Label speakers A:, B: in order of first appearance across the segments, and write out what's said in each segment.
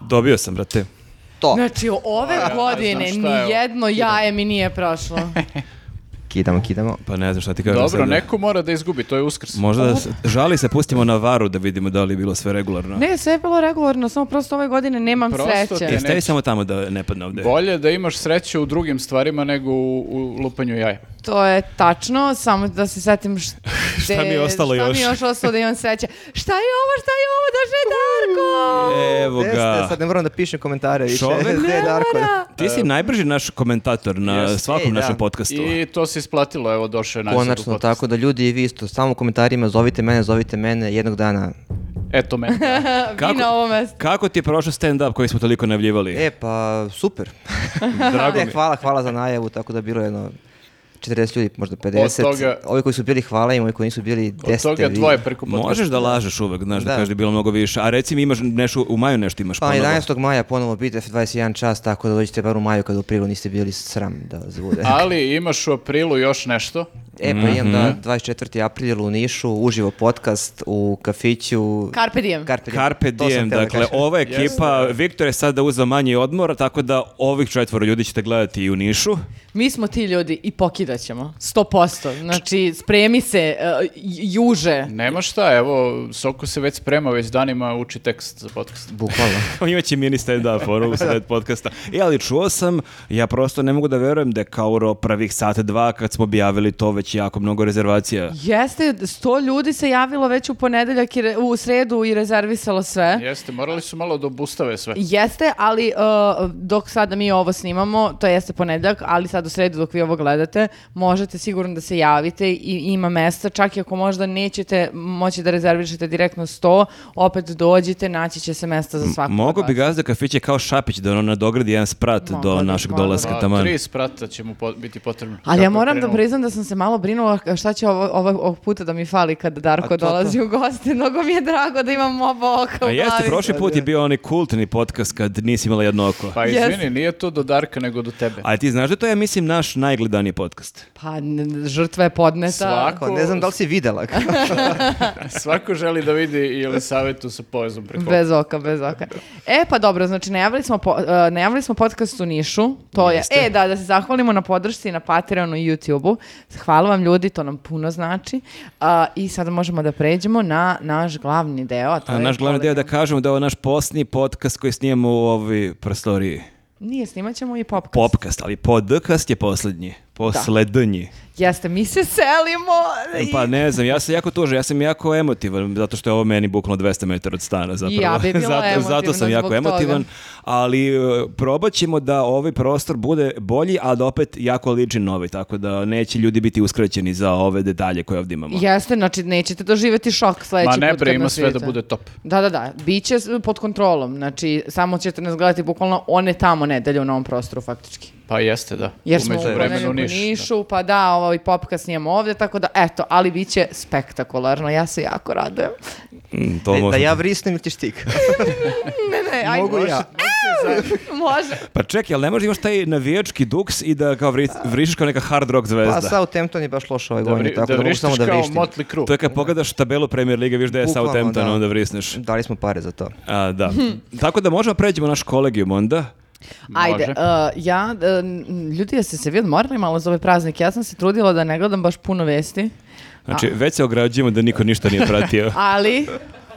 A: Dobio sam, brate.
B: To.
C: Znači, ove godine
D: znam šta je
C: ni
D: ovo.
C: jedno jaje mi nije prošlo.
B: Kidamo, kidamo.
A: Pa ne znam šta ti kažem.
D: Dobro,
A: sad.
D: neko mora da izgubi, to je uskrs.
A: Možda da se, žali se, pustimo na varu da vidimo da li je bilo sve regularno.
C: Ne, sve je bilo regularno, samo prosto ove godine nemam
D: Prosto
C: sreće.
D: te-
A: E, stavi
D: neću.
A: samo tamo da ne padne ovde.
D: Bolje da imaš sreće u drugim stvarima nego u, u lupanju jaja.
C: To je tačno, samo da se setim š-
A: Šta mi je
C: de-
A: ostalo
C: Šta mi
A: još?
C: još ostalo da imam sreće? Šta je ovo, šta je ovo, daže Darko!
A: Evo
B: Jeste,
A: ga.
B: sad ne moram da pišem komentare više.
A: Čovek ne
B: Gde je Darko?
A: Ti si najbrži naš komentator na
D: Jeste.
A: svakom
B: Ej, da.
A: našem podcastu.
D: I to se isplatilo, evo došao je nazad u
B: Konačno,
D: podcast.
B: tako da ljudi i vi isto, samo u komentarima zovite mene, zovite mene jednog dana.
D: Eto me.
C: E, Vi na ovo mesto.
A: Kako ti je prošao stand-up koji smo toliko najavljivali?
B: E, pa super.
A: Drago
B: Ne,
A: mi.
B: hvala, hvala za najavu, tako da bilo je jedno 40 ljudi, možda 50.
D: Od toga-
B: Ovi koji su bili hvala im, ovi koji nisu bili 10.
D: Od toga dvoje preko podcasta.
A: Možeš da lažeš uvek, znaš, da,
B: Da.
A: kažeš da je bilo mnogo više. A reci mi imaš nešto, u maju nešto imaš
B: Pa
D: Ono-
A: ponovo.
B: 11. maja ponovo BTF 21 čas, tako da dođete bar u maju kada u prilu niste bili sram da vas bude.
D: Ali imaš u aprilu još nešto.
B: E, pa
D: Mhm.
B: imam da 24. april u Nišu, uživo podcast u kafiću...
C: Carpe diem.
B: Carpe Diem.
A: Hm? Carpe
B: To sam
A: diem,
B: teo da
A: dakle,
B: kažem.
A: ova ekipa, Viktor je sada uzeo manji odmor, tako da ovih četvoro ljudi ćete gledati i u Nišu.
C: Mi smo ti ljudi i pokidat ćemo. 100%. Znači, spremi se, uh, j- juže.
D: Nema šta, evo, Soko se već sprema, već danima uči tekst za podcast.
B: Bukvalno.
A: On imaće mini stand-up foru u sred podcasta. E, ali čuo sam, ja prosto ne mogu da verujem da je Kauro prvih sata dva kad smo objavili to već jako mnogo rezervacija.
C: Jeste, sto ljudi se javilo već u ponedeljak, i re- u sredu i rezervisalo sve.
D: Jeste, morali su malo da obustave sve.
C: Jeste, ali uh, dok sada mi ovo snimamo, to jeste ponedeljak, ali sad u sredu dok vi ovo gledate, možete sigurno da se javite i ima mesta, čak i ako možda nećete moći da rezervišete direktno 100, opet dođite, naći će se mesta za svakog.
A: Mogu
C: od
A: bi
C: vas.
A: gazda kafiće kao Šapić da ono nadogradi jedan sprat
C: Mogao
A: do
C: pa. bi,
A: našeg
C: mogao bi.
A: dolaska
D: Pa,
A: taman.
D: tri sprata će mu po- biti potrebno.
C: Ali
D: Kako
C: ja
D: je
C: moram da
D: krenulo.
C: priznam da sam se malo brinula šta će ovo, ovo- ovog puta da mi fali kad Darko
B: A to, to.
C: dolazi u goste. Mnogo mi je drago da imam oba oka u
A: A jeste,
C: glavi.
A: prošli put je bio onaj kultni podcast kad nisi imala jedno oko.
D: Pa
C: Jeste.
D: izvini, nije to do Darka nego do tebe.
A: A ti znaš da to je, ja mislim, naš najgledaniji podcast?
C: Pa, n- žrtva je podneta.
D: Svako.
B: Kao, ne znam da li si videla.
D: Svako želi da vidi ili savetu sa povezom preko.
C: Bez oka, bez oka. E, pa dobro, znači, najavili smo, po, e, najavili smo podcast u Nišu. To je, e, da, da se zahvalimo na podršci na Patreonu i YouTubeu. Hvala vam ljudi, to nam puno znači. A, I sada možemo da pređemo na naš glavni deo. A to
A: A
C: Pa je
A: naš glavni deo je da
C: hvala-
A: kažemo da je ovo naš posljednji podcast koji snijemo u ovoj prostoriji.
C: Nije, snimat ćemo i popkast.
A: Popcast, ali podcast je posljednji. Poslednji.
C: Jeste, mi se selimo.
D: E,
C: i-
A: Pa ne znam, ja sam jako tužan, ja sam jako emotivan, zato što je ovo meni bukvalno 200 metara od stana zapravo.
C: Ja bi bila
A: zato, zato
C: emotivna
A: sam jako
C: zbog
A: emotivan,
C: toga.
A: ali e, probat ćemo da ovaj prostor bude bolji, a da opet jako liči na ovaj, tako da neće ljudi biti uskraćeni za ove detalje koje ovdje imamo.
C: Jeste, znači nećete doživjeti šok sledeći
D: Ma
C: put.
D: ne bre,
C: kad
D: ima
C: nas
D: sve da
C: vidite.
D: bude top.
C: Da, da, da. Biće s- pod kontrolom. Znači, samo ćete nas gledati bukvalno one tamo nedelje u novom prostoru, faktički.
D: Pa jeste, da.
C: Jer smo u
D: međuvremenu
C: ponedeljak u
D: Niš, da.
C: Nišu, pa da, ovaj popkast snijemo ovdje, tako da, eto, ali bit će spektakularno, ja se jako radujem.
A: Mm, To
B: E, da, da
A: možda-
B: ja vrisnem ili ćeš ti?
C: Ne, ne, ajde. Mogu ja. Može.
A: Pa čekaj, ali ne možda imaš taj navijački duks i da kao vri, vrišiš kao neka hard rock zvezda.
B: Pa Southampton je baš loš ove
D: Da,
B: godine,
D: vri-
B: tako
D: da
B: da, mogu
D: vrištiš
B: samo da
D: kao
B: vrištim.
D: Motley Crue.
A: To je kad pogledaš tabelu Premier Lige, viš da je
B: Bukvalno,
A: Southampton,
B: da.
A: onda vrisneš.
B: Dali smo pare za to.
A: A, da. Tako da možemo pređemo naš kolegijum onda.
C: Ajde,
D: Može.
C: uh, ja, uh, n- ljudi, jeste se vi odmorili malo za ovaj praznik? Ja sam se trudila da ne gledam baš puno vesti,
A: Znači, već se ograđujemo da niko ništa nije pratio.
C: ali...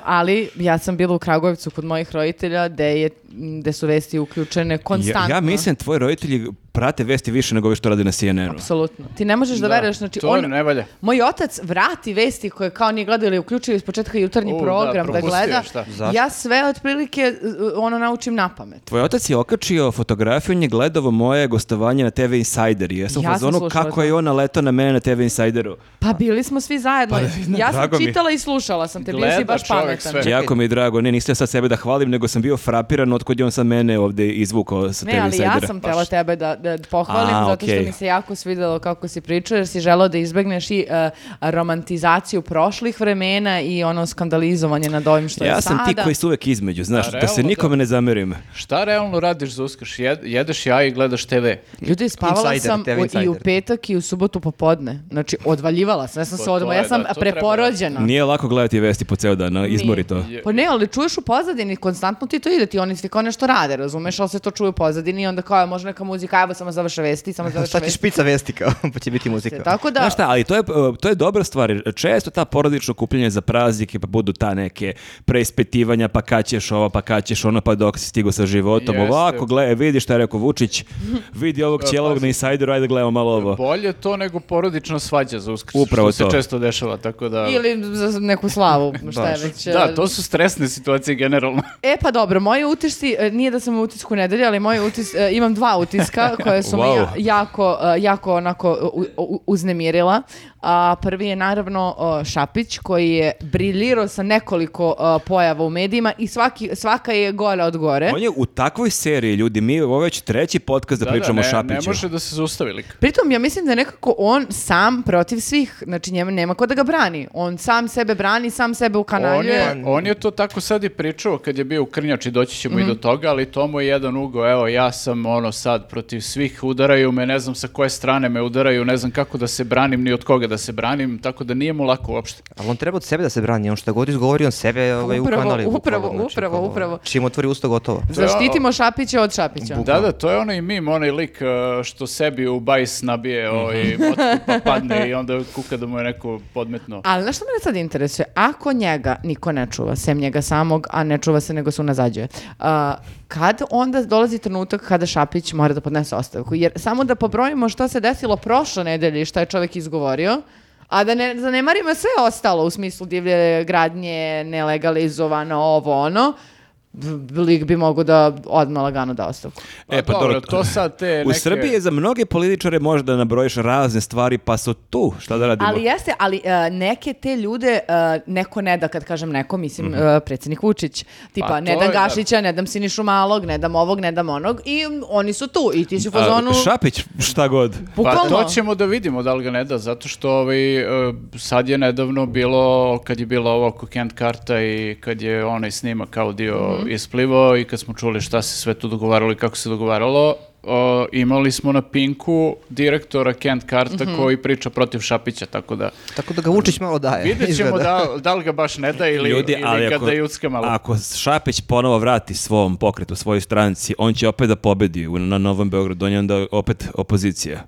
C: Ali ja sam bila u Kragujevcu kod mojih roditelja gde, je, m, gde su vesti uključene
A: Ja,
C: konstantno.
A: ja mislim tvoji roditelji prate vesti više nego vi što radi na CNN-u.
C: Apsolutno. Ti ne možeš da, veruješ, znači
D: to
C: on,
D: ne valja.
C: Moj otac vrati vesti koje kao nije gledao ili uključio iz početka jutarnji
D: U, da,
C: program da,
D: propustio je,
C: gleda.
D: šta?
B: Zašto?
C: Ja sve otprilike uh, ono naučim na pamet.
A: Tvoj otac je okačio fotografiju, on je gledao moje gostovanje na TV Insider i ja sam u
C: Ja sam
A: fazonu
C: slušala
A: kako
C: to.
A: je on naletao na mene na TV Insideru. Znači,
C: Pa bili smo svi zajedno. ja sam
A: drago mi je.
C: čitala i slušala sam te, bio si
D: Gleda
C: baš
D: čovek
C: pametan.
D: sve. Čekaj.
A: Jako mi je drago, ne, nisam ja sad sebe da hvalim, nego sam bio frapiran od je on sad mene ovdje izvukao sa TV
C: Ne, ali
A: Insidera.
C: ja sam tela tebe da, da pohvalim,
A: A,
C: zato što
A: okej.
C: mi se jako svidelo kako si pričao, jer si želao da izbegneš i e, romantizaciju prošlih vremena i ono skandalizovanje nad ovim što
A: ja
C: je
A: sam
C: sada.
A: ti koji su uvek između, znaš, da,
D: Da,
A: se
D: realno,
A: nikome ne zamerim.
D: Šta realno radiš za Uskrs? Jed- jedeš jaje i gledaš TV.
C: Ljudi, spavala
B: Insider,
C: sam
B: TV
C: u- i u
B: insider.
C: petak i u subotu popodne. Znači, odvaljivala sam, ja sam
D: Pa
C: se
D: to
C: odmah, ja
D: je,
C: sam
D: da, to treba.
C: preporođena.
A: Nije lako gledati vesti po ceo dan, a, izmori to.
D: Je-
C: Pa ne, ali čuješ u pozadini, konstantno ti to ide, ti oni svi kao nešto rade, razumeš, ali se to čuje u pozadini i onda kao, "E, može neka muzika, evo samo završe vesti, samo završe
B: Šta će
C: vesti.
B: špica vesti kao, pa će biti muzika.
C: Tako da,
A: Znaš šta, ali to je, e, to je dobra stvar. jer Često ta porodično kupljenje za praznike, pa budu ta neke preispitivanja, pa kad ćeš ovo, pa kad ćeš ono, pa dok si stigo sa životom.
D: Jeste.
A: Ovako, gle, vidi šta je rekao Vučić, vidi ovog cijelog na
D: pazi. E,
A: insajderu, ajde gledamo malo ovo.
D: Bolje to nego porodična svađa za Uskrs,
A: Upravo
D: što
A: to.
D: se često dešava, tako da...
C: ili za neku slavu, šta je
B: Baš.
C: već.
D: Da,
C: e,
D: to su stresne situacije generalno.
C: E pa dobro, moji utisci, e, nije da sam u utisku nedelje, ali moji utis, e, imam dva utiska koja su me
A: Wow.
C: ja- jako, e, jako onako u- u- uznemirila. A, prvi je naravno e, Šapić koji je briljirao sa nekoliko e, pojava u medijima i svaki, svaka je gore od gore.
A: On je u takvoj seriji, ljudi, mi ovo je već treći podcast da, pričamo o
D: ne,
A: Šapiću.
D: Ne može da se zaustavi lik.
C: Pritom, ja mislim da je nekako on sam protiv svih, znači njemu nema ko da ga brani. On sam sebe brani, sam sebe
D: On
C: ukanaljuje.
D: je, on je to tako sad i pričao kad je bio u Krnjači, doći ćemo i do toga, ali to mu je jedan ugo, evo ja sam ono sad protiv svih, udaraju me, ne znam sa koje strane me udaraju, ne znam kako da se branim, ni od koga da se branim, tako da nije mu lako uopšte.
B: Ali on treba od sebe da se brani, on šta god izgovori, on sebe ovaj,
C: Upravo,
B: ukanali.
C: upravo,
B: bukvalno,
C: upravo,
B: ono,
C: upravo.
B: Čim otvori usta gotovo.
C: Zaštitimo Šapića od Šapića.
D: Da, da, to je onaj mim, onaj lik uh, što sebi u bajs nabije
A: Mhm.
D: ovaj, motku pa padne i onda kuka da mu je neko podmetno.
C: Ali znaš što mene sad interesuje? Ako njega niko ne čuva, sem njega samog, a ne čuva se nego se unazađuje, a, kad onda dolazi trenutak kada Šapić mora da podnese ostavku? Jer samo da pobrojimo šta se desilo prošle nedelje i šta je čovjek izgovorio, a da ne zanemarimo sve ostalo u smislu divlje gradnje, nelegalizovano, ovo, ono, b- lik bi mogo da odmah lagano da ostavku.
A: E, pa dobro,
D: to sad te
A: U
D: neke-
A: Srbiji je za mnoge političare možda da nabrojiš razne stvari, pa su tu, šta da radimo?
C: Ali jeste, ali e, neke te ljude e, neko ne da, kad kažem neko, mislim e, predsjednik Vučić. Tipa,
D: Pa to
C: ne dam
D: je, da.
C: Gašića, ne dam Sinišu Malog, ne dam ovog, ne dam onog i mm, oni su tu i ti si u
A: A,
C: fazonu...
A: Šapić, šta god.
D: Pa
C: Bukvalno.
D: to ćemo da vidimo da li ga ne da, zato što ovaj, e, sad je nedavno bilo, kad je bilo ovo oko Kent Karta i kad je onaj snima kao dio
A: Mhm.
D: isplivao i kad smo čuli šta se sve tu dogovaralo i kako se dogovaralo, o, imali smo na Pinku direktora Kent Karta
A: Mhm.
D: koji priča protiv Šapića, tako da
B: Tako da ga Vučić malo daje.
D: vidjet ćemo
B: izgleda.
D: da, da li ga baš ne da ili,
A: E, Ljudi,
D: ili
A: ali
D: ga
A: ako,
D: da jucka malo.
A: ako Šapić ponovo vrati svom pokretu, svojoj stranci, on će opet da pobedi u- na Novom Beogradu, on je onda opet opozicija.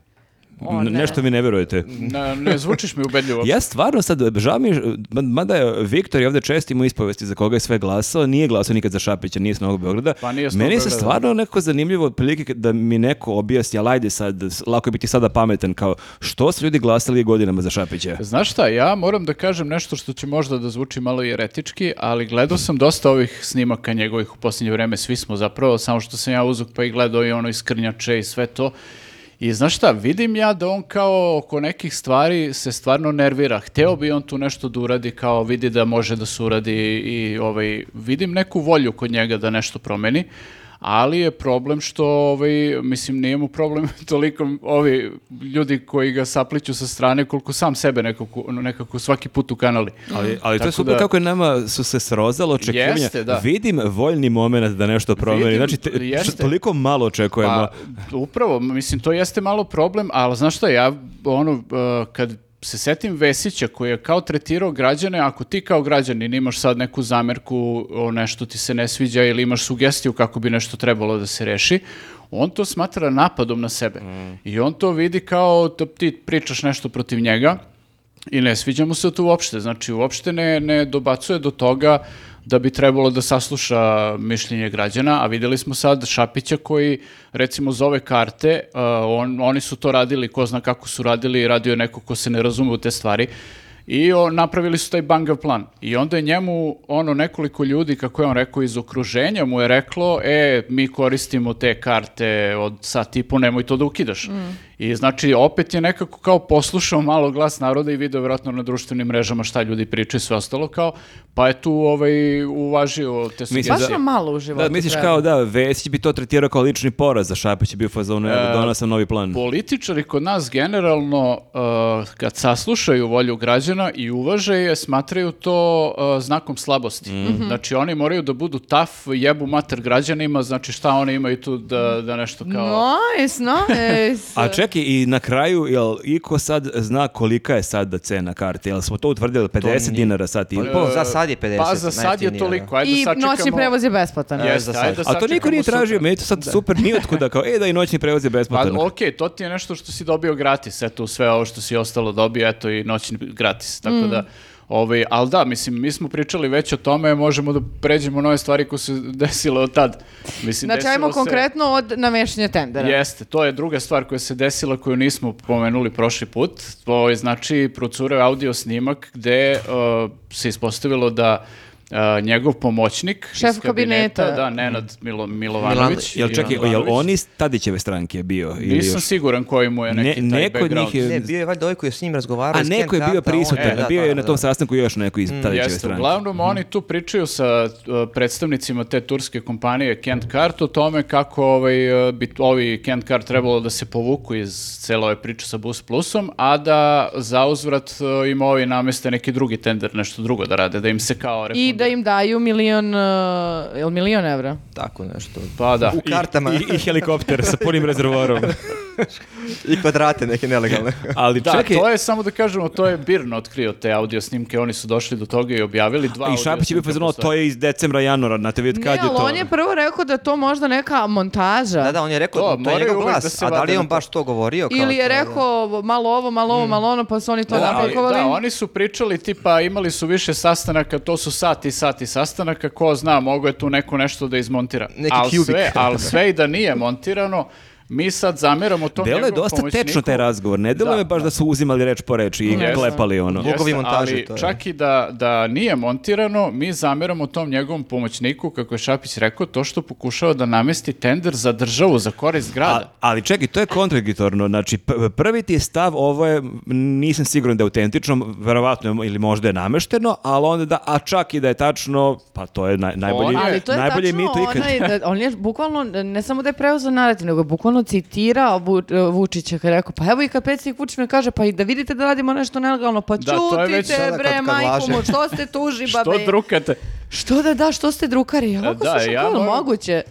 C: O,
A: N-
C: ne.
A: Nešto mi ne verujete.
D: Na- ne zvučiš mi ubedljivo.
A: Ja stvarno sad, žao mi, je, ma- mada je Viktor i ovde čestimo ispovesti za koga je sve glasao, nije glasao nikad za Šapića, nije s Novog Beograda.
D: Pa nije s Novog
A: Meni se
D: Beograda.
A: stvarno nekako zanimljivo otprilike da mi neko objasni, ali ajde sad, lako je biti sada pametan, kao što su ljudi glasali godinama za Šapića?
D: Znaš šta, ja moram da kažem nešto što će možda da zvuči malo jeretički, ali gledao sam dosta ovih snimaka njegovih u posljednje vreme, svi smo zapravo, samo što sam ja uzuk pa i gledao i ono iz Krnjače i sve to. I znaš šta, vidim ja da on kao oko nekih stvari se stvarno nervira. Hteo bi on tu nešto da uradi, kao vidi da može da se uradi i ovaj, vidim neku volju kod njega da nešto promeni, ali je problem što, ovaj, mislim, nije mu problem toliko ovi ljudi koji ga sapliću sa strane koliko sam sebe nekako, nekako svaki put ukanali.
A: Ali, ali to je
D: Tako
A: super
D: da-
A: kako je nama su se srozalo očekivanja.
D: Jeste, da.
A: Vidim voljni moment da nešto promeni.
D: Vidim,
A: Znači, te-
D: jeste.
A: što toliko malo očekujemo.
D: Pa, upravo, mislim, to jeste malo problem, ali znaš šta, ja, ono, uh, kad se setim Vesića koji je kao tretirao građane, ako ti kao građanin imaš sad neku zamerku o nešto ti se ne sviđa ili imaš sugestiju kako bi nešto trebalo da se reši, on to smatra napadom na sebe. I on to vidi kao da ti pričaš nešto protiv njega i ne sviđa mu se to uopšte. Znači, uopšte ne, ne dobacuje do toga da bi trebalo da sasluša mišljenje građana, a videli smo sad Šapića koji, recimo, za ove karte, uh, on, oni su to radili, ko zna kako su radili, radio je neko ko se ne razume u te stvari, i o, napravili su taj bangav plan. I onda je njemu, ono, nekoliko ljudi, kako je on rekao, iz okruženja mu je reklo, e, mi koristimo te karte od sat i po, nemoj to da ukidaš. I znači, opet je nekako kao poslušao malo glas naroda i video vjerojatno na društvenim mrežama šta ljudi pričaju i sve ostalo kao, pa je tu ovaj, uvažio te sugestije.
C: Baš nam malo u životu.
A: Da, Pa, misliš
C: treba.
A: kao da, Vesić bi to tretirao kao lični poraz za Šapić je bio fazonu,
D: E,
A: ja donao sam novi plan.
B: Mhm.
D: Političari kod nas generalno uh, kad saslušaju volju građana i uvaže je, smatraju to uh, znakom slabosti.
B: Mhm.
D: Znači oni moraju da budu taf, jebu mater građanima, znači šta oni imaju tu da, da nešto kao...
C: Nice, nice.
A: A čekaj, i na kraju, jel Iko sad zna kolika je sada cena karte? Jel smo to utvrdili? 50 dinara sad i po?
B: Pa, za sad je 50.
D: Pa za sad je
B: najjeftinije, da.
D: toliko, ajde
C: I
D: sačekamo.
C: noćni prevoz je besplatan.
B: Ja,
D: Jeste,
B: za
D: ajde
B: sad.
D: da
A: A to niko
D: sačekamo
A: nije tražio,
D: sutra.
A: meni je to sad super nijotkuda, kao, e da i noćni prevoz je
D: Pa
A: besplatan.
D: okej, to ti je nešto što si dobio gratis, eto sve ovo što si ostalo dobio, eto i noćni gratis, tako
C: Mm.
D: da... Ovaj, ali da, mislim, mi smo pričali već o tome, možemo da pređemo na ove stvari koje su se desile od tad. Mislim,
C: Znači, ajmo
D: desilo se-
C: konkretno od namešanja tendera.
D: Jeste, to je druga stvar koja se desila koju nismo pomenuli prošli put. To je znači procureo audio snimak gde uh, se ispostavilo da uh, njegov pomoćnik iz
C: Šef kabineta.
D: da, Nenad Milo, Milovanović.
A: Jel čekaj, jel
D: Milovanović.
A: oni iz Tadićeve stranke bio? Ili
D: Nisam
A: još?
D: siguran koji mu je neki
A: Ne-
D: taj
A: neko od njih
D: background.
B: Ne,
A: je-
B: bio je valjda ovaj koji je s njim razgovarao.
A: A
B: iz
A: neko je
B: Ken
A: bio
B: Krabba, on-
A: prisutan,
B: e, da,
A: bio
B: da,
A: je na
B: da,
A: tom
B: da.
A: sastanku još neko iz Tadićeve
D: Jeste,
A: stranke. Mhm.
D: uglavnom oni tu pričaju sa uh, predstavnicima te turske kompanije Kent Kart o tome kako ovaj, uh, bi t- ovi Kent Kart trebalo da se povuku iz cele ove priče sa Bus Plusom, a da za uzvrat uh, im ovi nameste neki drugi tender, nešto drugo da rade, da im se kao
C: I da
D: refundira.
C: im daju milion, uh, jel milion evra?
B: Tako nešto.
D: Pa da.
B: U kartama.
A: I, i, i helikopter sa punim rezervoarom.
B: I kvadrate neke nelegalne.
A: Ali
D: Da,
A: čekaj,
D: to je samo da kažemo, to je Birno otkrio te audio snimke, oni su došli do toga i objavili dva
A: I
D: audio
A: Šapić je bio
D: snimka
A: fazonu,
D: postoje.
A: to je iz decembra, januara, znate vi od kad
C: Ne,
A: je
C: ali
A: to?
C: on je prvo rekao da to možda neka montaža.
B: Da, da, on je rekao,
D: To,
B: to, je
D: moraju
B: njegov
D: uvek
B: glas,
D: da se
B: a da
D: vade
B: li je on
D: na to.
B: baš to govorio?
E: Pa
B: kao
C: Ili je
B: to, ono, da?
C: rekao malo ovo, malo ovo, malo ono, pa su oni to
D: Da, ali-
C: napakovali.
D: da, oni su pričali tipa imali su više sastanaka, to su sati i sati sastanaka, ko zna, mogo je tu neko nešto da izmontira.
B: Neki
D: ali
B: kubik.
D: sve, ali sve i da nije montirano, mi sad zameramo to
A: Delo je dosta tečno taj razgovor, ne delo
D: Da,
A: je baš da su uzimali reč po reči i
D: Jeste.
A: klepali ono.
B: Jeste. Bogovi montaže,
D: ali
B: to je.
D: čak i da, da nije montirano, mi zameramo tom njegovom pomoćniku, kako je Šapić rekao, to što pokušava da namesti tender za državu, za korist
A: A-
D: grada.
A: ali čekaj, to je kontradiktorno. Znači, p- prvi ti je stav, ovo je, m, nisam siguran da je autentično, verovatno je- ili možda je namešteno, ali onda da, a čak i da je tačno, pa to je naj, najbolji,
D: Ona-
C: Ali to je
A: najbolji
C: tačno ono
A: mito ikad.
C: onaj, da, on je bukvalno, ne samo da je preuzeo narativ, nego je bukvalno citirao Vu- Vučića kada je rekao, pa evo i kad predsjednik Vučić mi kaže, pa i da vidite da radimo nešto nelegalno, pa
D: Da, to je već
C: čutite
B: sada
C: bre,
B: kad- kad
C: majku
B: laže.
C: mu, što ste tuži, babe?
D: Što drukate?
C: Što da da, što ste drukari? Jel
D: E,
C: Ovako
D: da,
C: slušam,
D: ja
C: kao je li
D: moram-
C: moguće.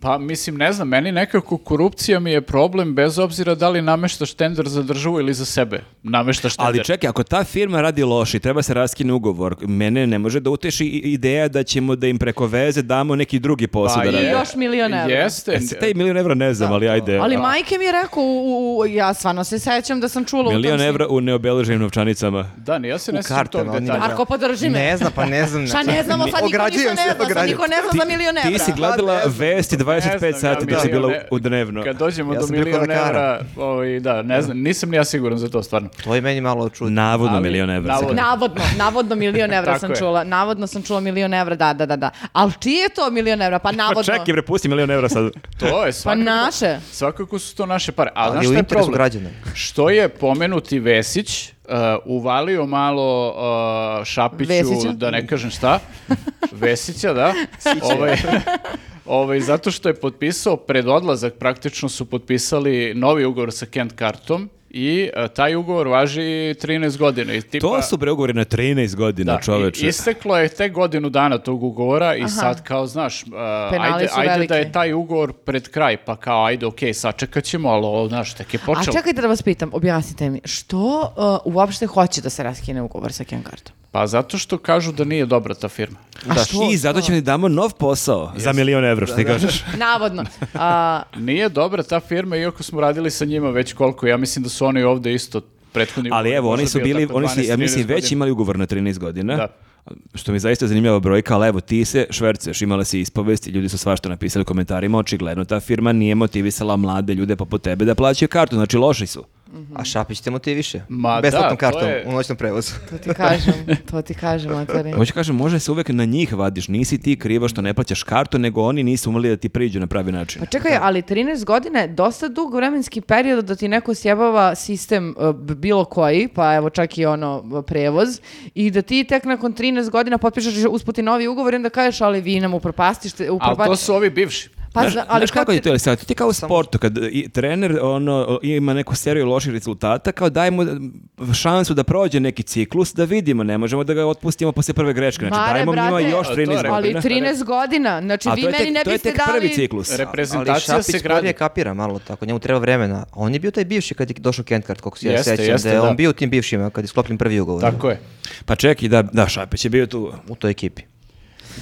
D: Pa mislim, ne znam, meni nekako korupcija mi je problem bez obzira da li nameštaš tender za državu ili za sebe. Nameštaš tender.
A: Ali čekaj, ako ta firma radi loši, treba se raskine ugovor. Mene ne može da uteši i- ideja da ćemo da im preko veze damo neki drugi posao da
D: Pa je-
A: radi.
C: I još milion evra.
D: Jeste.
A: E, se taj milion evra ne znam, ali ajde.
C: Ali
A: E, A-
C: majke mi je rekao, u, u- ja stvarno se sećam da sam čula u tom
A: Milion
C: snimu.
A: evra u neobeleženim novčanicama.
D: Da, ni ja se ne sjećam
B: kartama,
D: tog
B: oni
D: detalja.
C: Marko, podrži me.
B: Ne znam, pa ne znam.
C: Šta ne znamo, sad niko ništa
B: Ograđujem
C: ne
B: se,
C: zna, sad
B: ograđujem.
C: niko ne zna za milion evra.
A: Ti si gledala
B: Pa, ne znam.
A: vesti
D: Ne
A: 25
D: znam,
A: sati
D: ja
A: da si bila
D: milione-
A: u dnevno.
D: Kad dođemo
B: Ja
D: do
B: sam preko
D: miliona
B: lekara.
D: evra, ovaj, da, ne znam, nisam ni ja siguran za to stvarno.
B: To je meni malo čudno.
A: Navodno
D: Ali-
A: milion evra.
D: navodno.
C: Navodno, navodno milion evra
D: Tako
C: sam
D: je.
C: čula. Navodno sam čula milion evra, da, da, da, da. Ali čiji je to milion evra? Pa
A: Pa
C: navodno.
A: čekaj, bre, pusti milion evra sad.
D: To je
C: pa
D: svakako,
C: naše.
D: svakako su to naše pare. A znaš
B: Ali u
D: šta je
B: interesu
D: problem?
B: građana.
D: Što je pomenuti Vesić uh, uvalio malo uh, Šapiću,
C: Vesića?
D: da ne kažem šta, Vesića, da, ovaj, ovaj, zato što je potpisao pred odlazak, praktično su potpisali novi ugovor sa Kent Kartom i uh, taj ugovor važi 13 godina. I tipa,
A: To su bre ugovori na 13 godina,
D: Da,
A: čoveče.
D: i- isteklo je te godinu dana tog ugovora i sad kao, znaš, uh, ajde,
C: su
D: ajde da
C: veliki.
D: je taj ugovor pred kraj, pa kao, ajde, okej, sačekat ćemo, ali ovo, znaš, tek je
C: A
D: počelo.
C: čekajte da vas pitam, objasnite mi, što uh, uopšte hoće da se raskine ugovor sa Ken Kartom?
D: Pa zato što kažu da nije dobra ta firma.
C: A što?
A: I zato ćemo ti damo nov posao za milion evra, što ti kažeš.
C: Navodno. A,
D: Nije dobra ta firma, iako smo radili sa njima već koliko, ja mislim da su oni ovde isto prethodni
A: Ali
D: ugovor
A: evo, oni
D: možda
A: su
D: bio
A: bili,
D: tako
A: oni su, ja
D: 12-13
A: mislim, već
D: godina.
A: imali ugovor na 13 godina.
D: Da.
A: Što mi je zaista zanimljava brojka, ali evo ti se šverceš, imala si ispovest i ljudi su svašta napisali u komentarima, očigledno ta firma nije motivisala mlade ljude poput tebe da plaćaju kartu, znači loši su.
C: Mhm.
B: A Šapić te motiviše.
D: Ma
B: Besplatnom
D: da, to
B: kartom
D: je-
B: u noćnom prevozu.
C: To ti kažem, to ti kažem, Matari.
A: Hoće kažem, može se uvek na njih vadiš, nisi ti kriva što ne plaćaš kartu, nego oni nisu umeli da ti priđu na pravi način.
C: Pa čekaj, ali 13 godina je dosta dug vremenski period da ti neko sjebava sistem e, b- bilo koji, pa evo čak i ono e, prevoz, i da ti tek nakon 13 godina potpišeš usputi novi ugovor i onda kažeš, ali vi nam upropastište,
D: Ali
C: upropastište.
D: to su ovi bivši.
C: Pa,
A: znaš,
C: zna- ali
A: znaš kako
C: kako
A: je to, sad, ti kao u sportu, kad i, trener ono, ima neku seriju loših rezultata, kao daj mu šansu da prođe neki ciklus, da vidimo, ne možemo da ga otpustimo posle prve greške. Znači,
C: Mare,
A: dajmo njima
C: brate,
A: još
D: a to
A: 13
D: je
A: godina.
D: rekao,
C: Ali
D: ne?
C: 13 godina, znači
A: A
C: vi
A: to je
C: meni
A: tek,
C: ne
A: to je
C: biste
A: tek
C: dali...
A: prvi ciklus.
B: Ali
D: Reprezentacija se
B: Šapić
D: gradi.
B: sporije kapira malo tako, njemu treba vremena. A on je bio taj bivši kad je došao Kent Kart, koliko se ja
D: Jeste,
B: sećam,
D: jeste,
B: da je
D: da.
B: on bio u tim bivšima kad je sklopljen prvi ugovor
D: Tako je.
A: Pa čekaj, da, da, Šapić je bio tu.
B: u toj ekipi.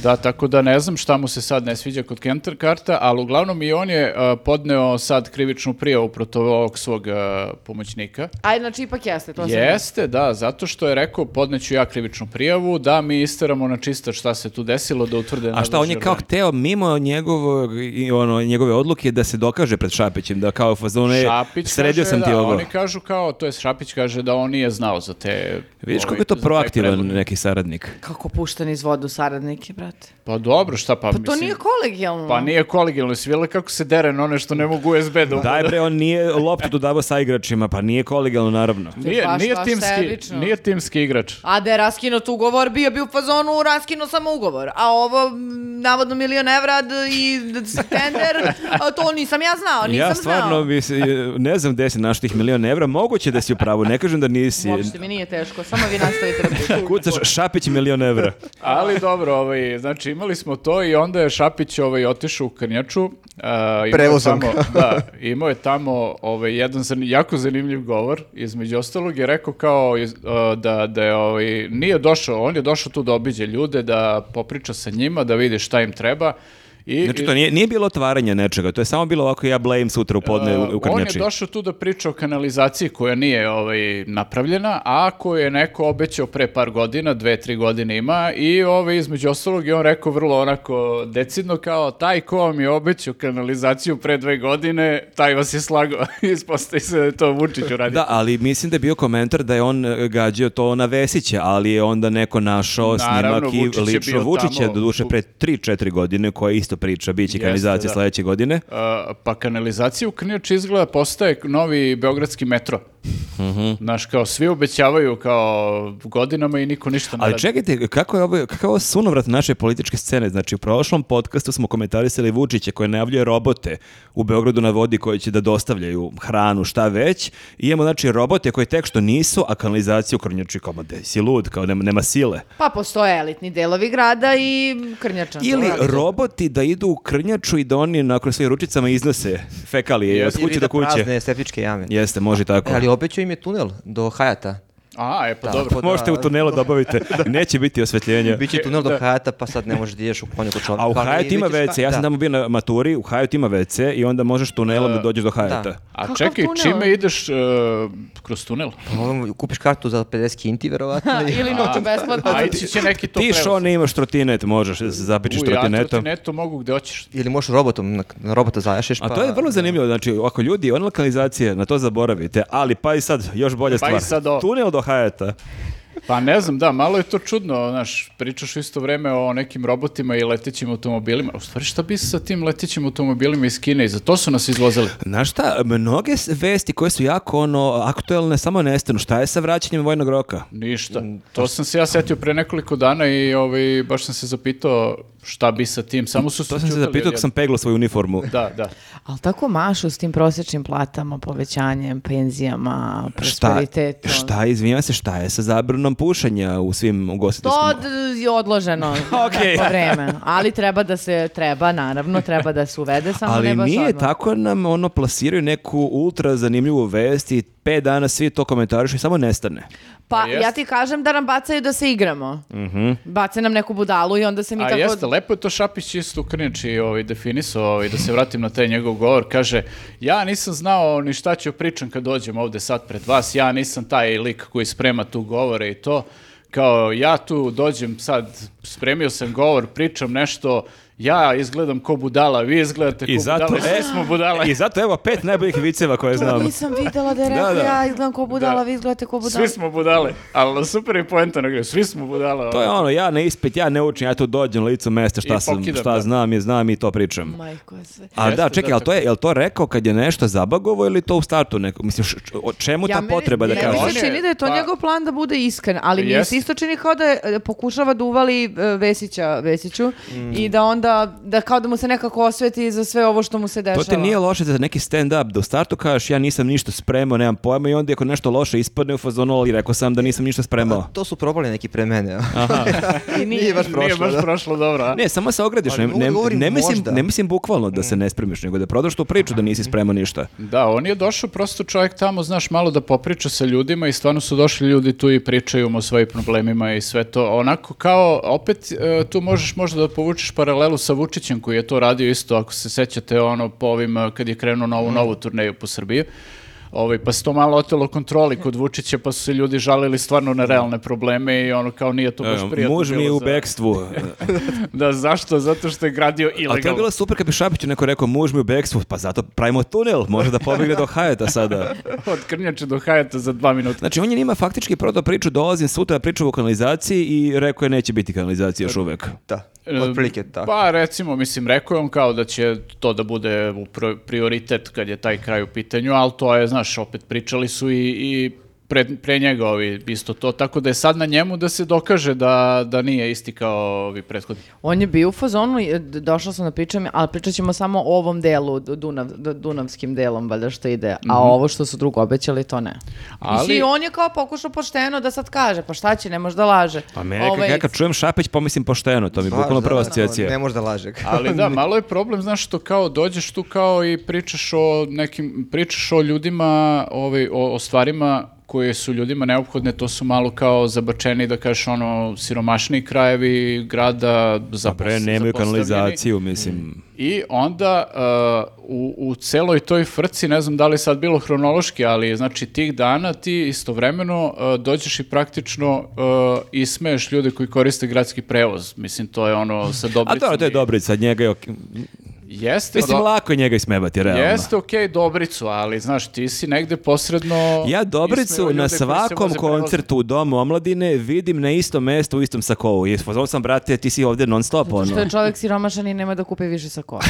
D: Da, tako da ne znam šta mu se sad ne sviđa kod Kentar karta, ali uglavnom i on je uh, podneo sad krivičnu prijavu protiv ovog svog uh, pomoćnika.
C: Ajde, znači ipak jeste, to sam-
D: Jeste, da, zato što je rekao podneću ja krivičnu prijavu, da mi isteramo na čisto šta se tu desilo, da utvrde
A: A šta, on je
D: nadležni
A: kao
D: organi.
A: hteo mimo njegovog, i ono, njegove odluke da se dokaže pred Šapićem, da kao fazone,
D: Šapić
A: sredio
D: kaže
A: sam
D: da,
A: ti ovo.
D: Oni kažu kao, to je Šapić kaže da on nije znao za te...
A: Vidiš kako
D: ovaj,
A: je to
D: za taj
A: proaktivan
D: predlog.
A: neki saradnik.
C: Kako pušten iz vodu saradnike, brate.
D: Pa dobro, šta pa,
C: Pa
D: mislim...
C: to nije kolegijalno.
D: Pa nije kolegijalno, svi vele kako se dere na one što ne mogu USB da
A: Daj
D: ugode.
A: bre, on nije loptu dodavao sa igračima, pa nije kolegijalno, naravno.
D: Nije,
C: Baš,
D: nije,
C: baš
D: timski,
C: sebično.
D: nije timski igrač.
C: A da je raskinut ugovor, bio bi u fazonu raskinuo sam ugovor. A ovo, m, navodno milion evra d- i d- s- tender, a to nisam ja znao, Pa nisam
A: ja stvarno
C: znao.
A: bi se, ne znam gde si našao tih milion evra, moguće da si u pravu, ne kažem da nisi.
C: Uopšte mi nije teško, samo vi nastavite repliku.
A: Kucaš Šapić milion evra.
D: Ali dobro, ovaj, znači imali smo to i onda je Šapić ovaj, otišao u Krnjaču. a, imao je
B: Prevozom
D: tamo-
B: ga.
D: da, imao je tamo ovaj, jedan zan- jako zanimljiv govor. Između ostalog je rekao kao iz- a, da, da je, ovaj, nije došao, on je došao tu da obiđe ljude, da popriča sa njima, da vidi šta im treba. I,
A: Znači, to nije, nije bilo otvaranje nečega, to je samo bilo ovako ja blame sutra u podne u, u
D: E, On je
A: Krnjači.
D: došao tu da priča o kanalizaciji koja nije ovaj, napravljena, a koju je neko obećao pre par godina, dve, tri godine ima i ovaj, između ostalog je on rekao vrlo onako decidno kao taj ko vam je obećao kanalizaciju pre dve godine, taj vas je slagao. Ispostavi se da je to Vučić uradio.
A: Da, ali mislim da je bio komentar da je on e, gađao to na Vesića, ali je onda neko našao
D: Naravno,
A: snimak i
D: Vučić je
A: lično
D: bio
A: Vučića,
D: tamo.
A: doduše pre 3-4 godine, koja isto priča, bit će
D: Jeste,
A: kanalizacija
D: da.
A: sledeće godine.
D: Uh, pa kanalizacija u Krnjači izgleda postaje novi beogradski metro.
A: Mhm.
D: Znaš, kao svi obećavaju kao godinama i niko ništa ne
A: Ali
D: radi.
A: čekajte, kako je ovo, kako je ovo sunovrat naše političke scene? Znači, u prošlom podcastu smo komentarisali Vučića koji najavljuje robote u Beogradu na vodi koji će da dostavljaju hranu, šta već. I imamo, znači, robote koji tek što nisu, a kanalizaciju krnjači kao, ma daj si lud, kao nema, nema sile.
C: Pa postoje elitni delovi grada i krnjačan.
A: Ili roboti da idu u krnjaču i da oni nakon svojim ručicama iznose fekalije od
D: Jeste.
A: kuće
B: Ili
A: do
B: da
A: kuće.
B: prazne septičke jame.
A: Jeste, može i tako.
B: E, ali obećao im je tunel do Hajata.
D: A, e, pa
B: Da,
D: dobro.
B: pa da,
A: Možete u tunelu da obavite, neće biti osvetljenja.
B: Biće tunel do Hajata, pa sad ne možeš da ideš u konju kod čovjeka.
A: A u
B: Ali
A: Hajat ima
B: vidiš
A: WC,
B: šta-
A: ja sam
B: da.
A: tamo bio na maturi, u Hajat ima WC i onda možeš tunelom E, da dođeš do Hajata.
B: da.
D: A
C: Kakav
D: čekaj,
C: tunel?
D: čime ideš e, kroz tunel?
B: Ono, Kupiš kartu za 50 kinti, verovatno. i-
C: Ili noću besplatno.
D: A ići će neki to
A: Ti
D: prevoz.
A: što ne imaš trotinet, možeš da se zapičiš
D: U, Ja
A: trotinetom.
D: trotinetom mogu gde hoćeš.
B: Ili možeš robotom, na, na robota zajašiš.
A: A
B: pa-
A: to je vrlo zanimljivo, znači ako ljudi, ona lokalizacija, na to zaboravite, ali pa i sad, još bolja
D: Pa i
A: stvar,
D: sad ovo.
A: tunel do Hajata.
D: Pa ne znam, da, malo je to čudno, znaš, pričaš u isto vreme o nekim robotima i letećim automobilima. U stvari, šta bi sa tim letećim automobilima iz Kine? I za to su nas izvozili.
A: Znaš šta, mnoge s- vesti koje su jako ono, aktuelne, samo nestanu, šta je sa vraćanjem vojnog roka?
D: Ništa. To sam se ja setio pre nekoliko dana i ovaj, baš sam se zapitao šta bi sa tim. Samo su
A: To sam se zapitao kad sam peglo svoju uniformu.
D: Da, da.
C: Ali tako mašu s tim prosječnim platama, povećanjem, penzijama,
A: Šta,
C: prosperitetom.
A: šta, izvinjam se, šta je sa zabranom pušenja u svim ugostiteljskim...
C: To d- je odloženo
A: Okej.
C: neko vreme, ali treba da se, treba naravno, treba da se uvede, samo
A: Ali
C: ne baš
A: nije
C: odmah.
A: tako nam ono plasiraju neku ultra zanimljivu vest i pet dana svi to komentarišu i samo nestane.
C: Pa
D: Pa jest.
C: ja ti kažem da nam bacaju da se igramo.
A: Mhm.
C: Bace nam neku budalu i onda se mi
D: A
C: tako...
D: jeste, lepo je to Šapić isto u Krniči ovaj, definisao, ovaj, da se vratim na taj njegov govor, kaže, ja nisam znao ni šta ću pričam kad dođem ovde sad pred vas, ja nisam taj lik koji sprema tu govore i to, kao ja tu dođem sad, spremio sam govor, pričam nešto ja izgledam ko budala, vi izgledate ko
A: I zato,
D: budala, svi smo budala.
A: I zato evo pet najboljih viceva koje znam.
C: Nisam videla da je
A: Da,
C: rekao
A: da.
C: ja izgledam ko budala,
D: Da.
C: vi izgledate ko budala.
D: Svi smo budale, ali super je poenta na igru, svi smo budala.
A: To je ono, ja ne ispit, ja ne učim, ja tu dođem na licu mesta, šta,
D: I
A: sam,
D: pokidam,
A: šta
D: da.
A: znam, je znam i to pričam.
C: Majko je sve.
A: A
D: Jeste,
A: da, čekaj,
D: da,
A: jel to, je, jel to rekao kad je nešto zabagovo ili to u startu neko? Mislim, š- č- o čemu ta potreba da
D: ne,
A: kažeš?
D: on
C: Meni
D: je-
C: se čini da je to
D: pa-
C: njegov plan da bude iskren, ali mi
D: Jeste.
C: se isto čini kao da je, e, pokušava da uvali e, Vesića Vesiću
A: Mm.
C: i da onda, da kao da mu se nekako osveti za sve ovo što mu se dešava.
A: To ti nije loše za neki stand-up, da u startu kažeš ja nisam ništa spremao, nemam pojma i onda ako nešto loše ispadne u fazonu, ali rekao sam da nisam ništa spremao.
B: Pa To su probali neki pre mene.
C: I nije.
B: Nije baš prošlo.
D: Nije baš
B: da.
D: prošlo dobro, a?
A: Ne, samo se ogradiš, ne,
B: Ali mogu
A: ne,
B: da govorim
A: ne mislim,
B: možda.
A: ne mislim bukvalno da se ne spremiš, nego da prodaš tu priču da nisi spremao ništa.
D: Da, on je došao prosto čovjek tamo, znaš, malo da popriča sa ljudima i stvarno su došli ljudi tu i pričaju mu o svojim problemima i sve to. Onako kao, opet e, tu možeš možda da povučeš paralelu sa Vučićem koji je to radio isto, ako se sećate ono po ovim, e, kad je krenuo na ovu
A: Mhm.
D: novu turneju po Srbiji. Ovaj, pa se to malo otelo kontroli kod Vučića, pa su se ljudi žalili stvarno na realne probleme i ono kao nije to baš
A: Evo,
D: prijatno
A: Muž mi je
D: bilo
A: u
D: za-
A: bekstvu.
D: Da, zašto? Zato što je gradio
A: A to je
D: ilegalno.
A: bilo super kad bi Šapiću neko rekao muž mi je u bekstvu, pa zato pravimo tunel, može da pobegne do Hajeta sada.
D: Od Krnjače do Hajata za dva minuta.
A: Znači, on je njima faktički prodao priču, dolazim sutra, priču o kanalizaciji i rekao je neće biti kanalizacije još uvek.
B: Da,
D: E,
B: otprilike tako.
D: Pa recimo, mislim, rekao je on kao da će to da bude u pro- prioritet kad je taj kraj u pitanju, ali to je, znaš, opet pričali su i, i pre, pre njega ovi isto to, tako da je sad na njemu da se dokaže da, da nije isti kao ovi prethodni.
C: On je bio u fazonu, e, d- došla sam da pričam, ali pričat ćemo samo o ovom delu, d- Dunav, d- dunavskim delom, valjda što ide,
A: Mhm.
C: a ovo što su drugo obećali, to ne.
D: Ali-
C: Mislim, on je kao pokušao pošteno da sad kaže, pa šta će, ne može da laže.
A: Pa me, ovaj... ja kad čujem Šapić, pomislim pošteno, to mi je
B: Baš,
A: bukvalno
B: da,
A: prva
B: da, Pa, Ne
A: asocijacija.
B: može da laže.
D: Ali da, malo je problem, znaš, što kao dođeš tu kao i pričaš o nekim, pričaš o ljudima, ovaj, o, o stvarima koje su ljudima neophodne, to su malo kao zabačeni, da kažeš, ono, siromašni krajevi grada, zapos,
A: Pa Bre, nemaju
D: zapostavljeni.
A: kanalizaciju, mislim.
D: I onda uh, u, u celoj toj frci, ne znam da li je sad bilo hronološki, ali znači tih dana ti istovremeno uh, dođeš i praktično uh, ismeješ ljude koji koriste gradski prevoz. Mislim, to je ono sa
A: A
D: dobricom.
A: dobro, to je
D: i-
A: dobro, sad njega je... ok-
D: Jeste,
A: Mislim,
D: do-
A: lako je njega ismevati, realno.
D: jeste okej dobricu, ali znaš, ti si negde posredno...
A: Ja
D: ismejao
A: Dobricu
D: ljude
A: na
D: koji se
A: svakom
D: voze prevozom.
A: koncertu u Domu omladine vidim na istom mestu u istom sakovu. I pozvao sam, brate, ti si ovdje non stop, ono.
C: Što je čovjek siromašan i nema da kupi više sakova.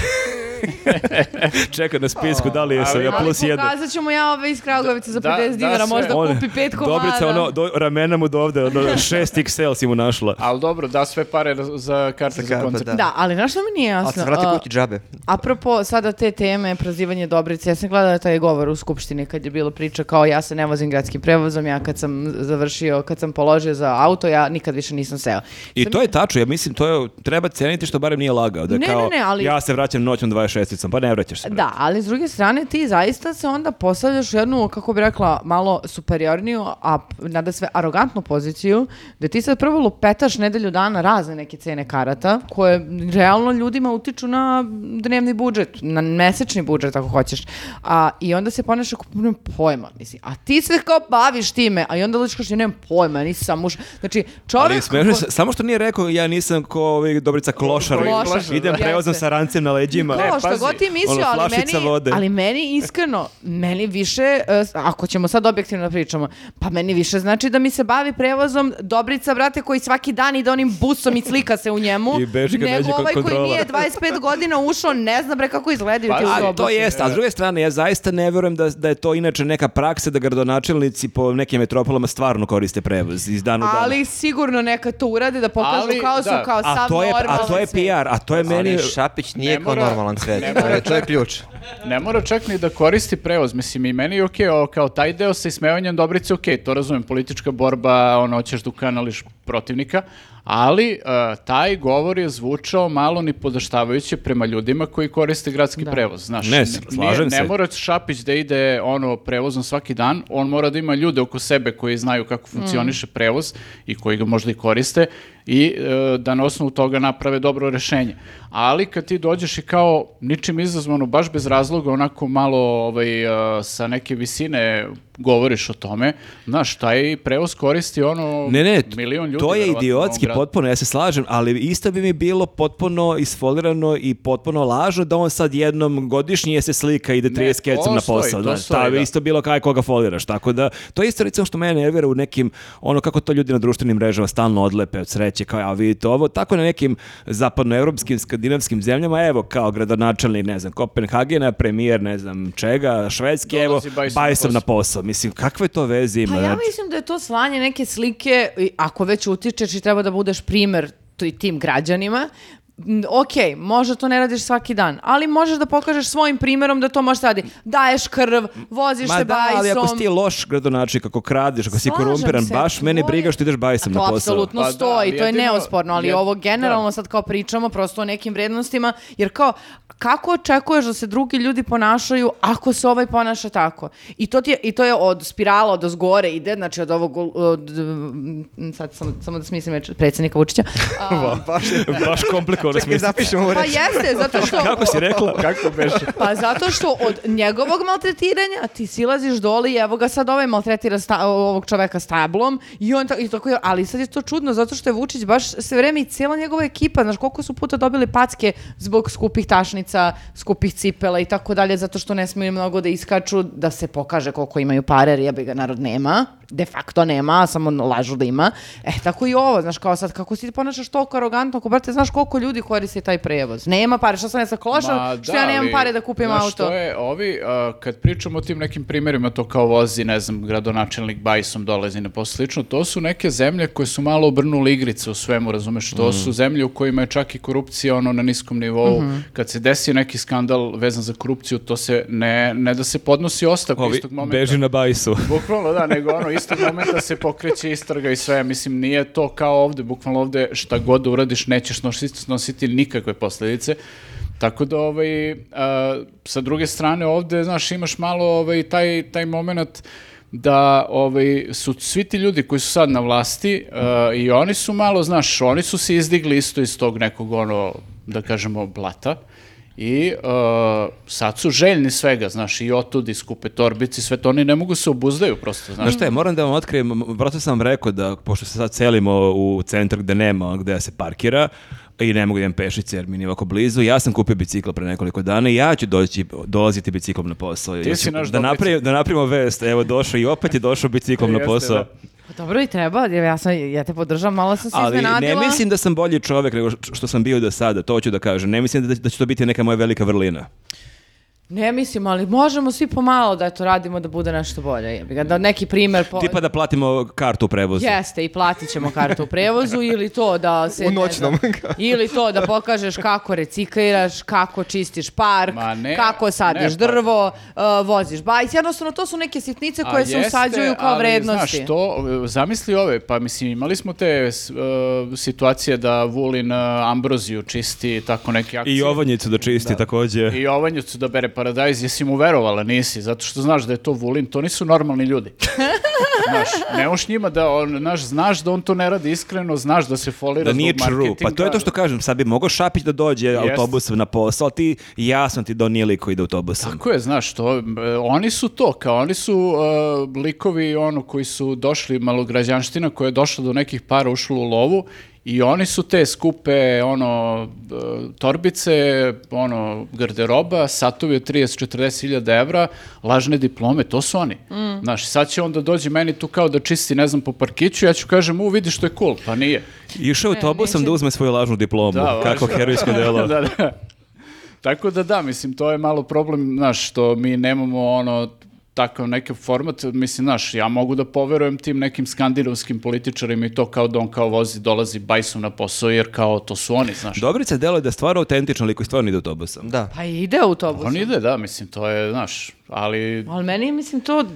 A: Čeka na spisku, da li je sam ja plus
C: Ali
A: jedan.
C: pokazat ću mu ja ove iz Kragovice za
D: Da,
C: 50
D: da,
C: dinara,
D: sve.
C: možda
A: On-
C: kupi pet komada.
A: Dobrica, ono, do, ramena mu do ovde, ono, 6 XL si mu našla.
D: Ali dobro, da sve pare raz- za karte za,
B: karte,
D: koncert.
B: da.
C: Da, ali znaš što mi nije
B: Ali
C: jasno?
B: se vrati
C: A,
B: kući džabe.
C: Apropo sada te teme, prozivanje Dobrice, ja sam gledala taj govor u Skupštini kad je bilo priča kao ja se ne vozim gradskim prevozom, ja kad sam završio, kad sam položio za auto, ja nikad više nisam seo.
A: I
C: Sam-
A: to je tačno, ja mislim, to je, treba ceniti što barem nije lagao. Da je
C: Ne,
A: kao,
C: ne, ne, ali-
A: Ja se vraćam noćom 26-icom, pa ne vraćaš se. brate.
C: Da, ali s druge strane ti zaista se onda postavljaš u jednu, kako bi rekla, malo superiorniju, a p- nada sve arogantnu poziciju, da ti sad prvo lupetaš nedelju dana razne neke cene karata, koje realno ljudima utiču na dnevni budžet, na mesečni budžet ako hoćeš. A, I onda se ponaša kao nemam pojma, mislim. A ti se kao baviš time, a i onda dođeš kao ja nemam pojma, ja nisam muž. Znači, čovjek...
A: Ali smešno
C: ko-
A: se, samo što nije rekao, ja nisam ko ovaj Dobrica Klošar,
C: Klošar,
A: idem
C: da.
A: prevozom
C: Jeste.
A: sa rancem na leđima.
C: To,
D: Ne,
C: šta
D: pazi,
C: god ti mislio,
A: Pa, ono,
C: ali,
A: flašica
C: meni,
A: vode.
C: ali meni iskreno, meni više, e, s- ako ćemo sad objektivno da pričamo, pa meni više znači da mi se bavi prevozom Dobrica, brate, koji svaki dan ide onim busom i slika se u njemu,
A: I beži kad
C: nego
A: dođe kod
C: ovaj koji
A: kontrola.
C: nije 25 godina ušao, ne zna bre kako izgledaju
D: Pa,
C: ti u
D: ali
A: A,
C: autobusu.
A: to jeste, a s druge strane, ja zaista ne verujem da, da je to inače neka praksa da gradonačelnici po nekim metropolama stvarno koriste prevoz iz dana u dan.
C: Ali pa sigurno neka to urade da pokažu
D: Ali,
C: kao su,
D: da.
C: kao
A: a
C: sav
A: to je, a
C: normalan
A: to je
C: svet.
A: PR, a to je meni...
B: Ali Šapić nije
D: Ne
B: kao
D: mora-
B: normalan svet.
D: ne
B: To
D: mora-
B: je- To je ključ.
D: Ne mora čak ni da koristi prevoz, mislim i meni je okej, ovo kao taj deo sa ismevanjem Dobrice, okej, to razumem, politička borba, ono, hoćeš da ukanališ protivnika, ali eh, taj govor je zvučao malo ni podaštavajuće prema ljudima koji koriste gradski prevoz, znaš.
A: Ne,
D: N-
A: slažem
D: nije-
A: se.
D: Ne mora Šapić da ide ono prevozom svaki dan, on mora da ima ljude oko sebe koji znaju kako funkcioniše prevoz i koji ga možda i koriste i eh, da na osnovu toga naprave dobro rešenje. Ali kad ti dođeš i kao ničim izazvano, baš bez razloga, onako malo ovaj, eh, sa e, neke visine govoriš o tome, znaš, taj prevoz koristi ono
A: Ne, ne, t-
D: milion ljudi.
A: to je
D: verovatno, u ovom
A: idiotski
D: gradu.
A: potpuno, ja se slažem, ali isto bi mi bilo potpuno isfolirano i potpuno lažno da on sad jednom godišnje se slika i ide 30
D: to
A: kecom na
D: stoji,
A: posao.
D: to
A: znaš,
D: stoji,
A: šta bi
D: da.
A: isto bilo kaj koga foliraš. Tako da, to je isto recimo što mene nervira u nekim, ono kako to ljudi na društvenim mrežama stalno odlepe od sreće, kao ja vidite ovo, tako na nekim zapadnoevropskim, skandinavskim zemljama, evo kao gradonačelnik, ne znam, Kopenhagena, premijer, ne znam čega, Švedske, evo,
D: Dolazi Bajsov na
A: Bajsov na
D: posao.
A: posao. Mislim, kakve to veze ima?
C: Pa ja
A: znači?
C: mislim da je to slanje neke slike, i ako već utičeš i treba da budeš primer tu- i tim građanima, m, ok, možda to ne radiš svaki dan, ali možeš da pokažeš svojim primjerom da to možeš radi. Daješ krv, voziš
A: Ma
C: se
A: da,
C: bajsom.
A: ali ako si ti loš gradonačelnik, ako kradeš, ako si
C: Slažem
A: korumpiran,
C: se,
A: baš
C: to
A: mene
C: je-
A: briga što ideš bajsem
C: A
A: na
C: To
A: posao.
C: apsolutno
D: Pa da,
C: stoji,
D: ali
C: to je
D: jedino-
C: neosporno, ali
D: jed-
C: ovo generalno sad kao pričamo prosto o nekim vrednostima, jer kao kako očekuješ da se drugi ljudi ponašaju ako se ovaj ponaša tako? I to, ti je, i to je od spirala, od ozgore ide, znači od ovog, od, mm, sad samo, samo da smislim reč predsjednika Vučića. A,
B: Baš
A: baš komplikovano
B: Čekaj, zapišemo ovu
C: pa
B: reč.
C: jeste, zato što...
A: Kako si rekla?
D: Kako beše?
C: Pa zato što od njegovog maltretiranja ti silaziš doli i evo ga sad ovaj maltretira sta, ovog čoveka stablom i on tako, i tako, ali sad je to čudno zato što je Vučić baš sve vreme i cijela njegova ekipa, znaš koliko su puta dobili packe zbog skupih tašnica, skupih cipela i tako dalje, zato što ne smiju mnogo da iskaču, da se pokaže koliko imaju pare, jer jebi ga narod nema, de facto nema, samo lažu da ima. E, tako i ovo, znaš, kao sad, kako si ti ponašaš toliko arogantno, ako brate, znaš koliko ljudi koristi taj prevoz. Nema pare, što sam ja sa klošom,
D: Ma
C: ono, što
D: da,
C: ja nemam
D: ali,
C: pare da kupim
D: znaš,
C: auto.
D: to je, ovi, a, kad pričamo o tim nekim primjerima, to kao vozi, ne znam, gradonačelnik Bajsom dolazi na posao, slično, to su neke zemlje koje su malo obrnule igrice u svemu, razumeš, to
A: Mhm.
D: su zemlje u kojima je čak i korupcija ono na niskom nivou,
C: Mhm.
D: kad se desi neki skandal vezan za korupciju, to se ne, ne da se podnosi ostavka
A: Ovi,
D: istog momenta.
A: beži na bajsu.
D: Bukvalno da, nego ono istog momenta se pokreće istraga i sve, mislim nije to kao ovde, bukvalno ovde šta god da uradiš nećeš nositi, snositi nikakve posledice. Tako da ovaj a, sa druge strane ovde znaš imaš malo ovaj taj taj momenat da ovaj su svi ti ljudi koji su sad na vlasti a, i oni su malo znaš oni su se izdigli isto iz tog nekog ono da kažemo blata i uh, sad su željni svega, znaš, i otudi, skupe torbici, sve to, oni ne mogu se obuzdaju prosto, znaš.
A: Znaš šta je, moram da vam otkrijem, prosto sam vam rekao da, pošto se sad selimo u centar gde nema, ono gde se parkira, i ne mogu da idem pešice jer mi nije ovako blizu. Ja sam kupio bicikl pre nekoliko dana i ja ću doći, dolaziti biciklom na posao. Ja
D: si
A: ću-
D: naš
A: da,
D: domaćin.
A: napravim, da napravimo vest. Evo došao i opet je došao biciklom na
D: Jeste,
A: posao.
D: da.
C: Pa dobro i treba, jer ja, sam, ja te podržam, malo sam se
A: Ali ne
C: iznenadila.
A: mislim da sam bolji čovjek nego š- što sam bio do sada, to hoću da kažem. Ne mislim da, da će to biti neka moja velika vrlina.
C: Ne mislim, ali možemo svi pomalo da to radimo da bude nešto bolje. jebi ga, Da neki primer... Po...
A: Tipa da platimo kartu u prevozu.
C: Jeste, i platit ćemo kartu u prevozu ili to da se...
B: U
C: ne
B: noćnom.
C: znam, ili to da pokažeš kako recikliraš, kako čistiš park,
D: Ma ne,
C: kako sadiš
D: ne, pa-
C: drvo, uh, voziš bajs. Jednostavno, to su neke sitnice koje
D: A
C: se
D: jeste,
C: usađuju kao
D: ali,
C: vrednosti.
D: Znaš, to, e, zamisli ove, pa mislim, imali smo te s- e, situacije da Vulin e, Ambroziju čisti i tako neke akcije.
A: I ovonjicu da čisti također.
D: I Jovanjucu da bere paradajz, jesi mu verovala, nisi, zato što znaš da je to Vulin, to nisu normalni ljudi. znaš, ne moš njima da, on, znaš, znaš da on to ne radi iskreno, znaš da se folira
A: Da
D: zbog
A: nije true.
D: marketinga.
A: Pa to je to što kažem. Sad bi mogao Šapić da dođe autobusom na posao, ali ti jasno ti donije liko ide autobusom.
D: Tako je, znaš, to, e, oni su to, kao oni su e, likovi ono koji su došli, malograđanština koja je došla do nekih para, ušla u lovu i oni su te skupe ono e, torbice, ono garderoba, satovi od 30-40 hiljada evra, lažne diplome, to su oni. Znaš, sad će onda dođi meni tu kao da čisti, ne znam, po parkiću, ja ću kažem, u, vidi što je cool, pa nije.
A: Išao je autobusom
C: neće-
A: da uzme svoju lažnu diplomu.
D: Da, važno.
A: Kako herojsko delo.
D: da, da. Tako da da, mislim, to je malo problem, znaš, što mi nemamo ono takav neki format, mislim, znaš, ja mogu da poverujem tim nekim skandinavskim političarima i to kao da on kao vozi, dolazi bajsom na posao, jer kao to su oni, znaš.
A: Dobrica delo je da je stvarno autentično liko i stvarno ide autobusom.
B: Da.
C: Pa ide autobus.
D: On ide, da, mislim, to je, znaš, ali...
C: Ali meni, je, mislim, to, d-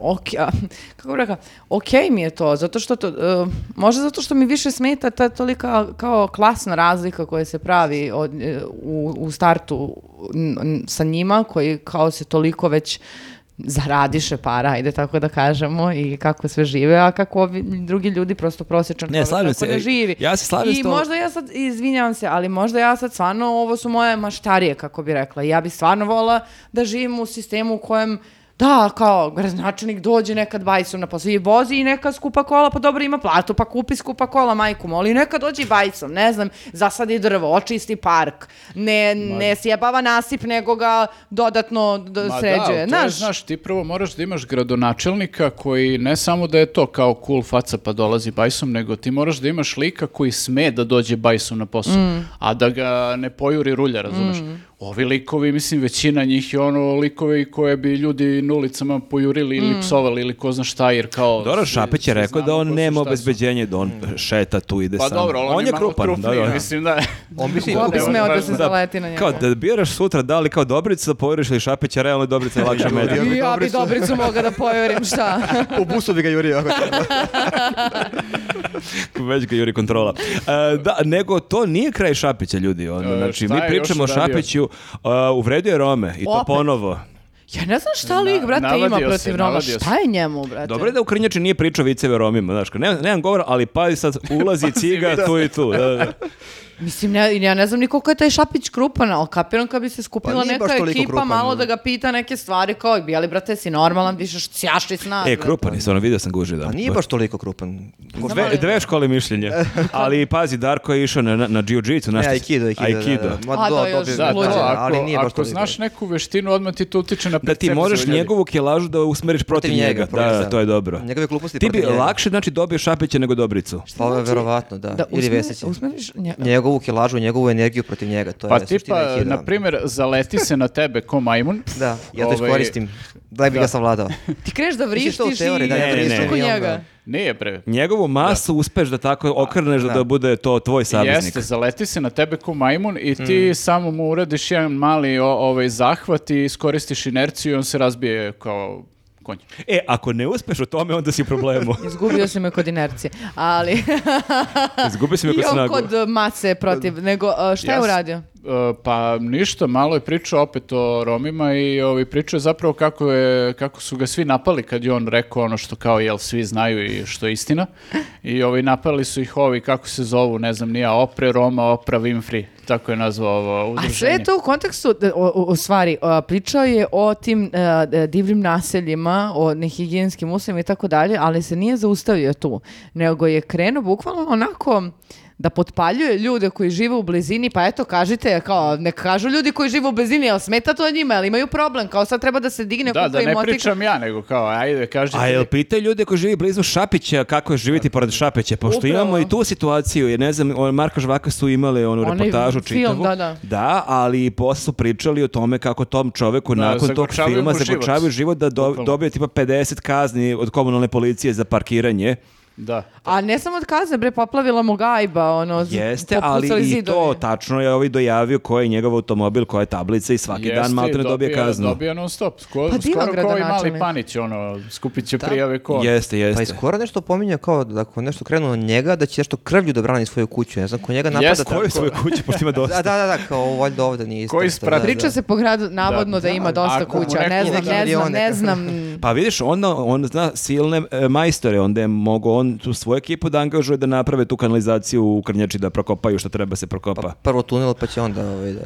C: ok, a, kako bih rekla, ok mi je to, zato što to, e, možda zato što mi više smeta ta tolika kao klasna razlika koja se pravi od, e, u, u startu n- n- sa njima, koji kao se toliko već zaradiše para, ajde tako da kažemo, i kako sve žive, a kako ovi drugi ljudi prosto prosječan
A: Ne,
C: čovjek
A: slažem
C: tako
A: se,
C: ne živi.
A: ja se slažem s
C: I
A: tom-
C: možda ja sad, izvinjavam se, ali možda ja sad stvarno, ovo su moje maštarije, kako bi rekla. Ja bi stvarno vola da živim u sistemu u kojem da, kao, graznačelnik dođe nekad bajsom na posao i vozi i neka skupa kola, pa dobro ima platu, pa kupi skupa kola, majku moli, i neka dođe i bajsom, ne znam, zasadi drvo, očisti park, ne, ne sjebava nasip, nego ga dodatno d-
D: Ma
C: sređuje.
D: da, ali to je,
C: Znaš,
D: znaš, ti prvo moraš da imaš gradonačelnika koji ne samo da je to kao cool faca pa dolazi bajsom, nego ti moraš da imaš lika koji sme da dođe bajsom na posao, a da ga ne pojuri rulja, razumeš? Ovi likovi, mislim, većina njih je ono likovi koje bi ljudi na ulicama pojurili ili psovali ili ko zna šta, jer kao...
A: Dora
D: svi-
A: Šapeć je
D: svi
A: rekao da
D: znamo
A: on
D: ko su,
A: nema
D: šta su.
A: obezbeđenje, da on šeta tu, ide
D: Pa
A: sam.
D: dobro, ali on, je, malo
A: da,
D: krupniji,
A: da.
D: mislim da...
B: On bi
C: ko bi
D: Ne, on
C: smeo
D: je
C: da
D: baš-
C: se
D: da.
C: zaleti na njega?
A: Kao da biraš sutra da li kao Dobrica da povjeriš ili Šapića, realno je Dobrica lakša medija.
C: I ja bi
E: Dobricu.
C: Dobricu mogla da poverim, šta?
E: U busu bi ga jurio. ako treba.
A: Već ga juri kontrola. E, da, nego to nije kraj Šapića, ljudi. On,
D: E,
A: znači,
D: šta
A: mi
D: je još
A: pričamo o
D: uradio?
A: Šapiću, e, uvredio je Rome i to
C: Opet.
A: ponovo.
C: Ja ne znam šta lik, brate,
D: navadio
C: ima
D: se,
C: protiv Roma.
D: navadio
C: Šta je njemu, brate?
A: Dobro je da u Krnjači nije pričao viceve o Romima, znaš, kao, ne, nemam govora, ali pazi sad, ulazi ciga tu i tu. Da, da.
C: Mislim, ne, ja ne znam ni koliko je taj Šapić krupan, ali kapiram kad bi se skupila
E: Pa nije baš
C: neka
E: toliko
C: ekipa
E: krupan,
C: malo
E: ono.
C: da ga pita neke stvari kao, bi, ali brate, si normalan, više sjaši snad.
A: E,
C: brate."
A: krupan je, stvarno, vidio sam ga uživo.
E: Pa nije baš toliko krupan.
A: Dve, dve škole mišljenja. Ali pazi, Darko je išao na, na, na jiu-jitsu. na
E: Ne,
A: šta-
E: E, Aikido, Aikido.
A: Aikido.
E: Da, da.
C: A,
E: Ma, do,
C: da, još
E: dobio
D: Da,
E: ga,
D: to,
C: luđe.
E: da,
D: ako,
E: ali nije baš
D: ako
E: toliko.
D: znaš neku veštinu, odmah ti to utiče na
A: Da ti
D: percepciju
A: možeš
D: ljudi.
A: njegovu kjelažu da usmeriš protiv,
E: Protiv
A: njega.
E: njega,
A: da,
E: protiv,
A: da,
E: da.
A: to je dobro.
E: Njegove gluposti
A: Ti bi
E: protiv njega.
A: lakše znači, dobio Šapića nego Dobricu.
E: Pa ovo je
C: Znači,
E: verovatno, da.
C: Da
E: Ili
C: usme-
E: Vesića.
C: usmeriš nje-
E: Njegovu kilažu, njegovu energiju protiv njega. To
D: Pa
E: je suština
D: tipa,
E: Aikida.
D: na primjer, zaleti se na tebe ko majmun.
E: Da, ja to
D: Ovaj,
E: iskoristim. Da bi
D: da.
E: ga savladao. Pa
C: Ti kreš da
E: Mislim,
C: vrištiš
E: to u teoriji,
C: i
E: da,
A: ja
C: ideš
A: vrištim
C: oko
E: i onda-
C: njega.
D: Nije bre.
A: Njegovu masu uspeš da tako okrneš da,
E: Da.
A: da bude to tvoj saveznik.
D: Jeste, zaleti se na tebe ko majmun i
E: Mm.
D: ti samo mu uradiš jedan mali o- ovaj, zahvat i iskoristiš inerciju i on se razbije kao konj.
A: E, ako ne uspeš u tome, onda si u problemu.
C: Izgubio si me kod inercije, ali...
A: Izgubio si me pa
C: I
A: kod
C: on
A: snagu.
C: kod mase protiv, nego a, šta je
D: Jas-
C: uradio?
D: E, pa ništa, malo je pričao opet o Romima i ovaj, pričao je zapravo kako, je, kako su ga svi napali kad je on rekao ono što kao jel svi znaju i što je istina. I ovaj, napali su ih ovi kako se zovu, ne znam, nije Opre Roma, Opra Winfrey, tako je nazvao ovo
C: A
D: udruženje.
C: sve je to u kontekstu, da, o, o- o stvari, a, pričao je o tim a, d- divljim naseljima, o nehigijenskim uslovima i tako dalje, ali se nije zaustavio tu, nego je krenuo bukvalno onako da potpaljuje ljude koji žive u blizini, pa eto kažite, kao, ne kažu ljudi koji žive u blizini, jel smeta to njima, jel imaju problem, kao sad treba da se digne
D: Da,
C: kuka
D: da
C: i
D: ne
C: motika.
D: pričam ja, nego kao, ajde, kažete.
A: A jel pitaj ljude koji živi blizu Šapića kako je živjeti pored Šapića, pošto
C: Upravo.
A: imamo i tu situaciju, jer ne znam, on- Marko Žvaka su imali onu
C: Onaj
A: reportažu
C: film,
A: čitavu.
C: da, da.
A: ali i posle su pričali o tome kako tom čoveku
D: Da,
A: nakon tog
D: zagorčavaju
A: filma
D: mu život.
A: zagočavaju život da do,
D: Bukvalno.
A: dobije tipa 50 kazni od komunalne policije za parkiranje.
D: Da.
C: A ne samo od kazne, bre, poplavila mu gajba, ono, z-
A: Jeste, ali
C: popucali
A: i to
C: zidovi.
A: tačno je ovaj dojavio ko je njegov automobil, koja je tablica i svaki
D: Jeste,
A: dan maltene dobije
D: dobija-
A: kaznu.
D: Dobija non stop. Sko,
C: Pa divan
D: skoro kao i mali
C: gradonačelnik.
D: panić, ono, skupit će prijave ko.
A: Jeste,
E: Pa i
A: jeste.
E: skoro nešto pominja kao da ako nešto krenu na njega, da će nešto krvlju da brani svoju kuću. Ne znam, ko njega napada.
D: Jeste,
E: tako-
A: Koju svoju kuću, pošto ima
E: Da,
A: dosta.
E: da, da, da, kao valjda ovde nije isto.
D: Koji
E: isto,
D: sprat-
E: da,
C: Priča
E: da.
C: se po gradu, navodno da, ima dosta
D: Ako mu
C: kuća, ne
D: neko
C: znam,
E: uzme
C: ne znam,
E: milione.
C: ne znam.
A: Pa vidiš, onda on zna silne e, majstore, onda je mogao on tu svoju ekipu da angažuje da naprave tu kanalizaciju u Krnjači da prokopaju što treba se prokopa.
E: Prvo tunel, pa će onda ovaj, da...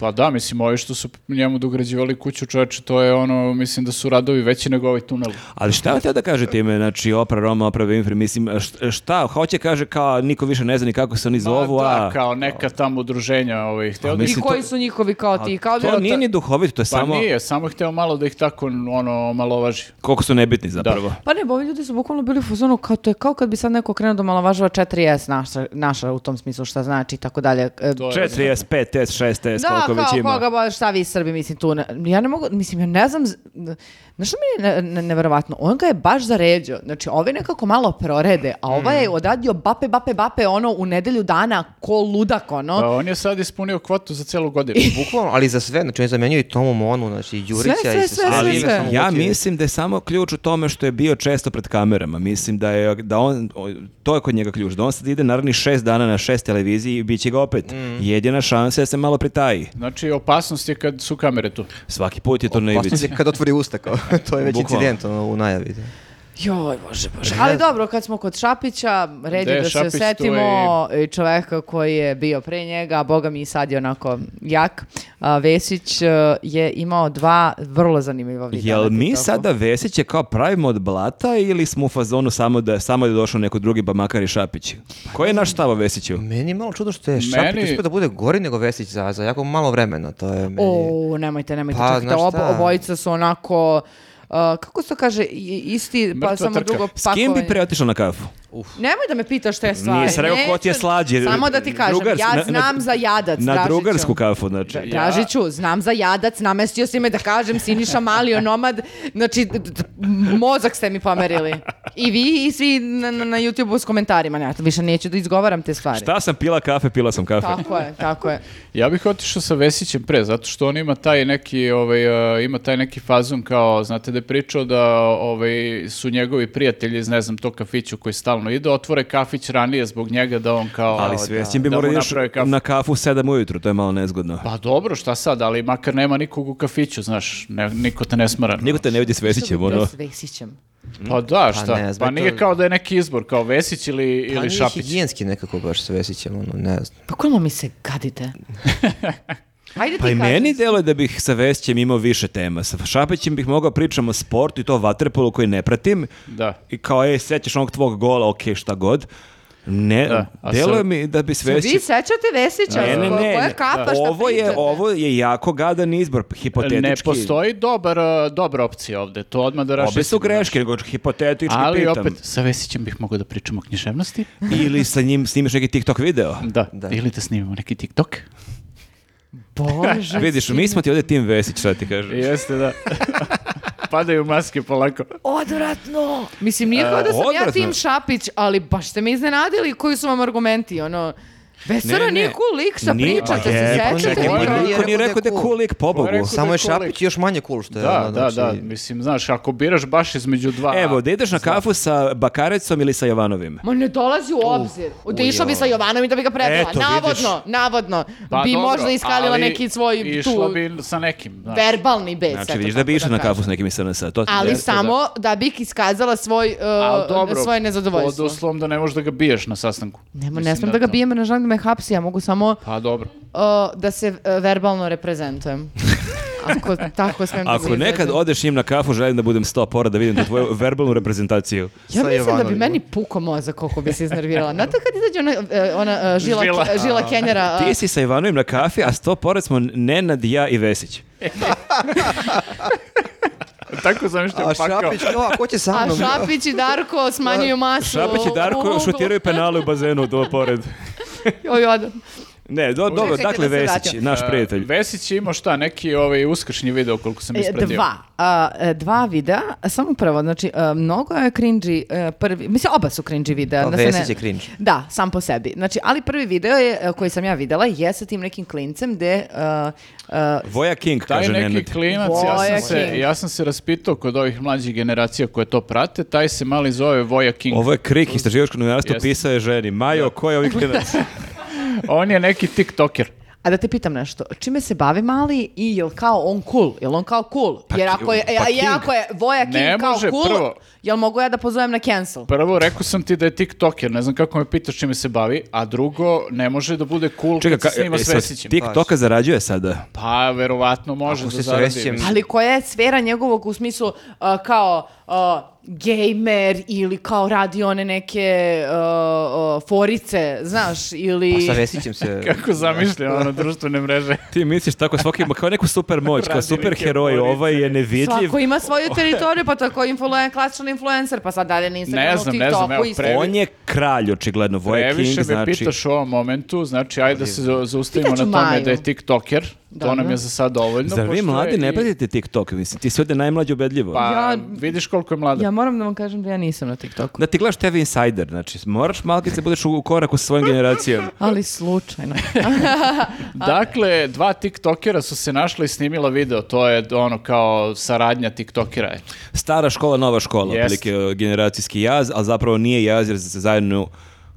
D: Pa da, mislim, ovi što su njemu dograđivali kuću čoveče, to je ono, mislim da su radovi veći nego ovaj tunel.
A: Ali šta vam htio da kaže time, znači opra Roma, opra Winfrey, mislim, šta, šta hoće kaže kao niko više ne zna ni kako se oni zovu,
D: Ma
A: a...
D: Pa
A: Pa
D: da, kao neka tamo udruženja ovih. Hteo da ih-
A: mislim,
C: I koji
A: to-
C: su njihovi kao ti? Kao da-
A: To nije ni duhovito, to je
D: Pa
A: samo
D: nije, samo hteo malo da ih tako ono malovaži.
A: koliko su nebitni zapravo.
C: Pa ne, bo ovi ljudi su bukvalno bili u fazonu kao to je kao kad bi sad neko krenuo da malavažava 4S naša, naša u tom smislu šta znači i tako dalje. E,
D: To je-
A: 4S, 5S, 6S,
C: Da,
A: koliko već
D: pa
C: kao
A: ima.
C: koga bo, šta vi Srbi, mislim, tu, ne- ja ne mogu, mislim, ja ne znam, z- znaš što mi je ne, ne- neverovatno, on ga je baš zaređio, znači, ovaj nekako malo prorede, a ovaj je odadio bape, bape, bape, ono, u nedelju dana, ko ludak, ono,
D: Pa on je sad ispunio kvotu za celu godinu.
E: Bukvalno, ali za sve, znači on je zamenio i Tomu Monu, znači i Đurića
C: sve,
E: i
C: sve, sve,
A: Ali
C: sve.
E: samo
A: ja
E: Vukijević.
A: mislim da je samo ključ u tome što je bio često pred kamerama. Mislim da je da on o, to je kod njega ključ. Da on sad ide naravni šest dana na šest televiziji i bit će ga opet. Jedina šansa je da se malo pritaji.
D: Znači, opasnost je kad su kamere tu.
A: Svaki put je to na
E: Opasnost
A: ivici.
E: je kad otvori usta, kao, to je već
A: Bukvalno.
E: incident ono, u najavi. Da.
C: Joj, bože, bože. Ali dobro, kad smo kod Šapića, red je
D: De,
C: da
D: Šapić,
C: se
D: tu je
C: setimo i... čoveka koji je bio pre njega, a boga mi i sad je onako jak. A, Vesić e, je imao dva vrlo zanimljiva videa. na
A: Jel mi
C: TikToku.
A: sada Vesiće kao pravimo od blata ili smo u fazonu samo da, samo da je došao neko drugi, pa makar i Šapić? Koji je naš stav o Vesiću?
E: Meni je malo čudo što je Šapić
D: Meni-
E: uspio da bude gori nego Vesić za, za jako malo vremena. To je meni...
C: O, nemojte, nemojte,
E: Pa,
C: čekajte,
E: znaš
C: ob-
E: šta?
C: obojica su onako... e, kako se to kaže, i- isti, pa
D: Mrtva
C: samo
D: trka.
C: drugo
A: S kim bi
C: pakovanje.
A: preotišao na kafu?
C: Nemoj da me pitaš te stvari.
A: Nije se rekao ko
C: Neću-
A: ti je slađi.
C: Samo da ti kažem,
A: Drugars- na-
C: ja
A: na-
C: znam za jadac,
A: Na
C: Dražiću.
A: drugarsku kafu, znači.
D: Ja-
C: Dražiću, znam za jadac, namestio si me da kažem Siniša Malio nomad, znači d- d- mozak ste mi pomerili. I vi i svi na, na- na YouTube-u s komentarima, ja više neću da izgovaram te stvari.
A: Šta sam pila kafe, pila sam kafe.
C: Tako je, tako je.
D: Ja bih otišao sa Vesićem pre, zato što on ima taj neki, ovaj, e, ima taj neki fazon kao, znate da je pričao da ovaj, su njegovi prijatelji iz, ne znam, to kafiću koji stalno ide, otvore kafić ranije zbog njega da on kao...
A: Ali
D: da,
A: svestim bi
D: da mu
A: morao još
D: naprave kafu.
A: na kafu u 7 ujutru, to je malo nezgodno.
D: Pa dobro, šta sad, ali makar nema nikog u kafiću, znaš, ne, niko te ne smara.
A: Niko te ne vidi s Vesićem, ono.
C: S Vesićem.
D: Pa da, šta?
E: ne,
D: Pa,
E: zbog
D: nije
E: toga-
D: kao da je neki izbor, kao Vesić ili,
E: Pa
D: ili
E: nije
D: Šapić.
E: higijenski nekako baš sa Vesićem, ono, ne znam.
C: Pa kojima mi se gadite? Ajde ti
A: Pa i
C: kaži.
A: meni deluje da bih sa Vesićem imao više tema. Sa Šapićem bih mogao pričam o sportu i to o vaterpolu koji ne pratim.
D: Da.
A: I kao, ej, sećaš onog tvog gola, okej, šta god. Ne,
D: Da, a
A: deluje
D: sad-
A: mi da bi s
C: Se Vi
A: Vesićem...
C: sećate Vesića?
A: Ne, ne,
C: Ko-
A: ne,
C: koja
A: ne.
C: kapa, šta
A: ovo je,
C: pričate?
A: ovo je jako gadan izbor, hipotetički.
D: Ne postoji dobar, e, dobra opcija ovde, to odmah da rašetim.
A: Obe su greške, nego hipotetički
D: Ali
A: pitam.
D: opet, sa Vesićem bih mogao da pričam o književnosti.
A: Ili sa njim snimiš neki TikTok video.
D: Da, ili da snimimo neki TikTok.
C: Bože,
A: Vidiš, mi smo ti ovdje tim Vesić, šta ti kažem.
D: Jeste, da. Padaju maske polako.
C: Odvratno! Mislim, nije kao da sam ja
A: E, odvratno.
C: tim Šapić, ali baš ste me iznenadili koji su vam argumenti, ono... Vesera
A: Ne, ne.
C: nije cool lik šta
A: Nije,
C: pričate,
A: pa je,
C: se
E: pa
C: sećate?
E: čekaj,
A: Pa
E: Nije
A: niko
E: rekao da je
A: nije rekao da je
E: cool.
A: cool lik,
D: Ko je
A: pobogu.
D: Pa rekao
E: Samo
D: da
E: je
D: je kolik.
E: Šapić još manje cool što je.
D: Da,
E: ono,
D: da, da.
E: znači-
D: Mislim, znaš, ako biraš baš između dva...
A: Evo, da ideš na kafu sa Bakarecom ili sa Jovanovim.
C: Ma ne dolazi u obzir. Otišao bi sa Jovanom i da bi ga prevela.
A: Eto,
C: navodno,
A: vidiš.
C: navodno.
D: Pa
C: bi
D: dobro,
C: možda iskalila
D: ali
C: neki svoj
D: išla
C: tu
D: bi sa nekim, znaš.
C: verbalni bes.
A: Znači,
C: eto,
A: vidiš da
C: tako
A: bi išao na
C: kažem.
A: kafu s nekim iz SNS. To ti
C: Ali
A: je.
C: samo da, bi iskazala svoj, uh,
D: Ali dobro,
C: svoje nezadovoljstvo.
D: pod uslovom da ne možeš da ga biješ na sastanku.
C: Nemo,
D: Mislim
C: ne smem da ga
D: to-
C: bijem, ne želim da me hapsi, ja mogu samo
D: Pa dobro.
C: uh, da se uh, verbalno reprezentujem. Ako tako smem da se
A: Ako nekad
C: izrazim.
A: odeš njim na kafu, želim da budem 100 pora da vidim tu tvoju verbalnu reprezentaciju.
C: Ja
E: sa
C: mislim da bi
E: Jovanovim.
C: meni puko mozak koliko bi se iznervirala. Znate kad izađe ona, e, ona e, žila,
D: Žila.
C: ke- žila Kenjera, e,
A: Ti si sa Ivanovim na kafi, a sto pored smo Nenad, ja i Vesić.
D: Tako sam pa što
E: A
D: je pakao.
E: Šapić, o, a ko će sa
C: a
E: mnom?
C: Šapić i Darko smanjuju masu.
A: Šapić i
C: u-
A: Darko
C: u-
A: šutiraju penale u bazenu do pored.
C: Joj, odam.
A: Ne, do, dobro,
C: Čekajte
A: dakle
C: da se
A: Vesić,
C: vratim.
A: naš prijatelj.
D: Vesić je imao šta, neki ovaj, uskršnji video koliko sam
C: E,
D: ispratio.
C: Dva. A, e, dva videa, samo prvo, znači, e, mnogo je cringy e, prvi, mislim, oba su cringy videa.
E: Pa,
C: se
E: Vesić je cringe.
C: Da, sam po sebi. Znači, ali prvi video je, e, koji sam ja videla, je sa tim nekim klincem gde... e, e,
A: Voja King,
D: Taj
A: kaže
D: neki
A: Nenad.
D: klinac, ja
C: Voja
D: sam, se,
C: King.
D: ja sam se raspitao kod ovih mlađih generacija koje to prate, taj se mali zove Voja King.
A: Ovo je krik istraživačko novinarstvo,
D: Jeste.
A: pisao je ženi. Majo, ko je ovih klinac?
D: On je neki tiktoker.
C: A da te pitam nešto, čime se bavi mali i jel kao on cool? Jel on kao cool? Jer ako je,
A: ki-
C: a
A: pa
C: je,
A: king.
C: ako je Voja King
D: Ne
C: kao
D: može,
C: cool,
D: prvo.
C: jel mogu ja da pozovem na cancel?
D: Prvo, rekao sam ti da je tiktoker, ne znam kako me pitaš čime se bavi, a drugo, ne može da bude cool
A: Čekaj,
D: kad se snima
A: ka, e,
D: s
A: se
D: Vesićem.
A: TikToka zarađuje sada.
D: Pa, verovatno može
E: Ako
D: da
E: se sa
D: zaradi.
E: Vesićem-
D: mislim.
C: Ali koja je sfera njegovog u smislu a, kao a, gamer ili kao radi one neke a, a, forice, znaš, ili...
E: Pa sa Vesićem se...
D: Kako zamišlja ono društvene mreže.
A: Ti misliš tako svaki ima kao neku super moć, kao
D: Radi neke
A: super heroj,
D: police.
A: ovaj je nevidljiv.
C: Svako ima svoju teritoriju, pa tako influen, klasičan influencer, pa sad dalje na Instagramu,
D: Ne znam, ne
C: TikToku,
D: znam, evo,
C: isto.
D: pre-
A: On je kralj, očigledno, Voja
D: Previše
A: King,
D: me
A: znači...
D: pitaš u ovom momentu, znači ajde da se za- zaustavimo na
C: Pitaću
D: tome
C: Maju.
D: da je tiktoker, to
C: Dobro.
D: nam je za sad dovoljno.
A: Zar vi
D: pošto
A: mladi
D: je
A: ne
D: i-
A: pratite TikTok? Mislim, ti si ovdje najmlađi ubedljivo.
D: Pa,
C: Ja-
D: vidiš koliko je mlada.
C: Ja moram da vam kažem da ja nisam na TikToku.
A: Da ti gledaš TV Insider, znači moraš malo kad se budeš u u koraku sa svojim generacijom.
C: Ali slučajno.
D: Dakle, dva tiktokera su se našla i snimila video, to je ono kao saradnja tiktokera. eto.
A: Stara škola, nova škola,
D: Jest.
A: otprilike e, generacijski jaz, ali zapravo nije jaz jer se zajedno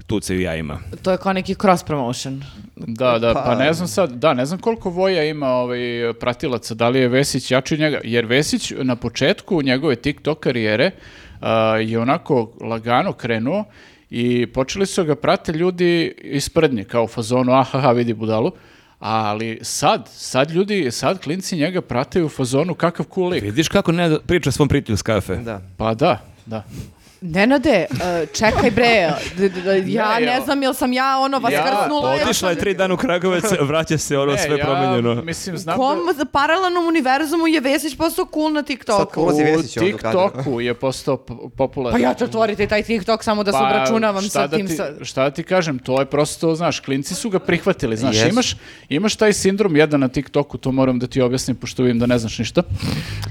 A: tucaju jajima.
C: to je kao neki cross promotion.
D: Da, da, pa, ne znam sad, da, ne znam koliko Voja ima ovaj, pratilaca, da li je Vesić jači od njega, jer Vesić na početku njegove tiktok karijere a, je onako lagano krenuo i počeli su ga prate ljudi ispred nje, kao u fazonu, aha, vidi budalu. Ali sad, sad ljudi, sad klinci njega prate u fazonu kakav cool lik.
A: Vidiš kako ne priča svom prijatelju s kafe.
E: Da.
D: Pa da, da.
C: Nenade, e, čekaj bre, d- d- d- ja
D: Ne,
C: ne
D: evo.
C: znam jel sam ja ono vaskrsnula. jel
A: Otišla je
C: sam-
A: tri dana u Kragovec, vraća se ono
D: Ne,
A: sve
D: E, ja,
A: promenjeno.
D: Mislim,
C: U
D: znam
C: kom
D: da-
C: za paralelnom univerzumu je Vesić postao cool na TikToku?
E: Sad ulazi
D: U
E: Vesić ovdje u kadar.
D: TikToku je postao po- popularan.
C: Pa ja ću otvoriti taj TikTok samo da se
D: Pa,
C: obračunavam
D: šta
C: sa
D: da
C: tim.
D: ti-
C: sa-
D: Šta da ti kažem, to je prosto, znaš, klinci su ga prihvatili, znaš,
E: Jesu.
D: imaš, imaš taj sindrom jedan na TikToku, to moram da ti objasnim, pošto vidim da ne znaš ništa.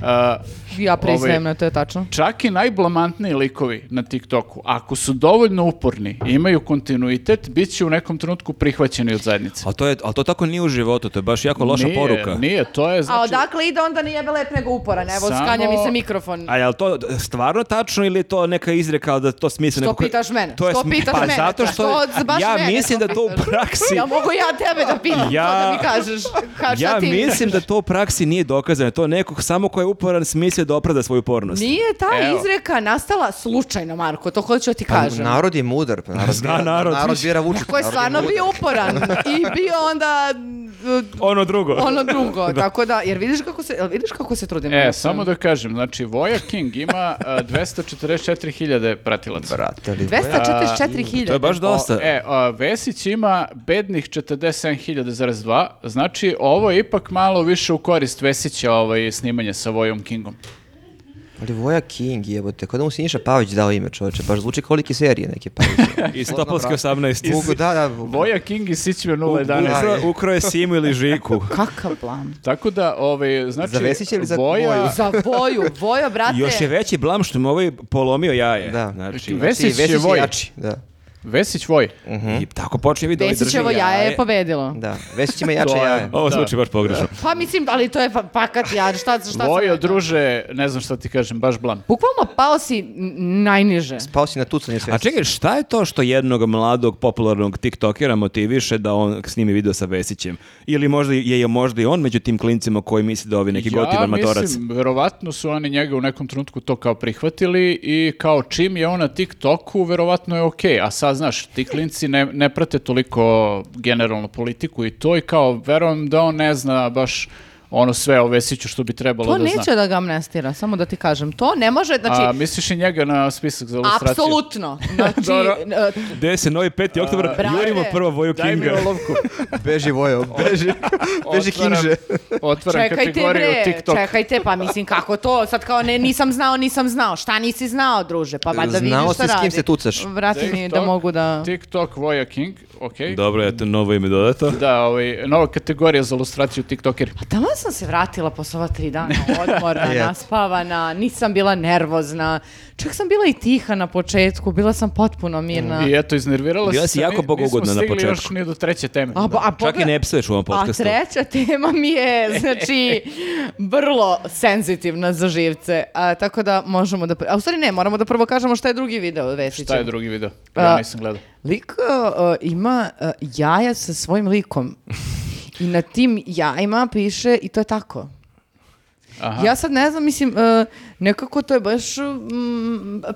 D: A,
C: Ja priznajem
D: ovaj,
C: na to je tačno.
D: Čak i najblamantniji likovi na TikToku, ako su dovoljno uporni i imaju kontinuitet, bit će u nekom trenutku prihvaćeni od zajednice.
A: A to, je, a to tako nije u životu, to je baš jako loša
D: Nije,
A: poruka.
D: Nije, to je
C: A
D: znači...
C: odakle ide onda nije lep nego uporan, evo
D: Samo-
C: skanja mi se mikrofon.
A: A je li to stvarno tačno ili je to neka izreka ali da to smisli?
C: Što
A: neko ko-
C: pitaš mene?
A: To je
C: Što
A: sm-
C: pitaš
A: pa
C: mene?
A: zato što,
C: Što baš
A: ja
C: mene?
A: mislim
C: Što
A: da to u
C: pitaš?
A: praksi...
C: Ja mogu ja tebe da pitam,
A: Ja-
C: to da mi kažeš. Ka, šta
A: ja
C: ti
A: mislim da to u praksi nije dokazano. To je neko samo ko je uporan smislio da opravda svoju pornost.
C: Nije ta
D: Evo.
C: izreka nastala slučajno, Marko, to hoću da ti
E: Pa,
C: kažem.
E: narod je mudar. pa Narod,
A: Zna
E: bira-
A: narod.
E: Narod bira Vučića,
C: Ko je
E: narod
C: stvarno
E: mudar.
C: bio uporan i bio onda uh,
A: Ono drugo.
C: ono drugo, tako da, jer vidiš kako se, jel vidiš kako se trudim.
D: E, samo da kažem, znači, Voja King ima a, 244.000 pratilaca.
E: Bratelji,
C: 244 hiljade.
A: To je baš dosta.
D: O, e, a, Vesić ima bednih 47.002, znači ovo je ipak malo više u korist Vesića ovaj, snimanje sa Vojom Kingom.
E: Ali Voja King jebote, kao da mu Siniša Pavić dao ime čoveče, baš zvuči kao like iz serije neke Pavić.
A: Iz Topovske 18.
E: Mogu da, da,
D: Voja King i Sićve
A: U-
D: 011.
A: ukro- Ukro je Simu ili Žiku.
C: Kakav plan.
D: Tako da, ovaj, znači,
E: Za Vesića ili za Voju?
D: Voja...
C: Za boju, boja, brate.
A: Još je veći blam što mu ovaj polomio jaje.
E: Da.
A: Znači,
D: Vesić,
E: Znači,
D: je Voj.
E: jači, Da,
D: Vesić Voj.
E: Mm.
A: I tako počne vidi ovaj drži
C: Vesićevo jaje je pobedilo.
E: da. Vesić ima jače
D: To je-
E: jaje.
A: Ovo
D: Da.
A: zvuči baš pogrešno.
C: Pa mislim, ali to je pa- pakat ja, šta, šta sam
D: Vojo,
C: rekla?
D: druže, ne znam šta ti kažem, baš blam.
C: Bukvalno pao si n- najniže.
E: Pao si na tucanje sve.
A: A čekaj, šta je to što jednog mladog popularnog tiktokera motiviše da on snimi video sa Vesićem? Ili možda je, je možda i on među tim klincima koji misli da ovi neki gotivan
D: Ja
A: matorac?
D: mislim, verovatno su oni njega u nekom trenutku to kao prihvatili i kao čim je on na TikToku, verovatno je okej. A sad, znaš, ti klinci ne, ne prate toliko generalno politiku i to i kao, verujem da on ne zna baš ono sve o Vesiću što bi trebalo
C: To
D: da zna.
C: neće da ga amnestira, samo da ti kažem. To ne može,
D: A
C: znači,
D: misliš i njega na spisak za ilustraciju?
C: apsolutno. Znači,
D: Dobro.
C: e,
A: Gde se novi 5. oktober,
C: brate.
A: jurimo prvo Voju
D: Daj mi
A: Kinga.
D: olovku.
E: Beži Vojo, beži. beži
D: Otvaram-
E: Kingže.
D: Otvaram
C: čekajte
D: kategoriju
C: bre,
D: TikTok.
C: čekajte, pa mislim kako to, sad kao ne, nisam znao, nisam znao, šta nisi znao druže, pa valjda vidiš
E: Znao
C: šta
E: si s kim
C: radi.
E: se tucaš.
C: Vrati mi da mogu da...
D: TikTok Voja King, okej.
A: Dobro, eto, novo ime dodato.
D: Da, ovaj, nova kategorija za ilustraciju TikTokeri.
C: Pa tamo sam se vratila posle ova tri dana, odmorna, naspavana, nisam bila nervozna, čak sam bila i tiha na početku, bila sam potpuno mirna.
D: I eto, iznervirala
A: Bila
D: se.
A: si jako bogougodna na
D: Nismo stigli još
A: početku.
D: ni do treće teme.
C: A, a
A: Čak i
C: pogled-
A: ne psuješ u ovom podcastu.
C: A treća tema mi je, znači, vrlo senzitivna za živce. A, tako da možemo da... A u stvari ne, moramo da prvo kažemo šta je drugi video Vesića.
D: Šta je drugi video? Ja
C: A-
D: nisam gledao.
C: Lik uh, ima uh, jaja sa svojim likom. I na tim jajima piše i to je tako.
D: Aha.
C: Ja sad ne znam, mislim, uh, nekako to je baš mm,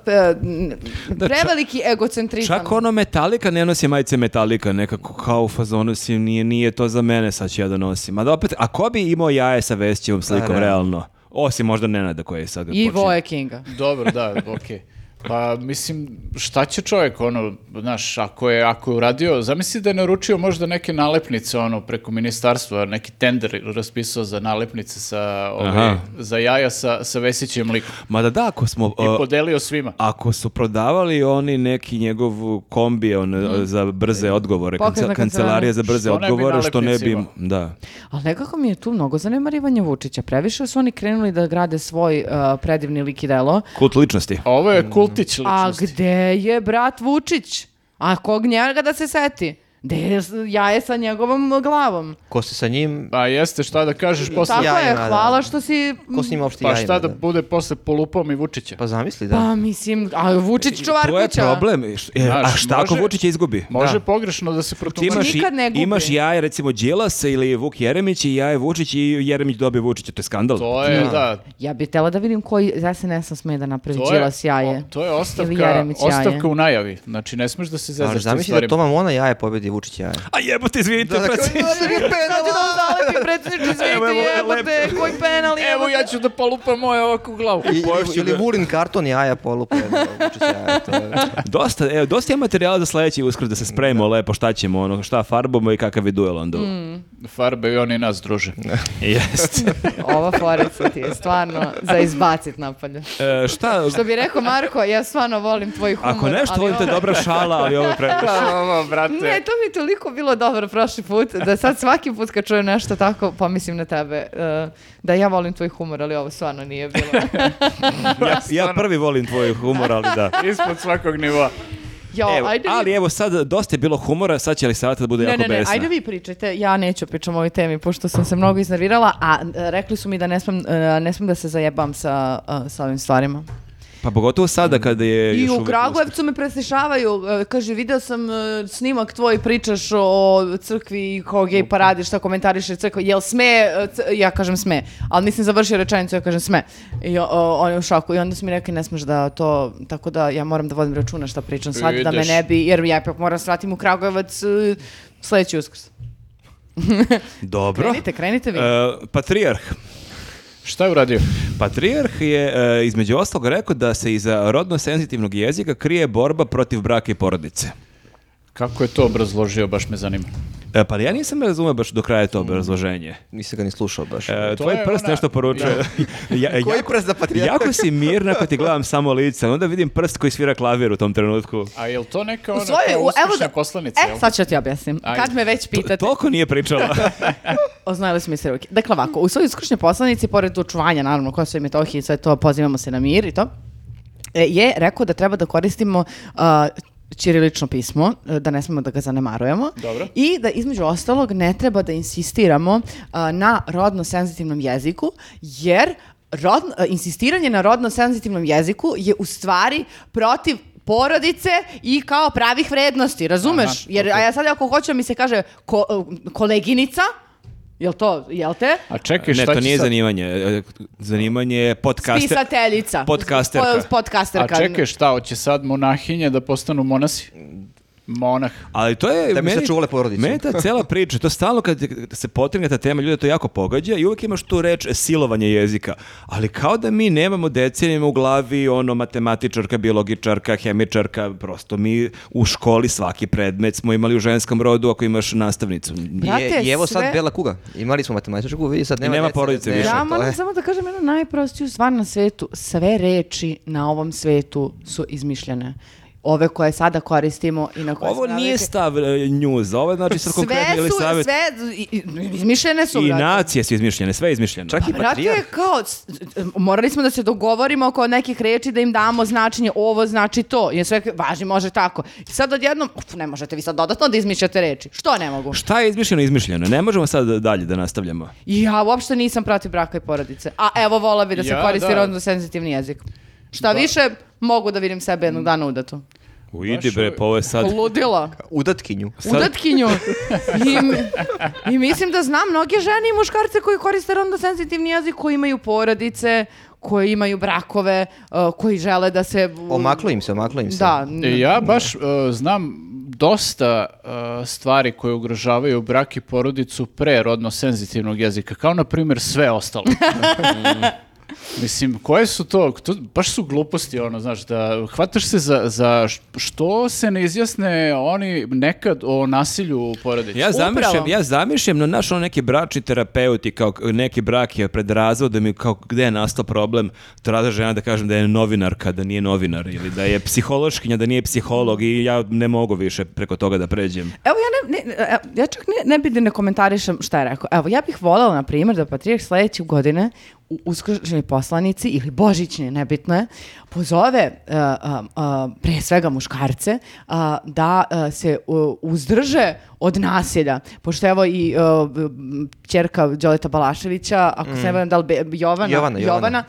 C: pe- n-
A: Da, ča-
C: preveliki egocentrizam.
A: Čak ono Metallica ne nosi majice Metallica, nekako kao u fazonu si, nije, nije to za mene, sad ću ja da nosim. A da opet, a ko bi imao jaje sa Vesićevom slikom,
E: realno.
A: realno? Osim možda Nenada koji je sad
C: I
A: počinje.
C: Voje Kinga.
D: Dobro, da, okej. Pa mislim, šta će čovjek, ono, znaš, ako je, ako je uradio, zamisli da je naručio možda neke nalepnice, ono, preko ministarstva, neki tender raspisao za nalepnice sa, ove,
A: Aha.
D: za jaja sa, sa Vesićem likom.
A: Mada da, ako smo...
D: I
A: uh,
D: podelio svima.
A: Ako su prodavali oni neki njegov kombi on, e, za brze odgovore,
C: Pokretna
A: kancel- kancelarija za brze
D: Što ne bi
A: odgovore, što ne bi...
D: nalepnicima.
A: Da.
C: Ali nekako mi je tu mnogo zanemarivanja Vučića. Previše su oni krenuli da grade svoj uh, predivni lik i delo.
A: Kult ličnosti.
D: Ovo je kultić
C: A
D: ličnosti.
C: gde je brat Vučić? A kog njega da se seti? Gde je s- jaje sa njegovom glavom?
E: Ko se sa njim...
D: Pa jeste, šta da kažeš posle...
C: Tako je,
E: jajima, da.
C: hvala što si...
E: Ko s njim uopšte
D: Pa
E: jajima?
D: šta da bude posle polupao mi Vučića?
E: Pa zamisli, da.
C: Pa mislim, a
A: To
C: Vučić
A: je
C: Čuvarkuća.
A: problem. i š- e, A
D: Znaš,
A: šta ako
D: može-
A: Vučić izgubi?
D: Može pogrešno da se
A: Ti
D: protumači.
A: imaš, i-
C: nikad ne gubi.
A: imaš jaje recimo Đilasa ili Vuk Jeremić i jaje Vučić i Jeremić dobije Vučića, to je skandal.
D: To je, da,
C: Ja bih htjela da vidim koji SNS sme da napravi
D: to je,
C: Đilas jaje.
D: o, to je
C: Ili
D: ostavka,
C: Jeremić jaje.
D: ostavka u najavi. Znači, ne smeš da se
E: Ali
D: zezaš sa
E: zamisli da
D: stvarima.
E: Toma Mona jaje pobedi Vučić jaje.
A: A jebote, izvinite, predsjedniče.
C: Sad ću da vam zalepim, predsjedniče,
A: Evo,
C: izvinite,
A: evo,
C: jebate, koji penal,
D: Evo,
C: jebote.
D: ja ću da polupam moje ovakvu glavu.
E: I,
A: Poješću
E: ili
A: ga.
E: Vulin karton jaja polupa Vučić jaje. To je...
A: Dosta, evo, dosta je materijala za sledeći uskrs da se spremimo lepo, šta ćemo, ono, šta farbamo i kakav je duel onda.
D: Farbe i oni nas druže.
A: Jeste.
C: Ova forica ti je stvarno za izbacit napolje.
A: E, šta,
C: Što bi rekao Marko, ja stvarno volim tvoj humor.
A: ako nešto
C: ali
A: volite,
C: ovo-
A: dobra šala, ali ovo je previše.
D: Ovo, brate.
C: Ne, to mi je toliko bilo dobro prošli put, da sad svaki put kad čujem nešto tako, pomislim na tebe, eh, da ja volim tvoj humor, ali ovo stvarno nije bilo.
A: Ja, ja prvi volim tvoj humor, ali da.
D: Ispod svakog nivoa.
C: Jo,
A: Evo,
C: ajde vi-
A: ali evo sad, dosta je bilo humora, sad će li savjeta da bude
C: Ne,
A: jako
C: ne, ne,
A: besna.
C: ajde vi pričajte, ja neću pričam o ovoj temi, pošto sam se mnogo iznervirala, a eh, rekli su mi da ne smem, eh, ne smem da se zajebam sa, eh, sa ovim stvarima.
A: Pa pogotovo sada kada je
C: I
A: još
C: u
A: uvek
C: Kragujevcu me preslišavaju, e, kaže, video sam e, snimak tvoj, pričaš o crkvi i kao gej paradi, šta komentariše crkva, jel sme, e, c- ja kažem sme, ali nisam završio rečenicu, ja kažem sme. I o, o, on je u šoku i onda su mi rekli, ne smeš da to, tako da ja moram da vodim računa šta pričam sad, da me
D: Ideš.
C: ne bi, jer ja ipak moram svratim u Kragujevac e, sledeći uskrs.
A: Dobro.
C: Krenite, krenite vi.
A: E, patrijarh.
D: Šta je uradio?
A: Patrijarh je e, između ostalog rekao da se iza rodno senzitivnog jezika krije borba protiv braka i porodice.
D: Kako je to obrazložio, baš me zanima.
A: E, pa ja nisam razumio baš do kraja to obrazloženje.
E: Nisam ga ni slušao baš.
A: E,
D: To
A: tvoj
D: je
A: prst
D: ona-
A: nešto poručuje. ja, e,
E: Koji
A: jako-
E: prst da patrijarh?
A: Jako si mirna ako ti gledam samo lice, onda vidim prst koji svira klavir u tom trenutku.
D: A je li to neka
C: U
D: ona
C: svojoj-
D: Ono kao
C: u- evo
D: uspješna
C: da-
D: poslanica?
C: E,
D: jel?
C: sad ću ja ti objasnim.
D: Ajde.
C: Kad me već pitate.
A: Toliko nije pričala.
C: Oznajili smo mi se ruke. Dakle, ovako, u svojoj uskršnjoj poslanici, pored očuvanja, naravno, Kosova i Metohije i sve to, pozivamo se na mir i to, e, je rekao da treba da koristimo a, ćirilično pismo, e, da ne smemo da ga zanemarujemo.
D: Dobro.
C: I da između ostalog ne treba da insistiramo a, na rodno senzitivnom jeziku, jer rodno- a, insistiranje na rodno senzitivnom jeziku je u stvari protiv porodice i kao pravih vrednosti, razumeš?
D: Aha,
C: Jer a ja sad ako hoću mi se kaže ko- e, koleginica, jel to, jel te?
D: A čekaj,
A: ne,
D: šta
A: to
D: će
A: nije
D: sad?
A: zanimanje. E, Zanimanje je podcaster.
C: Pisateljica.
A: Podcasterka.
C: Po- Podcasterka.
D: A čekaj, šta, hoće sad monahinje da postanu monasi? Monah.
A: Ali to je...
E: Da bi sačuvale porodicu.
A: Meni ta cela priča, to stalno kad se potrgne ta tema, ljude to jako pogađa i uvijek imaš tu reč silovanje jezika. Ali kao da mi nemamo decenijama u glavi ono matematičarka, biologičarka, hemičarka, prosto mi u školi svaki predmet smo imali u ženskom rodu ako imaš nastavnicu.
C: Brate,
E: I, I evo
C: sve-
E: sad bela kuga. Imali smo matematičku kugu, vidi sad nema,
A: Nema
E: djece,
A: porodice
E: ne,
A: više.
E: to
C: Ja
E: je- E.
C: moram samo da kažem jednu najprostiju stvar na svetu. Sve reči na ovom svetu su izmišljene. Ove koje sada koristimo i na koje
A: Ovo
C: smo
A: nije
C: navikli.
A: stav e, njuza, ovo je znači sad konkretno
C: Sve
A: ili
C: su,
A: savjet.
C: sve, i- i- izmišljene su,
A: I
C: brate.
A: nacije su izmišljene, sve je izmišljeno.
E: Čak i
C: Brate,
E: patrijarh.
C: kao, s- s- morali smo da se dogovorimo oko nekih reči da im damo značenje, ovo znači to, jer sve važi, može tako. I sad odjednom, uf, ne možete vi sad dodatno da izmišljate reči. Što ne mogu?
A: Šta je izmišljeno, izmišljeno. Ne možemo sad dalje da nastavljamo.
C: Ja uopšte nisam protiv braka i porodice. A evo, vola bi da se
D: Ja,
C: koristi
D: da.
C: rodno senzitivni jezik. Šta više, mogu da vidim sebe jednog dana udatu.
A: U, idi bre, pa ovo je sad...
C: Ludila.
E: Udatkinju.
A: Sad-
C: Udatkinju. I, I mislim da znam mnoge žene i muškarce koji koriste rodno senzitivni jezik, koji imaju porodice, koji imaju brakove, uh, koji žele da se...
E: Omaklo im se, omaklo im se.
C: Da.
D: E, Ja baš e, znam dosta e, stvari koje ugrožavaju brak i porodicu pre rodno senzitivnog jezika, kao na primjer sve ostalo. Mislim, koje su to, to, baš su gluposti, ono, znaš, da hvataš se za, za š- što se ne izjasne oni nekad o nasilju u porodici.
A: Ja
C: Upravo.
A: zamišljam, ja zamišljam na naš ono neki bračni terapeuti kao k- neki brak je pred razvodom i kao gde je nastao problem, traže žena da kažem da je novinarka, da nije novinar ili da je psihološkinja, da nije psiholog i ja ne mogu više preko toga da pređem.
C: Evo ja ne, ne- e, ja čak ne, ne bih da ne komentarišem šta je rekao. Evo ja bih voljela na primjer da Patrijeh sledeće godine u uskršnjoj poslanici ili božićni, nebitno je, pozove e, a, a, pre svega muškarce a, da a, se u- e, uzdrže od nasilja. Pošto evo i uh, čerka Đoleta Balaševića, ako se ne varam, da li Be- Jovana,
E: Mm. Jovana, Jovana.
C: Jovana,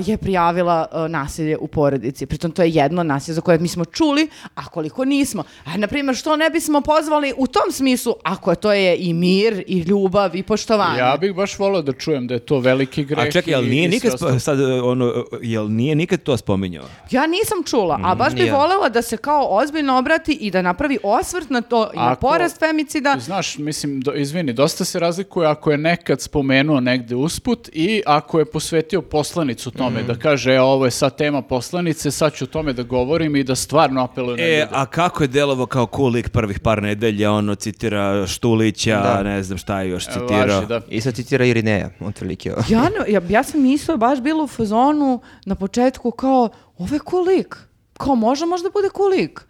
C: uh, je prijavila uh, nasilje u porodici. Pritom to je jedno nasilje za koje mi smo čuli, a koliko nismo. A, na primjer, što ne bismo pozvali u tom smislu, ako to je i mir, i ljubav, i poštovanje.
D: Ja bih baš volao da čujem da je to veliki greh.
A: A čekaj, jel
D: i-
A: nije
D: i sve
A: nikad, spo-
D: ostalo.
A: sad, e, ono, e, jel nije nikad to spominjao?
C: Ja nisam čula, a baš
D: Mm,
C: bih
E: ja.
C: voljela da se kao ozbiljno obrati i da napravi osvrt na to i na
D: Ako-
C: porast femicida.
D: Znaš, mislim, do, izvini, dosta se razlikuje ako je nekad spomenuo negde usput i ako je posvetio poslanicu tome,
A: Mhm.
D: da kaže, e, ovo je sad tema poslanice, sad ću o tome da govorim i da stvarno apeluje na
A: E,
D: ljude.
A: a kako je delovo kao cool lik prvih par nedelja, ono citira Štulića, ne znam šta je još
D: E,
A: citirao.
D: Važi, da.
E: I sad citira Irineja, otprilike.
C: Ja, ne- ja, ja sam isto baš bila u fazonu na početku kao, ovo je cool lik. Kao možda, možda bude cool lik.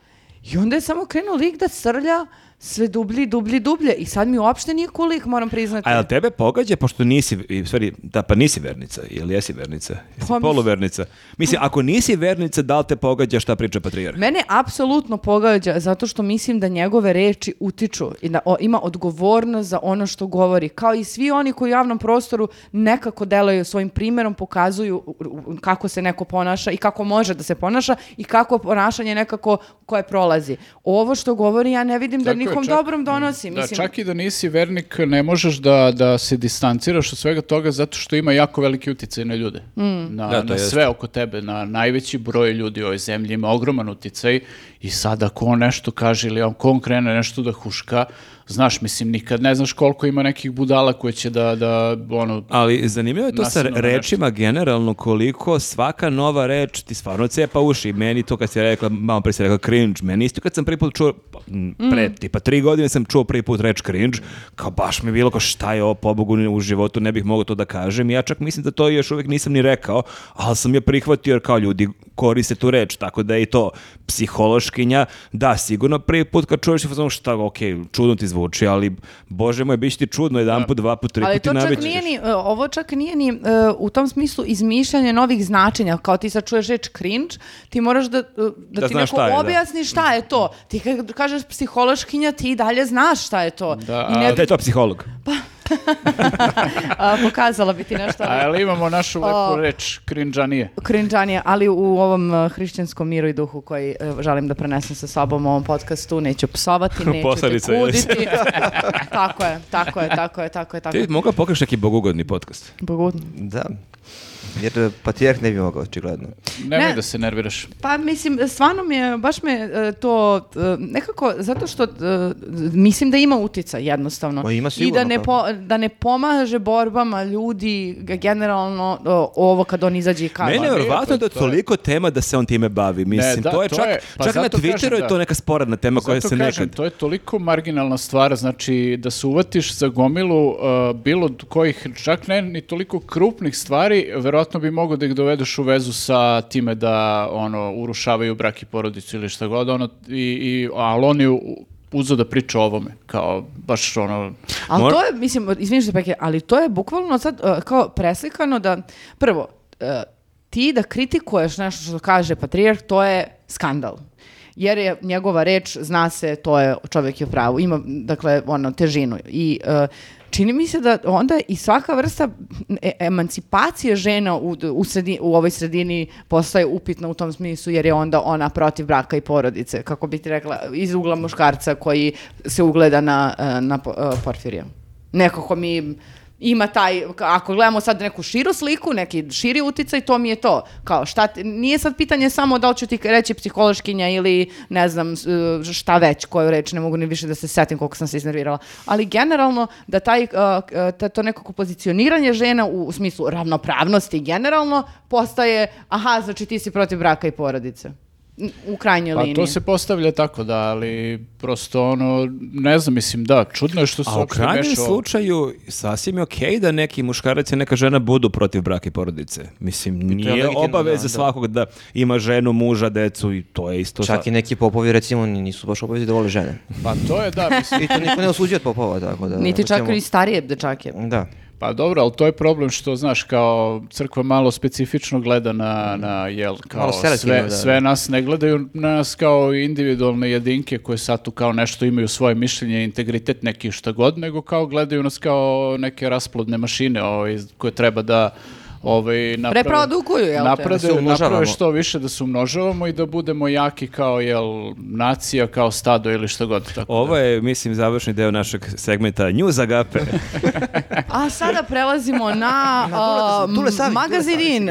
C: I onda je samo krenuo lik da srlja sve dublje, dublje, dublje. I sad mi uopšte nije cool lik, moram priznati.
A: A jel tebe pogađa, pošto nisi, i, u stvari, da, pa nisi vernica, ili jesi vernica? Jesi
C: Pa mis-
A: poluvernica? Mislim, ako nisi vernica, da li te pogađa šta priča patrijarh?
C: Mene apsolutno pogađa zato što mislim da njegove reči utiču i da o- ima odgovornost za ono što govori. Kao i svi oni koji u javnom prostoru nekako delaju svojim primjerom, pokazuju u- u- kako se neko ponaša i kako može da se ponaša i kako ponašanje nekako koje prolazi. Ovo što govori ja ne vidim
D: Tako
C: da
D: je,
C: nikom
D: čak- Mm.
C: dobrom donosi.
D: Da,
C: Mislim,
D: čak i da nisi vernik, ne možeš da, da se distanciraš od svega toga zato što ima jako veliki uticaj na ljude.
C: Mm.
D: Na,
A: Da, to
D: na
A: jeste.
D: sve oko tebe, na najveći broj ljudi u ovoj zemlji ima ogroman uticaj i sad ako on nešto kaže ili ako on krene nešto da huška, znaš, mislim, nikad ne znaš koliko ima nekih budala koje će da, da ono,
A: Ali zanimljivo je to sa
D: Nasilno
A: rečima generalno koliko svaka nova reč ti stvarno cepa uši. Meni to kad si rekla, malo pre si rekla cringe, meni isto kad sam prvi put čuo, pa, m,
C: Mm.
A: pre tipa tri godine sam čuo prvi put reč cringe, kao baš mi je bilo kao šta je ovo, pobogu u životu ne bih mogao to da kažem. Ja čak mislim da to još uvijek nisam ni rekao, ali sam je prihvatio jer kao ljudi koriste tu reč, tako da je i to psihološkinja, da, sigurno prvi put kad čuješ je fazon šta, ok, čudno ti zvuči, ali bože moj, bit će ti čudno jedan put, dva put, tri
C: Ali
A: put i
C: to čak
A: navićeš.
C: nije ni, e, ovo čak nije ni e, u tom smislu izmišljanje novih značenja. Kao ti sad čuješ reč cringe, ti moraš da, e, da,
A: Da
C: ti
A: znaš
C: neko
A: šta je, da.
C: objasni šta je to. Ti kad kažeš psihološkinja, ti i dalje znaš šta je E, to.
D: Da,
C: I ne
D: a-
A: Da
C: bi
A: je to psiholog.
C: a, pokazala bi ti nešto. ali-
D: ali imamo našu lepu reč, krinđanije.
C: Cringe-anije, ali u ovom e, hrišćanskom miru i duhu koji e, želim da prenesem sa sobom u ovom podcastu, neću psovati, neću te
A: Posledica, jel?
C: kuditi. tako je, tako je, tako je, tako je, tako
A: Ti
C: je.
A: bi mogla pokriš neki bogugodni podcast.
C: Pogodno.
E: Da. Jer patrijarh ne bi mogao, očigledno.
D: Nemoj
C: Ne.
D: da se nerviraš.
C: Pa mislim, stvarno mi je, baš me e, to, e, nekako, zato što e, mislim da ima utica jednostavno.
E: Pa ima
C: I da
E: sigurno,
C: ne,
E: pa.
C: po- da ne pomaže borbama ljudi g- generalno o, ovo kad on izađe i kaže.
A: Meni je verovatno
D: to-
A: da je
D: to je-
A: toliko tema da se on time bavi. Mislim,
D: da,
A: to je
D: to
A: čak,
D: je- pa
A: čak na
D: zato kažem
A: Twitteru je
D: da.
A: to neka sporedna tema koja
D: Zato
A: se
D: kažem,
A: nekad...
D: to je toliko marginalna stvar, znači da se uvatiš za gomilu uh, bilo kojih, čak ne ni toliko krupnih stvari, verovatno bi mogao da ih dovedeš u vezu sa time da ono urušavaju brak i porodicu ili šta god, ono, i, i, ali on je u- uzeo da priča o ovome, kao baš ono...
C: Ali
A: Mor-
C: to je, mislim, izvini što te prekidam, ali to je bukvalno sad e, kao preslikano da, prvo, e, ti da kritikuješ nešto što kaže patrijarh, to je skandal. Jer je njegova reč, zna se, to je, čovjek je u pravu, ima, dakle, ono, težinu. I e, čini mi se da onda i svaka vrsta e- emancipacije žena u, u, sredi- u ovoj sredini postaje upitna u tom smislu, jer je onda ona protiv braka i porodice, kako bi ti rekla, iz ugla muškarca koji se ugleda na, e, na po- e, Porfirija nekako mi ima taj, ako gledamo sad neku širu sliku, neki širi uticaj, to mi je to. Kao šta, ti- nije sad pitanje samo da li ću ti reći psihološkinja ili ne znam s- e, šta već, koju reč, ne mogu ni više da se setim koliko sam se iznervirala. Ali generalno da taj, uh, uh, ta- to nekako pozicioniranje žena u, u smislu ravnopravnosti generalno postaje, aha, znači ti si protiv braka i porodice. N- U krajnjoj
D: Pa
C: liniji.
D: to se postavlja tako da, ali prosto ono, ne znam, mislim, da, čudno je što se
A: A u
D: uopšte
A: krajnjem
D: meša ovo.
A: slučaju sasvim je okej da neki muškarac i neka žena budu protiv braka i porodice. Mislim, nije
E: legitimno,
A: obaveza
E: da, da.
A: svakog da ima ženu, muža, decu i to je isto...
E: Čak i neki popovi, recimo, ni- nisu baš obavezi da vole žene.
D: Pa to je, da, mislim,
E: I to niko ne osuđuje od popova, tako da...
C: Niti čak
E: recimo-
C: i starije dečake.
E: Da.
D: Pa dobro, ali to je problem što, znaš, kao crkva malo specifično gleda na, na jel,
E: Mhm.
D: kao
E: Malo selektivno,
D: sve,
E: da.
D: sve nas ne gledaju na nas kao individualne jedinke koje sad tu kao nešto imaju svoje mišljenje, integritet neki šta god, nego kao gledaju nas kao neke rasplodne mašine ovaj, koje treba da ovaj, naprave,
C: Reprodukuju, jel te?
D: naprave-
E: Da se umnožavamo.
D: naprave što više da se umnožavamo i da budemo jaki kao jel, nacija, kao stado ili šta god. Tako da.
A: Ovo je, mislim, završni deo našeg segmenta News Agape.
C: A sada prelazimo na a,
E: Dule Savić, Dule
C: magazinin.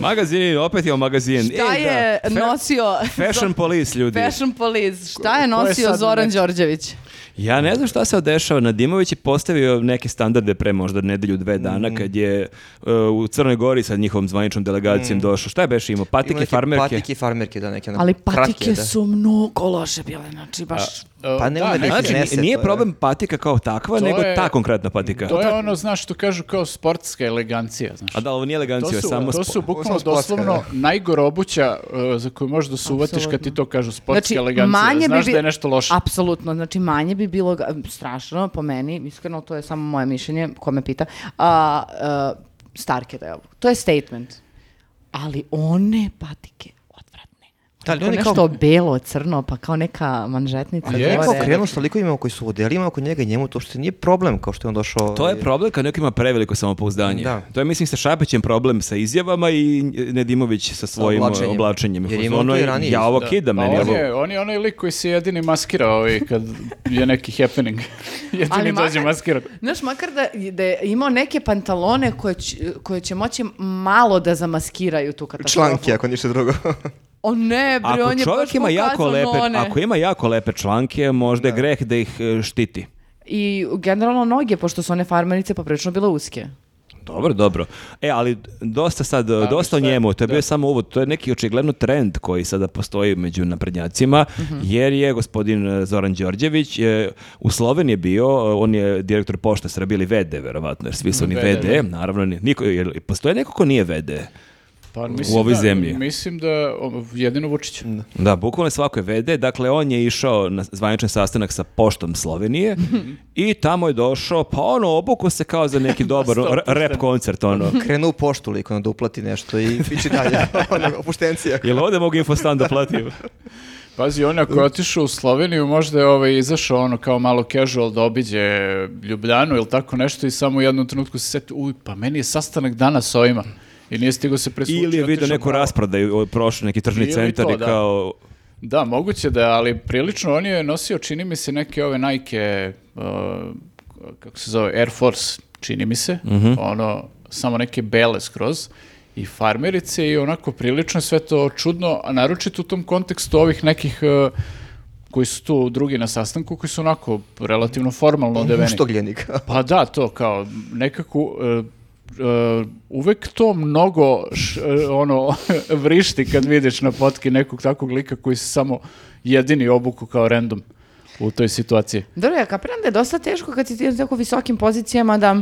A: Magazin, opet je o magazin.
C: Šta
A: E, da.
C: je
A: Fe-
C: nosio...
A: Fashion police, ljudi.
C: Fashion police. Šta je
D: je
C: nosio
D: sad
C: Zoran
D: neki-
C: Đorđević?
A: Ja ne znam šta se odešava. Nadimović je postavio neke standarde pre možda nedelju, dve
E: Mhm.
A: dana, kad je uh, u Crnoj Gori sa njihovom zvaničnom delegacijom došao. Šta je beš imao? Patike,
E: Ima neke
A: farmerke?
E: Mhm. Patike i farmerke, da, neke. ono,
C: Ali
E: kratke,
C: patike
E: da.
C: su mnogo loše bile, znači baš...
D: E,
E: Pa ne
D: da,
E: onda
D: neki-
E: neki
A: Znači,
E: nese,
A: nije
E: to je-
A: problem patika kao takva,
D: To
A: nego
D: je-
A: ta konkretna patika.
D: To je ono, znaš, što kažu kao sportska elegancija, znaš.
A: A da, ovo nije
D: To
A: elegancija,
D: su,
A: samo...
D: to
A: spo-
D: su bukvalno
E: Samo sportska,
D: doslovno najgora obuća uh, za koju možeš da se uvatiš kad ti to kažu sportska elegancija. Znaš
C: Znači, bi-
D: da je nešto loše.
C: Apsolutno, znači manje bi bilo ga- strašno po meni, iskreno to je samo moje mišljenje, ko me pita. A, a, starke da je ovo. To je statement. Ali one patike odvratne.
E: Da, ali
C: Tako
E: oni
C: nešto
E: kao-
C: belo, crno, pa kao neka manžetnica.
D: Je,
E: Neko
C: gore.
E: okrenuo sa likovima koji su u odelima oko njega i njemu to što nije problem kao što je on došao.
A: To je
E: ovaj,
A: problem kad neko ima preveliko samopouzdanje.
E: Da.
A: To je, mislim, sa Šapićem problem sa izjavama i Nedimović sa svojim
E: Oblačenjem.
A: oblačenjem.
E: Jer ima on
A: Ono
E: to i
A: je,
E: ranije
A: ja
E: isto,
A: ovo
E: da.
A: kidam,
D: Pa
A: meni je
D: on
A: ovo-
D: je, on je onaj lik koji se jedini maskirao i kad je neki happening. jedini
C: Ali
D: dođe
C: makar-
D: maskiran.
C: Znaš, makar da, da je imao neke pantalone koje će, koje će moći malo da zamaskiraju tu katastrofu.
E: Članke, ako ništa drugo.
C: O ne, bre,
A: Ako
C: on je
A: čovjek
C: baš
A: ima jako
C: pokazao
A: lepe,
C: one.
A: ako ima jako lepe članke, možda je greh da ih e, štiti.
C: I generalno noge, pošto su one farmerice poprilično bile uske.
A: Dobro, dobro. E, ali dosta sad, dosta o
D: šta je?
A: njemu, to je bio
D: Da.
A: samo uvod, to je neki očigledno trend koji sada postoji među naprednjacima, jer je gospodin e, Zoran Đorđević e, u Sloveniji bio, e, on je direktor pošta Srbije ili VD, verovatno, jer svi su oni
D: VD,
A: VD, naravno, ni- niko, jer postoje neko ko nije VD.
D: Pa,
A: U ovoj
D: da,
A: zemlji.
D: Mislim da o, jedino Vučić.
A: Da, bukvalno svako je vede. Dakle, on je išao na zvaničan sastanak sa poštom Slovenije i tamo je došao, pa ono, obuku se kao za neki dobar r- rap koncert, ono.
E: Krenuo u poštu lik, ono da uplati nešto i pići dalje. ono, opuštencija.
A: Jel ovde mogu infostan da platim?
D: Pazi, on ako je otišao u Sloveniju, možda je ovaj, izašao ono kao malo casual da obiđe Ljubljanu ili tako nešto i samo u jednom trenutku se seti, uj, pa meni je sastanak danas sa ovima. I nije stigo se presvući.
A: Ili je vidio
D: otišao
A: neku
D: malo.
A: rasprodaju, o, prošao neki tržni
D: Ili
A: centar
D: to,
A: i
D: da.
A: kao...
D: Da, moguće da, ali prilično on je nosio, čini mi se, neke ove Nike, uh, kako se zove, Air Force, čini mi se, ono, samo neke bele skroz, i farmerice i onako prilično je sve to čudno, a naročito u tom kontekstu ovih nekih uh, koji su tu drugi na sastanku, koji su onako relativno formalno odeveni.
E: Što gljenik.
D: Pa da, to kao nekako e, e, uvek to mnogo š- e, ono vrišti kad vidiš na potki nekog takvog lika koji se samo jedini obuku kao random u toj situaciji.
C: Dobro, ja kapiram da je dosta teško kad si ti na tako visokim pozicijama da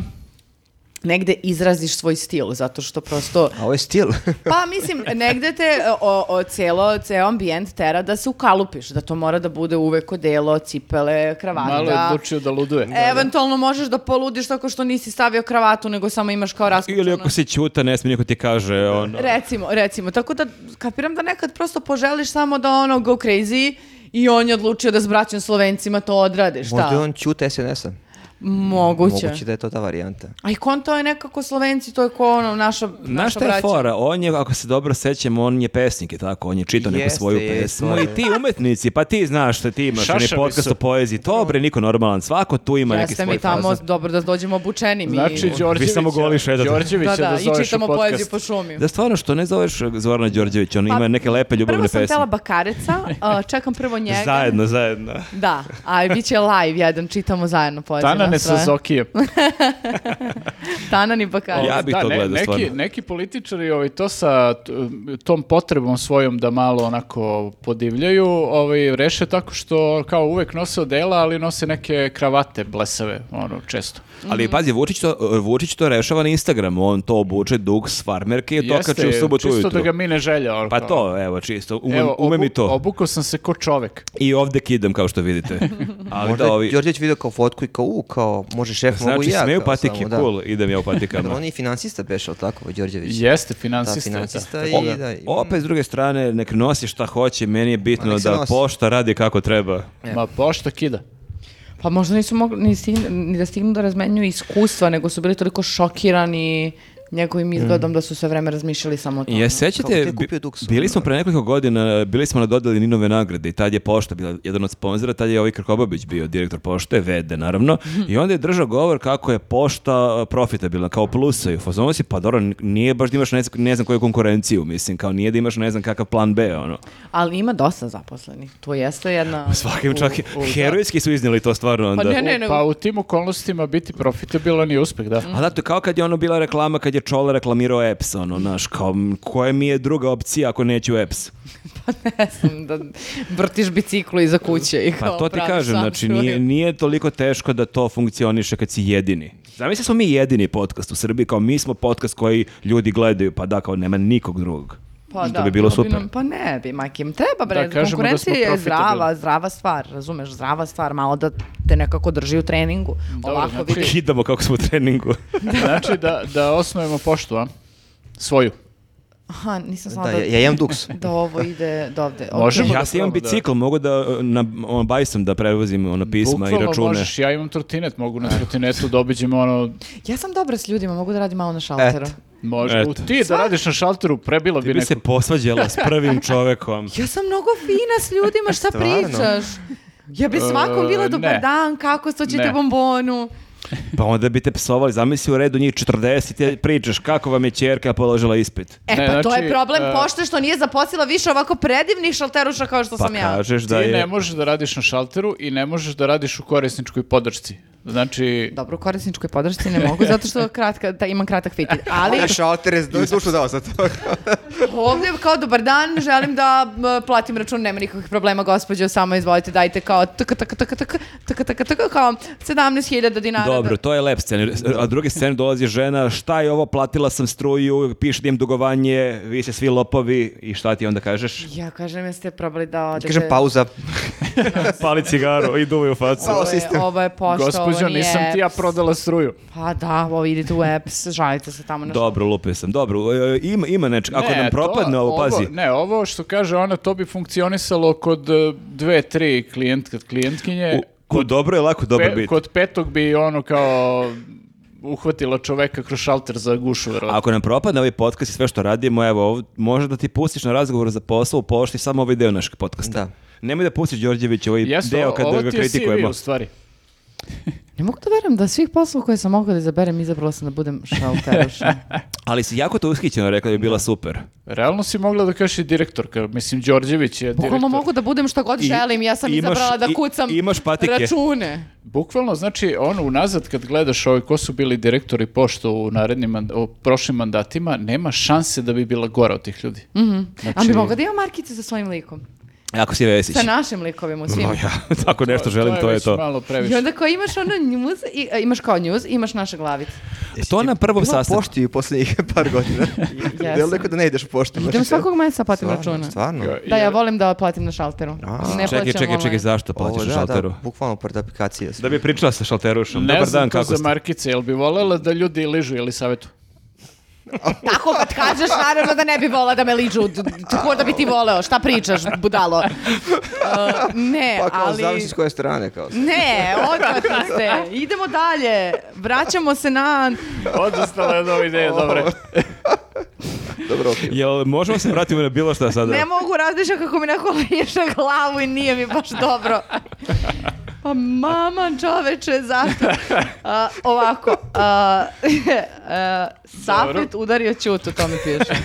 C: negde izraziš svoj stil, zato što prosto...
E: A ovo je stil.
C: Pa mislim, negde te e, o, o, celo, ceo ambijent tera da se ukalupiš, da to mora da bude uvek odelo, cipele, kravata.
D: Malo je odlučio da luduje.
C: Eventualno možeš da poludiš tako što nisi stavio kravatu, nego samo imaš kao raskućeno.
A: Ili ako si ćuta, ne smije niko ti kaže, ono...
C: Recimo, recimo. Tako da kapiram da nekad prosto poželiš samo da ono go crazy i on je odlučio da s braćom Slovencima to odrade. Šta?
E: Možda je on čuta SNS-a.
C: Moguće.
E: Moguće da je to ta varijanta.
C: A i kon to je nekako Slovenci, to je ko ono naša,
A: Znaš
C: naša
A: šta je
C: braća.
A: fora? On je, ako se dobro sećam, on je pesnik, je tako? On je čitao neku
E: Jeste,
A: svoju
E: jeste,
A: pesmu
E: to je.
A: i ti umetnici, pa ti znaš šta ti imaš, onaj
D: Šašavi
A: podcast
D: su.
A: o poeziji. To bre, niko normalan, svako tu ima neki
C: Jeste mi
A: svoj
C: tamo,
A: fazon.
C: dobro da dođemo obučeni mi.
D: Znači, Đorđevića,
A: samo goli šetate.
C: da,
D: Đorđevića da,
C: da, i
D: zoveš u
C: čitamo
D: podcast.
C: poeziju po šumi.
A: Da stvarno što ne zoveš Zorana Đorđevića, on
C: Pa,
A: ima neke lepe
C: Prvo
A: ljubavne
C: sam
A: pesme.
C: tela Bakareca, a, čekam prvo njega.
A: Zajedno, zajedno.
C: Da, a bit će live jedan, čitamo zajedno poeziju.
D: Tanane
C: na
D: sa
C: sve.
D: Zokijem.
C: Tanan i Bakarec.
A: Ja bi to gledao,
D: neki,
A: stvarno.
D: Neki političari ovaj, to sa t- tom potrebom svojom da malo onako podivljaju ovaj, reše tako što kao uvek nose odela, ali nose neke kravate blesave, ono, često.
C: Mhm.
A: Ali pazi, Vučić to, Vučić to rešava na Instagramu, on to obuče dug s farmerke i E, to kače u subotu
D: čisto da
A: ujutru.
D: ga mi ne želja. Ono,
A: Pa
D: kao.
A: to, evo, čisto, umem,
D: Evo,
A: umem i
D: obu-
A: to.
D: Obukao sam se ko čovek.
A: I ovde kidam, kao što vidite. Ali
E: Možda
A: da,
E: je
A: ovi...
E: Đorđević video kao fotku i kao, u, kao kao, može šef, mogu
A: Znači,
E: i ja.
A: smeju
E: kao,
A: patike,
E: samo, da.
A: cool, idem ja u patikama.
E: Pa On je i finansista beš, ali tako, ovaj Đorđević?
D: Jeste,
E: Da,
D: finansista. Pa je, da.
E: finansista
D: Tako
E: i
D: da.
E: da, i-
A: Opet, s druge strane, nek nosi šta hoće, meni je
E: Ma,
A: bitno
E: nek se
A: da
E: nosi.
A: pošta radi kako treba.
D: Ma pošta kida.
C: Pa možda nisu mogli ni, stign- ni da stignu da razmenjuju iskustva, nego su bili toliko šokirani njegovim izgledom da su sve vreme razmišljali samo o tome.
A: Je, sećate,
E: Kako ti je
A: bi-
E: kupio Tucson,
A: bili smo pre nekoliko godina, bili smo na dodali Ninove nagrade i tad je pošta bila jedan od sponzora, tad je ovaj Krkobabić bio direktor pošte, vede naravno, i onda je držao govor kako je pošta eh, profitabilna, kao plusa i u fazonu si, pa dobro, n- nije baš da imaš ne, ne znam koju konkurenciju, mislim, kao nije da imaš ne znam kakav plan B, ono.
C: Ali ima dosta zaposlenih. To jeste jedna...
A: Svakim Pa čak, i-
D: u- da.
A: herojski su iznijeli to stvarno onda.
C: Pa ne, ne,
D: U-
C: nego...
D: Pa u tim okolnostima biti profitabilan je uspeh, da.
A: A da, to je kao kad je ono bila reklama, kad je Čole reklamirao EPS, ono, znaš, kao, m, koja mi je druga opcija ako neću EPS?
C: Ne znam, da vrtiš biciklu iza kuće i kao
A: Pa to ti
C: praviš
A: kažem,
C: sam
A: znači
C: svoju-
A: nije, nije toliko teško da to funkcioniše kad si jedini. Zamisli smo mi jedini podcast u Srbiji, kao mi smo podcast koji ljudi gledaju, pa da, kao nema nikog drugog.
C: Pa
A: Što
C: da,
A: bi bilo
C: bilo bi
A: super.
C: nam- pa ne bi, makim. Treba, bre,
D: Da, kažemo da smo
C: konkurencija je
D: profitabilni.
C: zdrava, zdrava stvar, razumeš, zdrava stvar, malo da te nekako drži u treningu.
D: Dobro,
C: Ovako
D: znači-
C: vidi.
A: Kidamo kako smo u treningu.
D: Znači da, da osnovimo poštu, a? Svoju.
C: Aha, nisam znala
E: Da,
C: da,
E: ja, ja imam duks.
C: da ovo ide do ovde. Ok.
D: Možemo
A: ja
D: da
A: si imam
D: probamo, da.
A: bicikl, mogu da e, na ono, bajsom da prevozim ono pisma i
D: Bukvalno
A: račune.
D: možeš, ja imam trotinet, mogu na trotinetu da obiđemo ono,
C: Ja sam dobra s ljudima, mogu da radim malo na šalteru.
E: Eto.
D: možda,
A: Eto.
D: u ti da radiš na šalteru, prebila
A: Ti
D: bi
A: bi se
D: neko.
A: posvađala s prvim čovekom.
C: Ja sam mnogo fina s ljudima, šta
E: Stvarno?
C: pričaš? Ja bi svakom bila
D: E,
C: dobar
D: ne.
C: dan, kako ste, hoćete
D: Ne.
C: bombonu.
A: Pa onda bi te psovali, zamisli u redu njih 40 i ti pričaš kako vam je čerka položila ispit.
C: E,
D: Ne,
C: pa to je
D: znači,
C: problem
D: e,
C: pošte što nije zaposlila više ovako predivnih šalteruša kao što
A: Pa
C: sam ja.
A: kažeš da
D: Ti ne
A: je...
D: možeš da radiš na šalteru i ne možeš da radiš u korisničkoj podršci. Znači,
C: Dobro, u korisničkoj podršci ne mogu, zato što kratka, da, imam kratak fitilj. Ali
E: šalter je dušu dao za to.
C: ovdje kao dobar dan, želim da m, platim račun, nema nikakvih problema, gospođo, samo izvolite, dajte kao tk, tk, tk, tk, tk, tk, tk, kao 17.000 dinara.
A: Dobro, to je lep scen. A drugi scen dolazi žena, šta je ovo, platila sam struju, piše da im dugovanje, vi ste svi lopovi i šta ti onda kažeš?
C: Ja kažem, jeste probali da odete...
E: Kažem pauza.
A: Pali cigaru i duvaj u facu.
E: Pao
C: Ovo je,
E: sistem.
C: ovo je pošta,
D: gospođo,
C: ovo nije
D: nisam ti ja
C: apps.
D: prodala struju.
C: Pa da, ovo idete u apps, žalite se tamo na
A: Dobro, lupio sam. Dobro, e, ima, ima nečeg. Ako
D: Ne,
A: nam
D: to-
A: propadne ovo, pazi.
D: Ne, ovo što kaže ona, to bi funkcionisalo kod e, dve, tri klijent, kad klijentkinje.
A: U- Kod dobro je lako dobro
D: Pe-
A: biti.
D: kod petog bi ono kao uhvatila čoveka kroz šalter za gušu, verovatno.
A: Ako nam propadne ovaj podcast i sve što radimo, evo, ov- može da ti pustiš na razgovor za posao u pošti samo ovaj deo našeg podcasta.
E: Da.
A: Nemoj da pustiš Đorđević ovaj
D: Jeste,
A: deo
D: ovo
A: kada ga
D: ti je CV
A: kritikujemo.
D: u stvari.
C: Ne mogu da verujem da svih poslova koje sam mogla da izaberem, izabrala sam da budem šalteruša.
A: Ali si jako to ushićeno rekla da bi bila super.
D: Realno si mogla da kažeš i direktorka. Mislim, Đorđević je direktor.
C: Bukvalno mogu da budem šta god
A: I-
C: želim, ja sam
A: imaš-
C: izabrala da
A: i-
C: kucam
A: imaš patike.
C: račune.
D: Bukvalno, znači, ono, unazad kad gledaš ove ko su bili direktori pošto u narednim, mand- u prošlim mandatima, nema šanse da bi bila gora od tih ljudi.
C: Mhm.
A: Mhm.
C: A
A: Znači-
C: bi mogla da ima markice sa svojim likom?
A: Ako si Vesić.
C: Sa našim likovima u svim.
A: No, ja tako nešto želim, to je
D: već
A: to.
D: malo
C: I
D: previše.
C: onda kao imaš ono news, i, a, imaš kao news, imaš naše glavice.
A: To na prvom
E: Imam
A: sastanku.
E: pošti u posljednjih par godina.
C: Jesam.
E: Delo je kao da ne ideš u poštu.
C: Idem svakog meseca platim
E: Stvarno,
C: računa.
E: Stvarno.
C: Da, ja volim da platim na šalteru.
E: A.
C: ne
A: Čekaj,
C: plaćam
A: čekaj, čekaj,
D: ovaj-
C: online.
A: zašto
E: Ovo,
A: plaćaš
E: da,
A: na šalteru?
E: Da, bukvalno pored aplikacije.
A: Da bi pričala sa šalterušom.
D: Ne
A: Dobar dan,
D: znam to
A: kako
D: za
A: ste?
D: markice, jel bi voljela da ljudi ližu ili savjetu?
C: Tako kad kažeš, naravno da ne bi vola da me liđu. d- d- Ko da bi ti voleo? Šta pričaš, budalo? Uh, ne,
E: Pa kao,
C: ali...
E: zavisi s koje strane. Kao.
C: Ne, odvratno ste. Idemo dalje. Vraćamo se na...
D: Odustala je od ove ideje, dobro.
E: Dobro, okej.
A: Jel možemo se vratiti na bilo šta sada?
C: Ne mogu razmišljati kako mi neko liješa glavu i nije mi baš dobro. Pa mama čoveče, zašto? A, ovako, a, a, Safet udario Ćutu, to mi piše.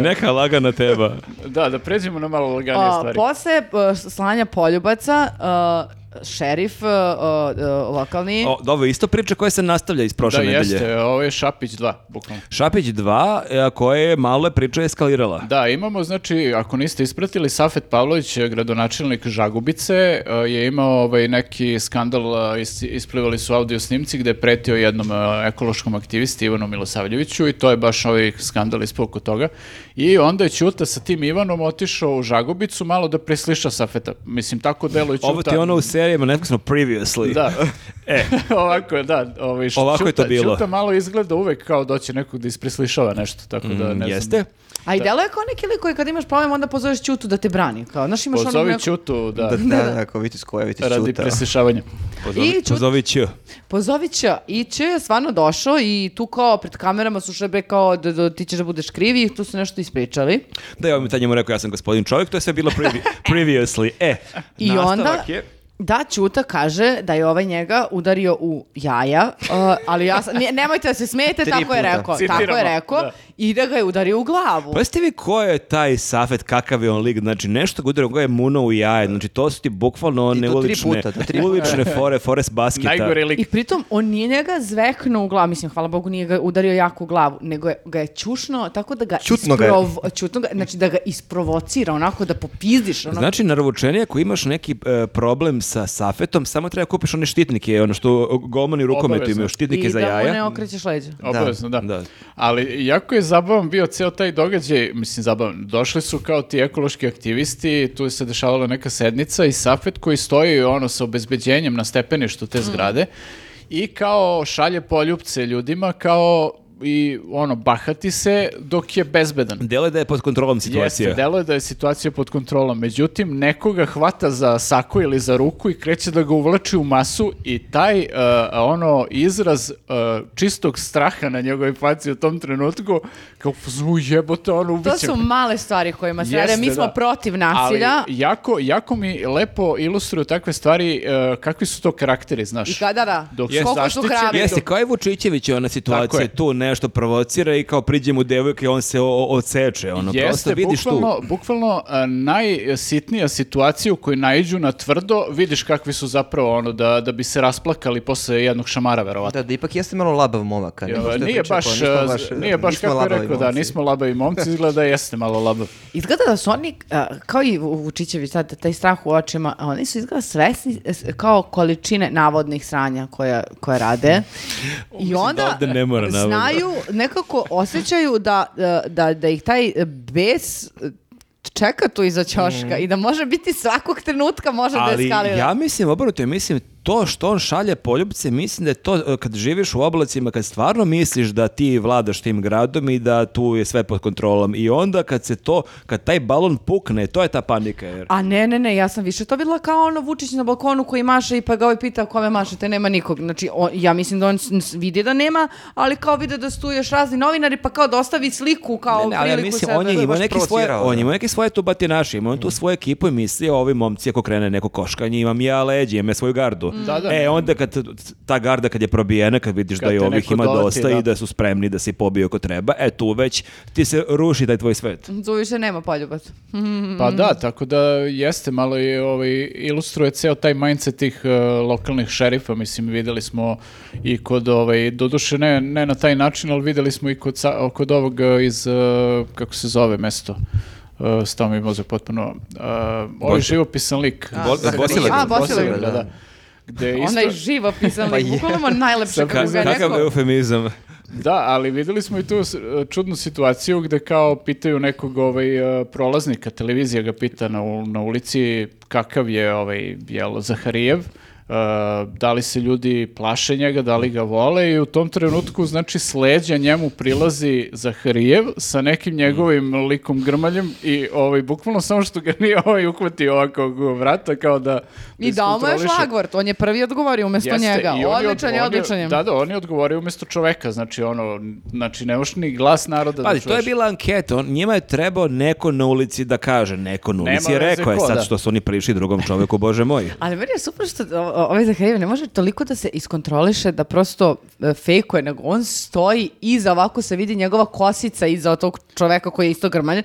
A: Neka lagana teba.
D: Da, da pređemo na malo laganije
C: A,
D: stvari.
C: posle a, slanja poljubaca, a, šerif a, a, a, lokalni,
A: O, ovo je isto priča koja se nastavlja iz
D: Da,
A: prošle nedelje.
D: jeste, ovo je Šapić 2, bukvalno.
A: Šapić 2, e, koja je malo je priča eskalirala.
D: Da, imamo, znači, ako niste ispratili, Safet Pavlović, eh, gradonačelnik Žagubice, eh, je imao ovaj, neki skandal, eh, is- isplivali su audio snimci gde je pretio jednom eh, ekološkom aktivisti Ivanu Milosavljeviću i to je baš ovaj skandal ispao oko toga. I onda je Ćuta sa tim Ivanom otišao u Žagubicu malo da presliša Safeta. Mislim, tako deluje Ćuta.
A: Ovo ti je ono u serijama Netflixom previously.
D: Da.
A: E.
D: Ovako, da. Ovaj, š-
A: Ovako je to
D: Ćuta-
A: bilo.
D: Ćuta malo izgleda uvek kao doće nekog da ispreslišava nešto, tako da ne znam.
A: Mm, Jeste?
C: A i delo je kao neki lik koji kad imaš problem onda pozoveš Ćutu da te brani. Kao, znaš, imaš ono onog
D: Pozovi
C: nekog-
D: Ćutu, da,
E: Da, da, da, ako vidiš koja, vidiš
D: radi
E: čuta.
D: preslišavanja.
C: I Ćuta
A: Pozovi Q.
C: Pozovi će, i će je stvarno došao i tu kao pred kamerama su šebe kao da, da ti ćeš da budeš krivi i tu su nešto ispričali.
A: Da, ja mi tad njemu rekao, ja sam gospodin čovjek, to je sve bilo previ- previously. E,
C: I
A: nastavak
C: onda-
A: je...
C: Da, Ćuta kaže da je ovaj njega udario u jaja, uh, ali ja sam, ne- nemojte da se smijete,
E: Tri
C: tako je
E: puta.
C: rekao. Tako
D: Citiramo,
C: je rekao
D: da.
C: i da ga je udario u glavu.
A: Pazite Pa vi ko je taj Safet, kakav je on lik, znači nešto ga udara, ga je muno u jaje, znači to su ti bukvalno
E: I to
A: one
E: tri
A: ulične,
E: puta, to tri puta.
A: ulične fore, Forest Basketa.
D: Najgore
C: I
D: lik.
C: pritom, on nije njega zveknuo u glavu, mislim, hvala Bogu, nije ga udario jako u glavu, nego je, ga je čušno, tako da ga,
E: Ćutno ga je.
C: čutno ga, znači da ga isprovocira, onako da ono, popizdiš, onako
A: Znači, naravoučenije, ako imaš neki e, problem sa safetom, samo treba kupiš one štitnike, ono što golmani u rukometu
D: Obavezno.
A: imaju, štitnike
C: i
A: za
C: da mu
A: jaja.
C: ne okrećeš leđa.
D: Obavezno, da.
A: Da.
D: Ali jako je zabavan bio ceo taj događaj, mislim zabavan, došli su kao ti ekološki aktivisti, tu je se dešavala neka sednica i Safet koji stoji ono sa obezbeđenjem na stepeništu te zgrade i kao šalje poljupce ljudima kao i ono bahati se dok je bezbedan.
A: Dele da je pod kontrolom situacija.
D: Jeste, delo je da je situacija pod kontrolom. Međutim, nekoga hvata za saku ili za ruku i kreće da ga uvlači u masu i taj uh, ono izraz uh, čistog straha na njegovoj faci u tom trenutku, kao zvu jebote, ono
C: To
D: ubiće
C: su male stvari kojima se rade. Mi
D: Jeste,
C: smo
D: da.
C: protiv
D: Ali
C: nasilja.
D: jako, jako mi lepo ilustruju takve stvari, uh, kakvi su to karakteri, znaš.
C: I kada da?
D: Dok su
C: Koliko su
D: zaštićeni,
C: hrabri.
A: Jeste, kao je Vučićević ona
D: Tako
A: situacija,
D: je.
A: tu nešto provocira i kao priđe mu devojka i on se o- o- odseče, ono, prosto
D: Jeste,
A: vidiš
D: bukvalno,
A: tu.
D: bukvalno a, najsitnija situacija u kojoj naiđu na tvrdo, vidiš kakvi su zapravo ono da, da bi se rasplakali posle jednog šamara, verovatno.
E: Da, da, ipak jeste malo labav momak. a ne možda je
D: nije,
E: pričao
D: baš,
E: kao, nismo
D: a,
E: baš-
D: nije baš
E: nismo
D: kako je
E: labavi
D: rekao, da,
E: momci.
D: nismo labavi momci, izgleda da jeste malo labav.
C: Izgleda da su oni, a, kao i Vu- Vučićević sad, taj strah u očima, a oni su izgleda svesni s- kao količine navodnih sranja koja, koja rade. I
A: da
C: onda
A: ovde ne mora navodno.
C: znaju, nekako osjećaju da, e, da, da ih taj e, bes e, čeka tu iza ćoška i da može biti svakog trenutka može da
A: Mm. Ali
C: eskalira.
A: ja mislim, obrnuto, ja mislim, to što on šalje poljubce, mislim da je to, e, kad živiš u oblacima, kad stvarno misliš da ti vladaš tim gradom i da tu je sve pod kontrolom. I onda kad se to, kad taj balon pukne, to je ta panika. Jer...
C: A ne, ne, ne, ja sam više to videla kao ono Vučić na balkonu koji maše i pa ga ovaj pita kome mašete, nema nikog. Znači, on- ja mislim da on s- s- vidi da nema, ali kao vide da su još razni novinari pa kao dostavi sliku kao
A: Ne, ne, ali ja
C: priliku
A: mislim,
C: sebe.
A: on je
E: je
A: imao
E: baš
A: neke svoje,
E: provocirao,
A: on je
E: da.
A: imao neke svoje tu batinaše, imao on
C: Mm.
A: tu svoju ekipu i mislio, ovi momci ako krene neko koškanje, imam ja leđe, imam ja svoju gardu.
C: Mm.
D: Da, da.
A: E, onda kad t- ta garda kad je probijena, kad vidiš
D: Kad
A: da je
D: te
A: ovih
D: neko
A: ima
D: doleti,
A: dosta
D: da.
A: i da su spremni da si pobiju ako treba, e tu već ti se ruši taj tvoj svet.
C: Tu više nema poljubac.
D: Pa da, tako da jeste, malo je, ovaj, ilustruje ceo taj mindset tih e, lokalnih šerifa, mislim, videli smo i kod, ovaj, doduše ne, ne na taj način, ali videli smo i kod, sa- kod ovog e, iz, e, kako se zove mesto, e, stao mi mozak potpuno, e, ovaj
A: Bos-
D: živopisan lik.
A: Bo- Bosilegrad.
C: A, Bosilegrad,
D: Bosilegrad, da. Gde isto-
C: Onaj Hm, živopisan,
E: Pa
C: lik,
E: je.
C: bukvalno ima najlepše
D: Sad
C: kako
A: Ka-
C: ga
A: kakav
C: neko...
A: eufemizam.
D: Da, ali videli smo i tu s- čudnu situaciju gde kao pitaju nekog ovaj, e, prolaznika, televizija ga pita na, u- na ulici kakav je ovaj, jel, Zaharijev, e, da li se ljudi plaše njega, da li ga vole i u tom trenutku znači sleđa njemu prilazi Zaharijev sa nekim njegovim likom grmaljem i ovaj, bukvalno samo što ga nije ovaj uhvatio ovako u vrata kao da
C: I dao mu je
D: iskontroliše.
C: šlagvort, on je prvi odgovorio umjesto
D: Jeste,
C: njega.
D: i on je od-
C: Odličan je,
D: on je-
C: odličan je.
D: Da, da, on je odgovorio umjesto čoveka, znači ono, znači ne možeš ni glas naroda
A: Pazi,
D: da
A: to je
D: čuješ.
A: bila anketa, on, njima je trebao neko na ulici da kaže, neko na
D: Nema
A: ulici je
D: veze
A: rekao je
D: ko,
A: sad
D: da.
A: što su oni prišli drugom čoveku, bože moj.
C: Ali meni je super što o- o- ovaj Zaharijev ne može toliko da se iskontroliše da prosto e, fejkuje, nego on stoji iza, ovako se vidi njegova kosica iza tog čoveka koji je isto grmanje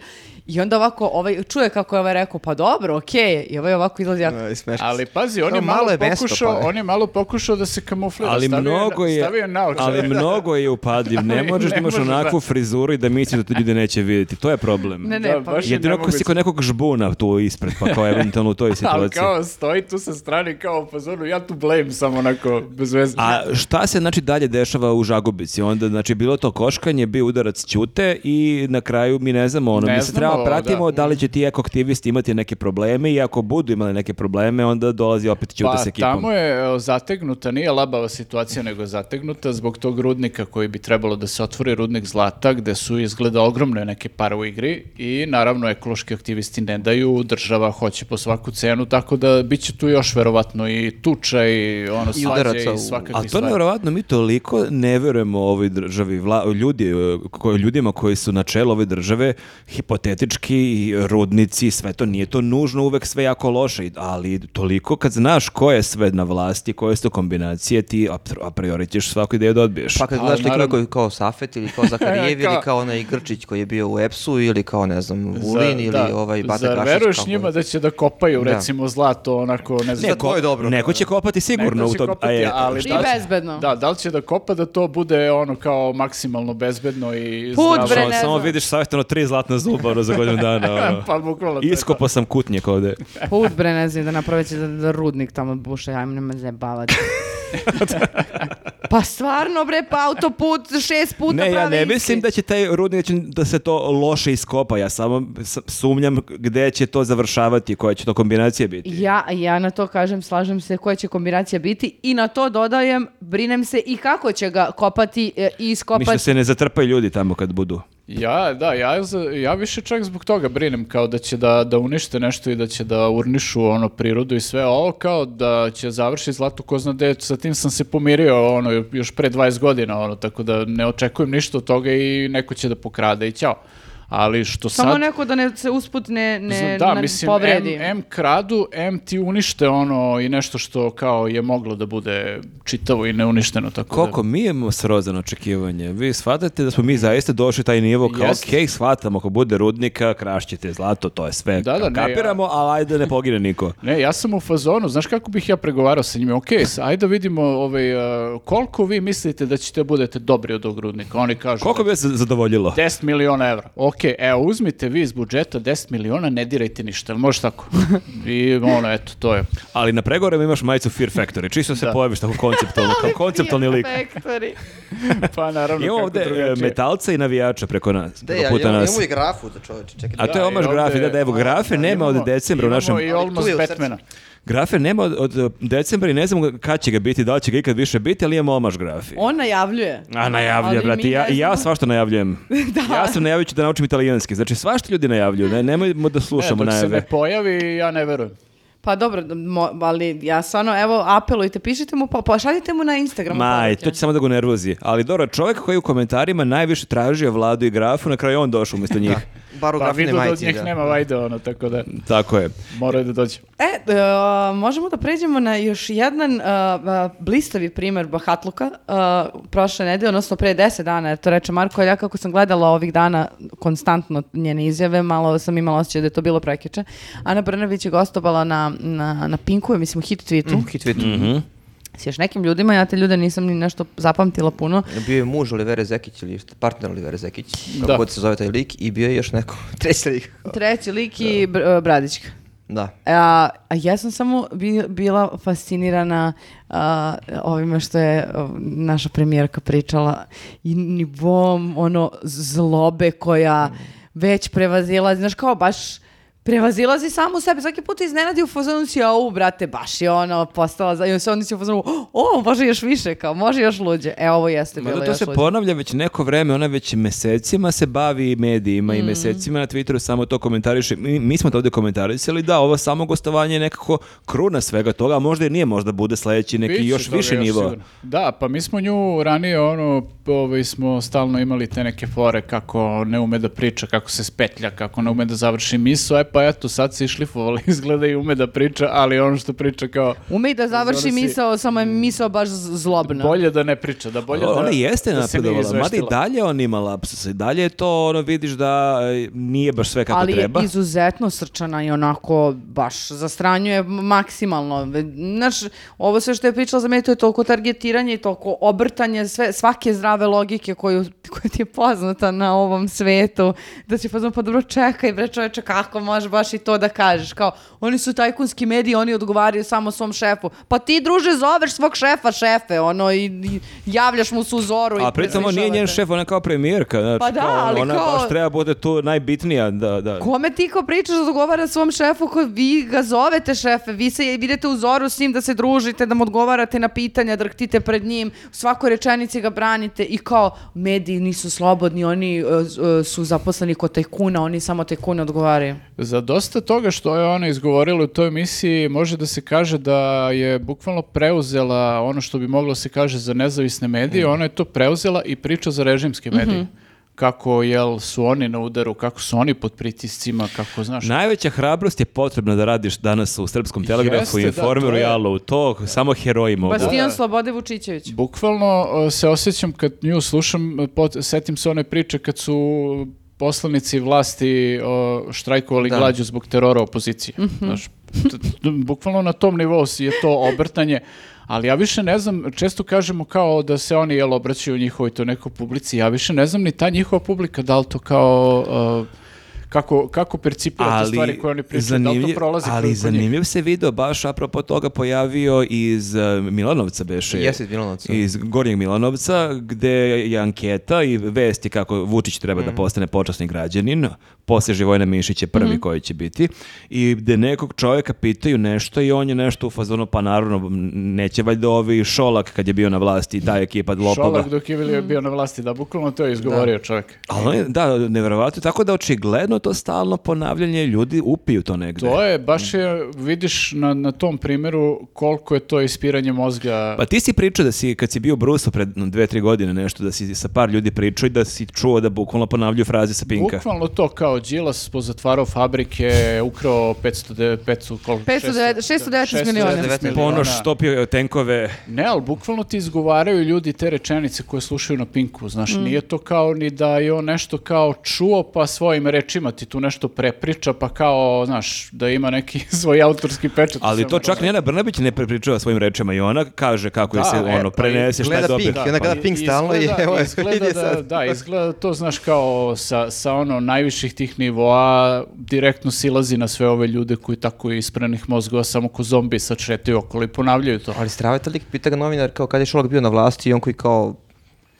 C: i onda ovako ovaj, čuje kako je ovaj rekao, pa dobro, okej, i ovaj ovako izlazi jako.
E: Aj, smešno.
D: Ali pazi, on
E: Kao
D: je malo,
E: malo je mesto,
D: pokušao,
E: pa.
D: on je malo pokušao da se kamuflira,
A: Ali
D: stavio
A: mnogo je,
D: stavio naočare.
A: ali mnogo je upadljiv. Ne
D: Ali
A: možeš da
D: ne
A: imaš
D: možeš, da.
A: onakvu frizuru i da misliš da te ljudi neće vidjeti. To je problem.
C: Ne, ne,
D: Da,
C: pa
D: baš je
A: Jedino ako si
D: nemoguće.
A: kod nekog žbuna tu ispred, pa kao eventualno u toj
D: Ali
A: situaciji.
D: kao stoji tu sa strane kao u fazonu, ja tu blame samo onako bez veze.
A: A šta se znači dalje dešava u Žagubici? Onda znači bilo to koškanje, bio udarac Ćute i na kraju mi ne znamo ono,
D: Ne
A: mi se
D: znamo,
A: treba da pratimo da. li će ti ekoaktivisti imati neke probleme i ako budu imali neke probleme, onda dolazi opet Ćuta
D: Pa
A: s ekipom.
D: tamo je e, zategnuta, nije labava situacija, nego je zategnuta zbog tog rudnika koji bi trebalo da se otvori rudnik zlata, gde su izgleda ogromne neke pare u igri i naravno ekološki aktivisti ne daju, država hoće po svaku cenu, tako da bit će tu još verovatno i tuča i ono svađe
E: udaraca u-
D: i
A: A
D: svakakvih
A: to je
D: stvari.
A: nevjerovatno, mi toliko ne verujemo ovoj državi, vla, ljudi, e, ko- ljudima koji su na čelu ove države, hipotetički, i rudnici, sve to, nije to nužno uvek sve jako loše, i- ali toliko kad znaš ko je sve na vlasti, koje su to kombinacije, ti apr- a priori ćeš svaku ideju da odbiješ.
E: Pa kad
D: A,
E: gledaš likove
D: naravno.
E: koji kao Safet ili kao Zakarijev
D: Kao-
E: ili kao onaj Grčić koji je bio u Epsu ili kao ne znam
D: Za-
E: Vulin ili
D: da,
E: ovaj Bata
D: Zar
E: Gašić,
D: veruješ
E: kako-
D: njima da će da kopaju,
E: Da.
D: recimo, zlato, onako, ne znam.
E: Neko- to je dobro.
A: Neko će kopati sigurno
D: Neko
A: u
D: će
A: to.
D: kopati, ali
C: I
D: da li-
C: bezbedno.
D: Da, da li će da kopa da to bude ono kao maksimalno bezbedno i
C: Put,
D: zdravo?
C: bre,
A: Samo,
C: ne
A: samo
C: znam.
A: vidiš savjetno tri zlatna zuba ono, za godinu dana. ono.
D: Pa bukvalno to je to.
A: Iskopao sam kutnjak ovde.
C: Put bre, ne znam, da napraveće da, da rudnik tamo buše, ajme nema zajebavati. pa stvarno bre, pa autoput šest puta
A: Ne, ja
C: pravi
A: ne
C: isti.
A: mislim da će taj rudnik da će- da se to loše iskopa. Ja samo s- sumnjam gde će to završavati, koja će to kombinacija biti.
C: Ja, ja na to kažem, slažem se koja će kombinacija biti i na to dodajem, brinem se i kako će ga kopati e, i
D: pa
A: Mislim da
C: iskopati.
A: se ne zatrpaju ljudi tamo kad budu.
D: Ja, da, ja, za- ja više čak zbog toga brinem kao da će da, da unište nešto i da će da urnišu ono prirodu i sve ovo kao da će završiti zlato ko zna gde. sa tim sam se pomirio ono još pre 20 godina ono tako da ne očekujem ništa od toga i neko će da pokrade i ćao. Ali što
C: Samo
D: sad
C: neko da ne se usput ne, ne
D: da,
C: na-
D: mislim,
C: povredi.
D: Em, em kradu, em ti unište ono i nešto što kao je moglo da bude čitavo i neuništeno. Tako
A: Koliko mi imamo srozano očekivanje. Vi shvatate da smo mi zaista došli taj nivo kao,
D: Jeste.
A: okej, shvatamo, ako bude rudnika, krašćete zlato, to je sve.
D: Da, da, ne,
A: kapiramo, ali ajde da ne pogine niko.
D: Da, ne, ja sam u fazonu, znaš kako bih ja pregovarao sa njima? Ok, s- ajde da vidimo ovaj, uh, koliko vi mislite da ćete budete dobri od ovog rudnika. Oni kažu
A: Koliko bi vas zadovoljilo?
D: 10 miliona evra. Ok, evo, uzmite vi iz budžeta 10 miliona, ne dirajte ništa, jel može tako? I ono, eto, to je.
A: Ali na pregovorima imaš majicu Fear Factory, čisto se
D: Da.
A: pojaviš tako konceptualno, kao konceptualni lik.
C: Factory.
D: Pa naravno,
A: Imamo
D: kako
A: ovde e,
D: drugačije.
A: metaljca i navijača preko nas,
E: Da,
A: preko
E: ja,
A: puta
E: ja,
A: nas.
E: imamo i grafu za čoveče, čekaj.
A: A
E: Da,
A: to je
D: Da,
A: omaš
D: i ovde-
A: grafe, da, da, evo, grafe nema od
D: Imamo-
A: decembra u našem...
D: Imamo i Olmos
E: je u srcu.
D: Batmana.
A: Grafe nema od, od e, decembra i ne znamo kad će ga biti, da li će ga ikad više biti, ali imamo omaš grafi.
C: On najavljuje.
A: A najavlja,
C: Ali mi
A: brate, ja,
C: ne
A: ja
C: znamo.
A: svašta najavljujem.
C: Da.
A: Ja sam najavio ću da naučim italijanski, znači svašta ljudi najavljuju, ne, nemojmo da
D: E,
A: slušamo
D: dok se ne
A: najave.
D: pojavi, ja ne verujem.
C: Pa dobro, d- mo- ali ja stvarno, evo, apelujte, pišite mu, pa, pa šaljite mu na Instagram.
A: Maj,
C: poruke.
A: to će samo da ga nervozi. Ali dobro, čovjek koji je u komentarima najviše tražio vladu i grafu, na kraju je on došao umjesto njih.
E: Bar u
D: Pa
E: grafine
D: vidu da od
E: majici,
D: njih
E: da.
D: nema vajde, ono, tako da
A: Tako je.
D: moraju da dođu.
C: E, d- a, možemo da pređemo na još jedan a, a, blistavi primer bahatluka a, prošle nedelje, odnosno pre 10 dana, jer to reče Marko, ali ja kako sam gledala ovih dana konstantno njene izjave, malo sam imala osjećaj da je to bilo prekiče. Ana Brnabić je gostovala na, na, na Pinku, ja mislim, hit tweetu.
E: Hit tweet.
A: Mhm.
C: S još nekim ljudima, ja te ljude nisam ni nešto zapamtila puno.
E: Bio je muž Olivere Zekić ili partner Olivere Zekić, kako
D: Da.
E: god se zove taj lik, i bio je još neko treći lik.
C: Treći lik i Br- e, Bradićka.
E: Da.
C: A, a ja sam samo bi- bila fascinirana a, ovime što je a, naša premijerka pričala i nivom ono zlobe
A: Mm.
C: koja već prevazilazi, znaš kao baš prevazilazi samo u sebe. Svaki put iznenadi u fazonu si, au, brate, baš je ono postala, za-" i onda si u fazonu, o, može još više, kao, može još luđe. E, ovo jeste bilo
A: Mada to
C: još
A: se
C: luđe.
A: ponavlja već neko vreme, ona već mesecima se bavi medijima
C: Mm.
A: i mesecima na Twitteru samo to komentariše. Mi, mi smo to ovdje komentarisali, da, ovo samo gostovanje je nekako kruna svega toga, a možda i nije, možda bude sledeći neki
D: Biće
A: još
D: toga
A: više nivo.
D: sigurno. Da, pa mi smo nju ranije ono, ovaj, smo stalno imali te neke fore kako ne ume da priča, kako se spetlja, kako ne ume da završi miso, e pa eto sad se išlifovali, izgleda i ume da priča, ali ono što priča kao
C: Ume i da završi
D: Zora si-
C: misao, samo je misao baš z- zlobna.
D: bolje da ne priča, da bolje da,
A: ona jeste
D: da se nije
A: napredovala, mada i
D: izveštila.
A: dalje on ima lapsuse, i dalje je to, ono, vidiš da e, nije baš sve kako
C: ali
A: treba.
C: je izuzetno srčana i onako baš zastranjuje maksimalno. Znaš, ovo sve što je pričala za mene, to je toliko targetiranje i toliko obrtanje sve, svake zdrave logike koju, koja ti je poznata na ovom svetu. Da si pozvan, pa dobro čekaj bre čoveče, kako možeš baš i to da kažeš. Kao, oni su tajkunski mediji, oni odgovaraju samo svom šefu. Pa ti, druže, zoveš svog šefa šefe, ono, i, i javljaš mu su zoru.
A: A
C: i
A: pritom on nije njen
C: preslišavate.
A: šef, ona je kao premijerka. Znači,
C: Pa da,
A: kao,
C: ali
A: ona
C: kao-
A: baš treba bude tu najbitnija. Da, da.
C: Kome ti ko pričaš da odgovara svom šefu ko vi ga zovete šefe, vi se idete u zoru s njim da se družite, da mu odgovarate na pitanja, drhtite pred njim, u svakoj rečenici ga branite i kao mediji nisu slobodni, oni e, z- e, su zaposleni kod tajkuna, oni samo tajkuna odgovaraju.
D: Za dosta toga što je ona izgovorila u toj emisiji može da se kaže da je bukvalno preuzela ono što bi moglo se kaže za nezavisne medije, ona je to preuzela i priča za režimske medije. Kako jel su oni na udaru, kako su oni pod pritiscima, kako znaš.
A: Najveća hrabrost je potrebna da radiš danas u Srpskom telegrafu,
D: Jeste, da,
A: Informeru
D: to
A: i
D: je-
A: Alu. To samo heroji mogu.
C: Bastijan Slobode Vučićević.
D: Bukvalno e, se osjećam kad nju slušam, e, pot- setim se one priče kad su poslanici vlasti o, štrajkovali glađu zbog terora opozicije.
A: Mhm.
D: Znaš, t- t- bukvalno na tom nivou si- je to obrtanje. Ali ja više ne znam, često kažemo kao da se oni jel obraćaju njihovoj to nekoj publici, ja više ne znam ni ta njihova publika da li to kao... e, kako, kako percipira te stvari koje oni pričaju, da li to
A: zanimljiv-
D: prolazi
A: ali
D: kroz njih?
A: zanimljiv se video baš apropo toga pojavio iz e, Milanovca beše.
E: Jeste iz Milanovca.
A: Iz Gornjeg Milanovca gde je anketa i vest je kako Vučić treba
D: Mhm.
A: da postane počasni građanin. Posle Živojna Mišić je prvi
D: Mhm.
A: koji će biti. I gde nekog čovjeka pitaju nešto i on je nešto u fazonu pa naravno m, neće valjda ovi Šolak kad je bio na vlasti i ta ekipa lopova.
D: Šolak dok je bio- bio na vlasti, da, bukvalno to je izgovorio čovjek.
A: Ali on je, da, nevjerovatno. Tako da očigledno to stalno ponavljanje ljudi upiju to negde.
D: To je, baš je, vidiš na, na tom primjeru koliko je to ispiranje mozga.
A: Pa ti si pričao da si, kad si bio u Brusu pred no, dve, tri godine nešto, da si sa par ljudi pričao i da si čuo da bukvalno ponavljaju fraze sa Pinka.
D: Bukvalno to kao Đilas pozatvarao fabrike, ukrao 500, de- 500 koliko?
C: 509 619 miliona.
D: 619
A: Ponoš topio Ono je tenkove.
D: Ne, ali bukvalno ti izgovaraju ljudi te rečenice koje slušaju na Pinku, znaš, nije to kao ni da je on nešto kao čuo pa svojim rečima ti tu nešto prepriča pa kao, znaš, da ima neki svoj autorski pečat. u
A: Ali to
D: svemu
A: čak
D: tome.
A: Nijana Brnabić ne prepričava svojim rečima i ona kaže kako je
D: Da,
A: se
D: e,
A: ono
D: pa
A: prenese šta Pa je
E: gleda
A: dobio.
E: Pink, i onda gleda
D: I-
E: Pink stalno i
D: izgleda-
E: evo,
D: izgleda
E: vidi
D: da,
E: sad.
D: da, izgleda to, znaš, kao sa, sa ono najviših tih nivoa direktno silazi na sve ove ljude koji tako isprenih mozgova samo ko zombi sad šetaju okolo i ponavljaju to.
E: Ali strava je to lik, pita ga novinar kao kad je Šolak bio na vlasti i on koji kao...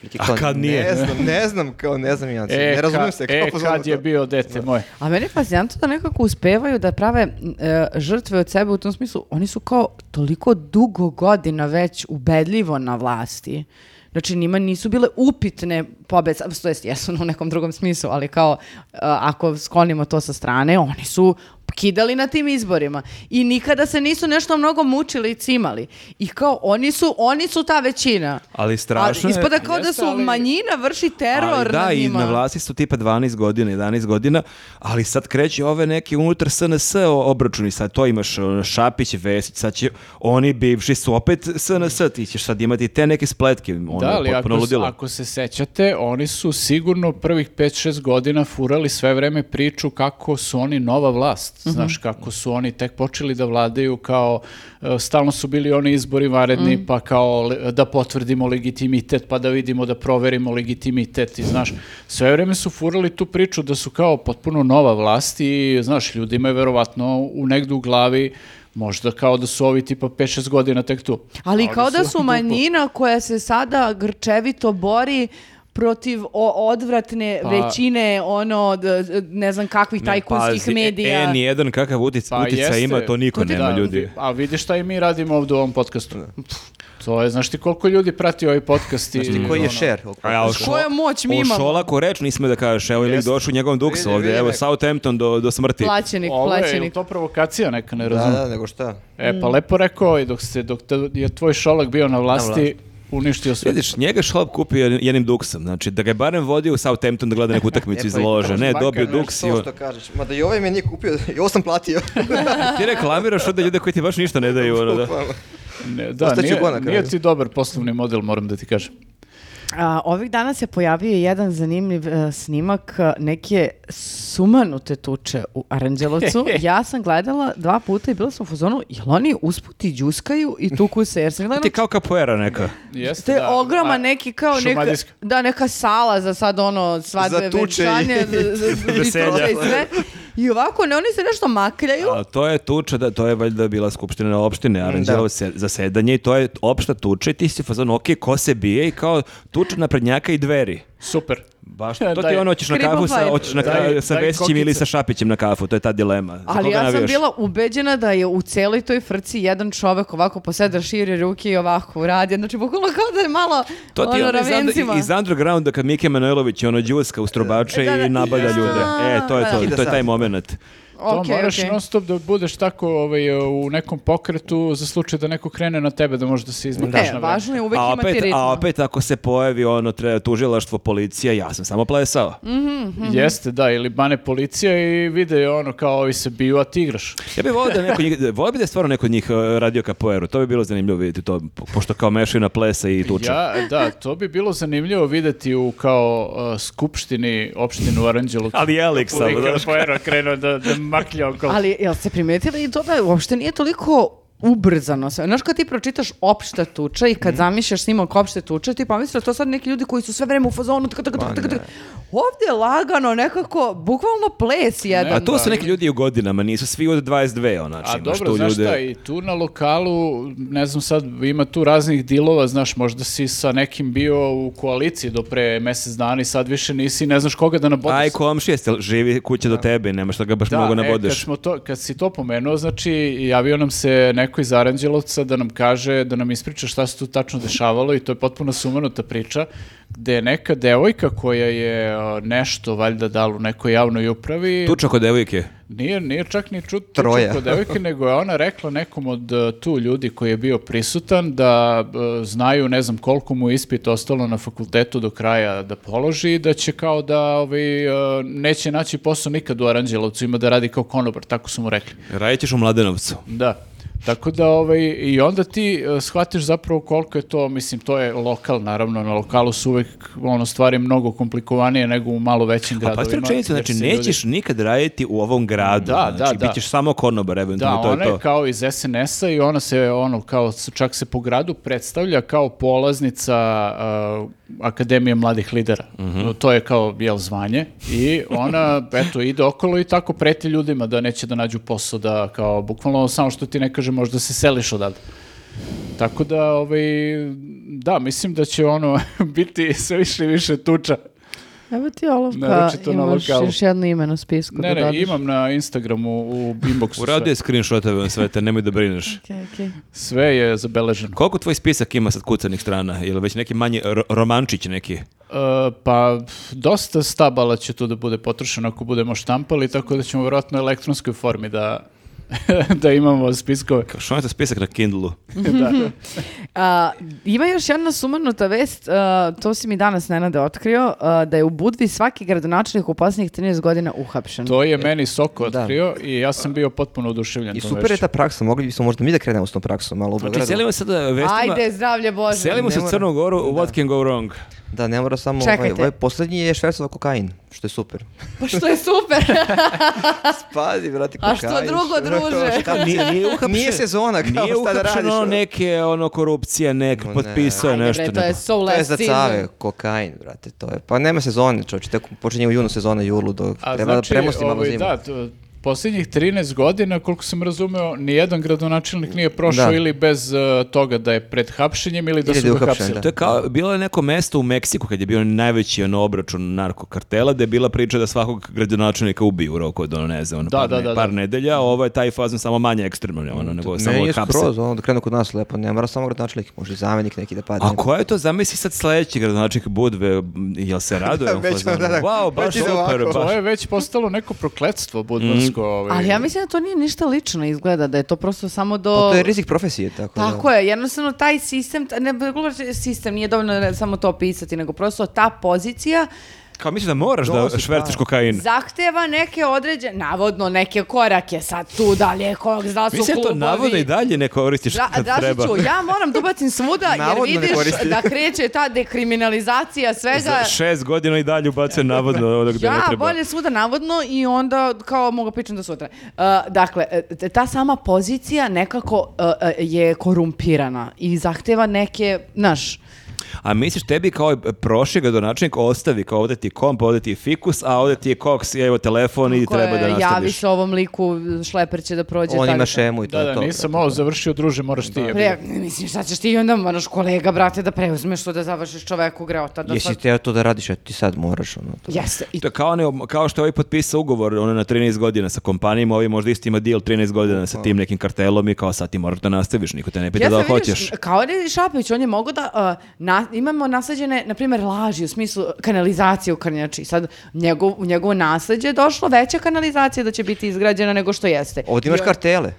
E: liki
A: A
E: kao,
A: kad nije?
E: Ne znam, ne znam, kao ne znam ja. Znači, ne razumijem
D: ka-
E: se.
D: e,
E: pozvao
D: kad
E: to?
D: je bio dete moje.
C: A meni je fascinantno da nekako uspevaju da prave e, žrtve od sebe u tom smislu. Oni su kao toliko dugo godina već ubedljivo na vlasti. Znači, njima nisu bile upitne pobede, to jest jesu u nekom drugom smislu, ali kao e, ako sklonimo to sa strane, oni su kidali na tim izborima i nikada se nisu nešto mnogo mučili i cimali. I kao oni su, oni su ta većina.
A: Ali strašno
C: Ali
A: je-
C: ispada kao da
D: Jeste,
C: su
D: ali-
C: manjina vrši teror
A: Ali da,
C: nad
A: i
C: njima.
A: na vlasti su tipa 12 godina, 11 godina, ali sad kreće ove neke unutar SNS obračuni, sad to imaš ono, Šapić, Vesić, sad će oni bivši su opet SNS, ti ćeš sad imati te neke spletke, ono,
D: Da, ali
A: potpuno
D: ako, se-
A: ludilo.
D: ako se sećate, oni su sigurno prvih 5-6 godina furali sve vreme priču kako su oni nova vlast,
A: Mhm.
D: znaš, kako su oni tek počeli da vladaju kao, e, stalno su bili oni izbori varedni,
A: Mhm.
D: pa kao le- da potvrdimo legitimitet, pa da vidimo da proverimo legitimitet i znaš, sve vreme su furali tu priču da su kao potpuno nova vlast i znaš, ljudima je verovatno u negdje u glavi Možda kao da su ovi tipa 5-6 godina tek tu.
C: Ali
D: A
C: kao
D: oni
C: da su manjina koja se sada grčevito bori protiv o- odvratne
D: Pa-
C: većine ono d- d- ne znam kakvih tajkunskih
A: pazi,
C: medija.
A: E, nijedan kakav utic,
D: Pa
A: utica
D: jeste.
A: ima, to niko
D: ti-
A: nema
D: da, pa-
A: ljudi.
D: vi- A vidiš šta i mi radimo ovdje u ovom podcastu. Pff, To je, znaš ti koliko ljudi prati ovaj podcast i... ono,
E: I koji je share?
A: A ja, o šo-
C: Koja moć mi
A: o
C: imamo?
A: Šolaku reč nismo da kažeš, evo je lik
D: Jeste.
A: došao u njegovom duksu
E: Vidi,
A: ovdje,
E: vidi
A: evo
E: neko.
A: Southampton do, do smrti.
C: Plaćenik,
D: Ovo je, je li
C: plaćenik.
D: to provokacija neka, ne
E: Da,
D: razumem.
E: da, nego šta?
D: E, pa
C: Mm.
D: lepo rekao, i dok, se, dok te- je tvoj šolak bio na vlasti,
E: vlasti.
D: uništio sve.
A: Vidiš, njega Šolak kupio jed- jednim duksom, znači da ga je barem vodio u Southampton da gleda
E: E,
A: neku
D: E,
E: pa
A: utakmicu
D: pa
A: iz lože, ne, dobio duks i
E: To
A: on-
E: što kažeš, ma da i ovaj me nije kupio, i ovo sam platio.
A: Ti reklamiraš ovdje ljude koji ti baš ništa ne daju, ono da.
D: Ne, da,
E: Ostaću
D: nije,
E: go na kraju.
D: nije ti dobar poslovni model, moram da ti kažem.
C: A, ovih dana se pojavio jedan zanimljiv e, snimak e, neke sumanute tuče u Aranđelovcu. ja sam gledala dva puta i bila sam u fazonu, jel oni usput i đuskaju i tuku se? Jer sam gledala
A: Ti kao kapoera neka.
D: Jeste,
C: To je
D: da,
C: ogroman
D: a-
C: neki kao neka,
D: Šumadijska.
C: da, neka sala za sad ono svadbe
E: Za tuče i-
C: venčanje, za- za- za-
A: veselja.
C: i sve. I ovako, ne, oni se nešto makljaju.
A: A to je tuča, da, to je valjda bila skupština opštine, aranđirao se zasedanje i to je opšta tuča i ti si fazon, ok, ko se bije i kao tuča naprednjaka i dveri.
D: Super.
A: Baš, to ti
D: Daj.
A: ono, hoćeš na
C: Kripo
A: kafu sa,
C: fight.
A: hoćeš na
D: Daj-
A: kraju sa
D: daj
A: Vesićem
D: kokice.
A: ili sa Šapićem na kafu, to je ta dilema. Za
C: Ali
A: koga
C: ja sam
A: navijaš?
C: bila ubeđena da je u celoj toj frci jedan čovek ovako poseda širi ruke i ovako uradi. Znači, bukvalno kao da je malo
A: To ti je
C: ono,
A: ono iz, under-
C: ravencima.
A: iz undergrounda kad Mike Manojlović ono džuska u strobače
C: Da, da,
A: i nabada
C: jeste.
A: ljude. E, to je to,
E: Skida
A: to je taj
E: sad.
A: moment.
D: To
C: Okej,
D: moraš
C: okej.
D: non stop da budeš tako ovaj, u nekom pokretu za slučaj da neko krene na tebe da možeš da se izmakneš
C: E,
D: na vreme.
C: važno je uvek
A: a
C: imati
A: opet,
C: ritma.
A: a opet ako se pojavi ono treba tužilaštvo, policija, ja sam samo plesao.
C: Mm.
A: Mhm.
D: Jeste, da, ili bane policija i vide ono kao ovi se biju, a ti igraš.
A: Ja bih volio da neko njih, volio bih da je stvarno neko od njih e, radio kapoeru. To bi bilo zanimljivo vidjeti to, po- pošto kao mešaju na plesa i tuče.
D: Ja, da, to bi bilo zanimljivo videti u kao uh, skupštini opštinu Aranđelu.
A: Ali je Alex samo, znaš.
D: krenuo da, da maklja okolo.
C: Ali, jel ste primetili i to da uopšte nije toliko ubrzano sve. Znaš kad ti pročitaš opšta tuča i
D: Mhm.
C: kad zamišljaš snimak opšte tuče, ti pomisliš da to sad neki ljudi koji su sve vreme u fazonu, tako, tako,
D: Pa
C: tako, tako, tako. Ovdje je lagano nekako, bukvalno ples jedan.
A: A to su neki ljudi u godinama, nisu svi od 22, onači.
D: A
A: znači, imaš
D: dobro,
A: tu
D: znaš
A: ljude-
D: šta, i tu na lokalu, ne znam sad, ima tu raznih dilova, znaš, možda si sa nekim bio u koaliciji do pre mesec dana i sad više nisi, ne znaš koga da nabodaš.
A: Aj, komšije, jeste, živi kuća do tebe, nema šta ga baš mnogo
D: e, kad,
A: nabodeš.
D: smo to, kad si to pomenuo, znači, javio nam se neko iz Aranđelovca da nam kaže, da nam ispriča šta se tu tačno dešavalo i to je potpuno sumanuta priča, gde je neka devojka koja je a, nešto valjda dala u nekoj javnoj upravi.
A: Tuča kod devojke.
D: Nije, nije čak ni čut
E: Troja.
D: kod devojke, nego je ona rekla nekom od e, tu ljudi koji je bio prisutan da e, znaju ne znam koliko mu je ispit ostalo na fakultetu do kraja da položi i da će kao da ovaj, e, neće naći posao nikad u Aranđelovcu, ima da radi kao konobar, tako su mu rekli.
A: Radit ćeš u Mladenovcu.
D: Da. Tako da ovaj, i onda ti e, shvatiš zapravo koliko je to, mislim, to je lokal, naravno, na lokalu su uvek ono, stvari mnogo komplikovanije nego u malo većim
A: A
D: gradovima.
A: pa ste rečenicu,
D: jer
A: znači
D: se ljudi-
A: nećeš nikad raditi u ovom gradu.
D: Da,
A: znači,
D: da, da.
A: bit ćeš samo konobar,
D: Da,
A: eventualno, to
D: ona
A: je
D: je
A: to.
D: kao iz SNS-a i ona se ono kao s- čak se po gradu predstavlja kao polaznica uh, Akademije mladih lidera.
A: Mhm.
D: No, To je kao jel zvanje i ona eto ide okolo i tako preti ljudima da neće da nađu posao da kao bukvalno samo što ti ne kaže možda se seliš odavde. Tako da ovaj da mislim da će ono biti sve više i više tuča.
C: Evo ti olovka,
D: Naročito na
C: imaš
D: lokalu.
C: još jedno ime na spisku.
D: Ne,
C: da
D: ne,
C: dodaš.
D: imam na Instagramu u inboxu
A: Uradio
D: sve.
A: je screenshotove on sve te, nemoj da brineš.
C: Okej, okej.
D: Sve je zabeleženo.
A: Koliko tvoj spisak ima sad kucanih strana? Ili već neki manji ro- romančić neki?
D: E, pa dosta stabala će tu da bude potrošeno ako budemo štampali, tako da ćemo vjerojatno u elektronskoj formi da, da imamo spiskove.
A: Što je to spisak na Kindlu? Znači,
D: da.
C: A, ima još jedna sumanuta vest, a, to si mi danas Nenade otkrio, a, da je u Budvi svaki gradonačelnik u posljednjih 13 godina uhapšen.
D: To je meni Soko otkrio i ja sam bio potpuno oduševljen.
E: I
D: tom
E: super je
D: vešću.
E: ta praksa, mogli bismo možda mi da krenemo s tom praksom, malo u
A: Znači,
E: Beogradu.
A: selimo se da vestima...
C: Ajde, zdravlje Bože.
A: Selimo
E: ne
A: se u
E: mora.
A: Crnu Goru, what can go wrong?
E: Da, ne mora samo...
C: Čekajte.
E: Ovaj, ovaj poslednji je švercova kokain, što je super.
C: Pa što je super.
E: Spazi, brate,
C: A
E: kokain.
C: što drugo, druže?
E: Šta, nije, nije, nije sezona, kao
A: Nije
E: šta da radiš.
A: uhapšeno
E: ono?
A: neke ono, korupcije, nek
E: ne.
A: potpisao je
C: Ajde,
A: nešto.
C: bre, to je
A: neko.
C: so
E: To je za
C: last
E: cave,
C: season.
E: kokain, brate, to je. Pa nema sezone, čovječe, tek počinje u junu sezona, julu, dok
D: A
E: treba
D: znači,
E: da premosti malo
D: ovaj,
E: zimu.
D: da, to- posljednjih 13 godina, koliko sam razumeo, nijedan gradonačelnik nije prošao
E: Da.
D: ili bez eh, toga da je pred hapšenjem ili da
E: Ili da
D: su
E: je
D: ga
E: uhapšen,
D: hapsili.
E: da.
A: To je kao, bilo je neko mesto u Meksiku kad je bio najveći ono obračun narkokartela, da je bila priča da svakog gradonačelnika ubiju u roku od ono, ne znam, ono,
D: Da,
A: par,
D: da,
A: ne-
D: da,
A: par
D: da.
A: nedelja, a ovo je taj fazon samo manje ekstremno, ono, nego samo
E: Ne, je
A: hapse.
E: skroz, ono, da krenu kod nas lepo, ne mora samo gradonačelnik, može i zamenik neki da padne.
A: A ko je to, zamisli sad sledeći gradonačelnik Budve, m, jel se raduje? u
E: Već
A: fazonu?
E: ono, da, da.
A: Wow, baš
E: Već ide
A: super,
E: ovako.
A: baš.
D: To je već postalo neko prokletstvo
E: Mm.
D: budvarsko. ovaj.
C: Ali ja mislim da to nije ništa lično izgleda, da je to prosto samo do...
E: Pa to je rizik profesije, tako,
C: Tako
E: da.
C: je, jednostavno taj sistem, ta- ne, glupo, sistem nije dovoljno ne, samo to opisati, nego prosto ta pozicija
A: Kao misliš da moraš da
E: Donosi
A: šverciš
E: pare.
A: kokain?
C: zahteva neke određene, navodno neke korake sad tu dalje, kog zna su
A: Mislim da to
C: klubovi.
A: navodno i dalje ne koristiš
C: Dra,
A: kad treba.
C: Dražiću, ja moram da ubacim svuda
E: Navodno ne
C: jer vidiš
E: koristi.
C: da kreće ta dekriminalizacija svega.
A: Za šest godina i dalje ubacuje navodno ono gde ne
C: Ja,
A: treba.
C: bolje svuda navodno i onda kao mogu pričam do sutra. Uh, dakle, e, ta sama pozicija nekako e, e, je korumpirana i zahteva neke, znaš,
A: A misliš tebi kao prošli gradonačelnik ostavi kao ovde ti je komp, ovde ti je fikus, a ovde ti je koks i evo telefon i treba da nastaviš.
C: Javi se ovom liku, šleper će da prođe.
E: On
C: tako
E: ima
C: da.
E: šemu i to
D: Da,
E: je
D: da,
E: to.
D: nisam ovo završio, druže, moraš ti jebi.
C: Pre, mislim, šta ćeš ti onda moraš kolega, brate, da preuzmeš to da završiš čoveku greota. Da
E: Jesi
C: sad-
E: teo to da radiš, a ti sad moraš. Ono, to.
C: Jeste. I
A: To je kao, ne, kao što je ovaj potpisao ugovor ono, na 13 godina sa kompanijom, ovi možda isto ima deal 13 godina sa tim nekim kartelom i kao sad ti moraš da nastaviš, niko te ne pita
C: Ja
A: da
C: sam
A: li
C: vidiš,
A: hoćeš.
C: Kao da je Šapić, on je mogao da, uh, na- imamo nasađene, na primjer, laži u smislu kanalizacije u Krnjači. Sad njegov, u njegovo nasađe je došlo veća kanalizacija da će biti izgrađena nego što jeste.
E: Ovdje imaš
C: I on-
E: kartele.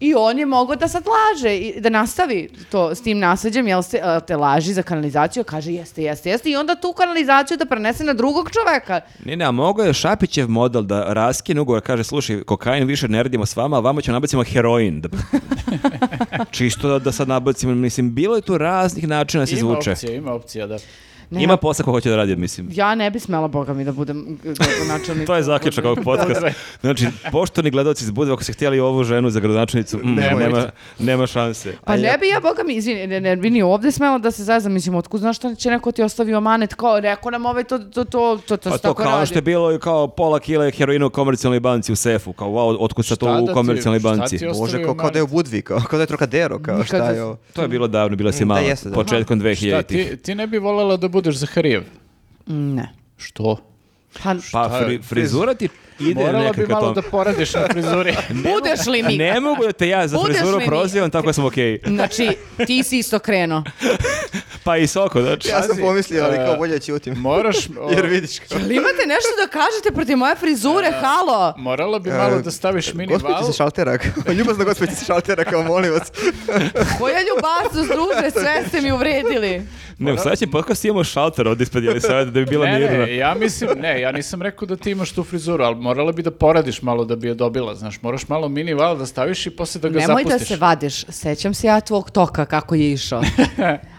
C: I on je mogao da sad laže i da nastavi to s tim nasađem, jel se, a, te laži za kanalizaciju, kaže jeste, jeste, jeste i onda tu kanalizaciju da prenese na drugog čoveka.
A: Ne, ne, a mogao je Šapićev model da raskine ugovor, kaže, slušaj, kokain više ne radimo s vama, a vama ćemo nabacimo heroin. Da... Čisto da, da sad nabacimo, mislim, bilo je tu raznih načina da se
D: Ima
A: izvuče.
D: opcija, ima opcija, da.
C: Ne,
A: Ima posla ko hoće da radi, mislim.
C: Ja ne bi smela, boga mi, da budem gradonačelnik.
A: To je zaključak ovog podcasta. Znači, poštovni gledalci iz Budve, ako ste htjeli ovu ženu za gradonačelnicu, mm, nema, nema šanse.
C: Pa ne bi ja, boga mi, izvini, ne, ne bi ni ovde smela da se zazam, mislim, otkud znaš šta će neko ti ostavio manet, kao rekao nam ovaj to, to, to, to, to,
A: Pa
C: se
A: to
C: tako
A: kao
C: radi.
A: što je bilo i kao pola kile heroina u komercijalnoj banci u sefu, kao wow, otkud sad
D: Šta
A: to
D: da ti-
A: u komercijalnoj
D: šta ti
A: banci.
D: ostavi
E: Bože,
D: u
E: kao, kao da je u Budvi, kao, kao da je trokadero, kao šta
C: Nikad-
E: je ovo.
A: To je bilo davno, bila si
E: Mm, da,
A: mala,
E: jeste, da.
A: početkom
D: Šta,
A: 2000-ih.
D: ti, ti ne bi voljela da budeš Zaharijev? Mm,
C: Ne.
D: Što?
C: Pa,
A: Pa
D: Šta je?
A: fri, frizura ti ide
D: Morala bi
A: nekako
D: malo
A: to.
D: da poradiš na frizuri.
C: budeš li mi?
A: Ne mogu da te ja za
C: Budeš
A: frizuru
C: li mi-
A: prozivam, tako sam okej.
C: Znači, ti si isto krenuo.
A: Pa i soko, znači.
E: Ja sam
D: Pazi,
E: pomislio, ali kao
D: e,
E: bolje ćutim.
D: Moraš... o,
E: Jer vidiš kao.
C: Jel imate nešto da kažete protiv moje frizure, halo?
D: Morala bi malo
E: E,
D: da staviš mini
E: Gospodin
D: val.
E: sa šaltera, kao, ljubazna gospodin sa šaltera, kao molim vas.
C: Koja ljubaznost, druže, sve ste mi uvredili.
A: Ne, u sledećem podcastu imamo šalter ovdje ispred Jelisaveta da bi bila
D: Ne,
A: mirna.
D: ne, ja mislim, ne, ja nisam rekao da ti imaš tu frizuru, ali morala bi da poradiš malo da bi je dobila, znaš, moraš malo mini val da staviš i posle da ga
C: Nemoj da
D: zapustiš.
C: se vadiš, sećam se ja tvog toka kako je išao.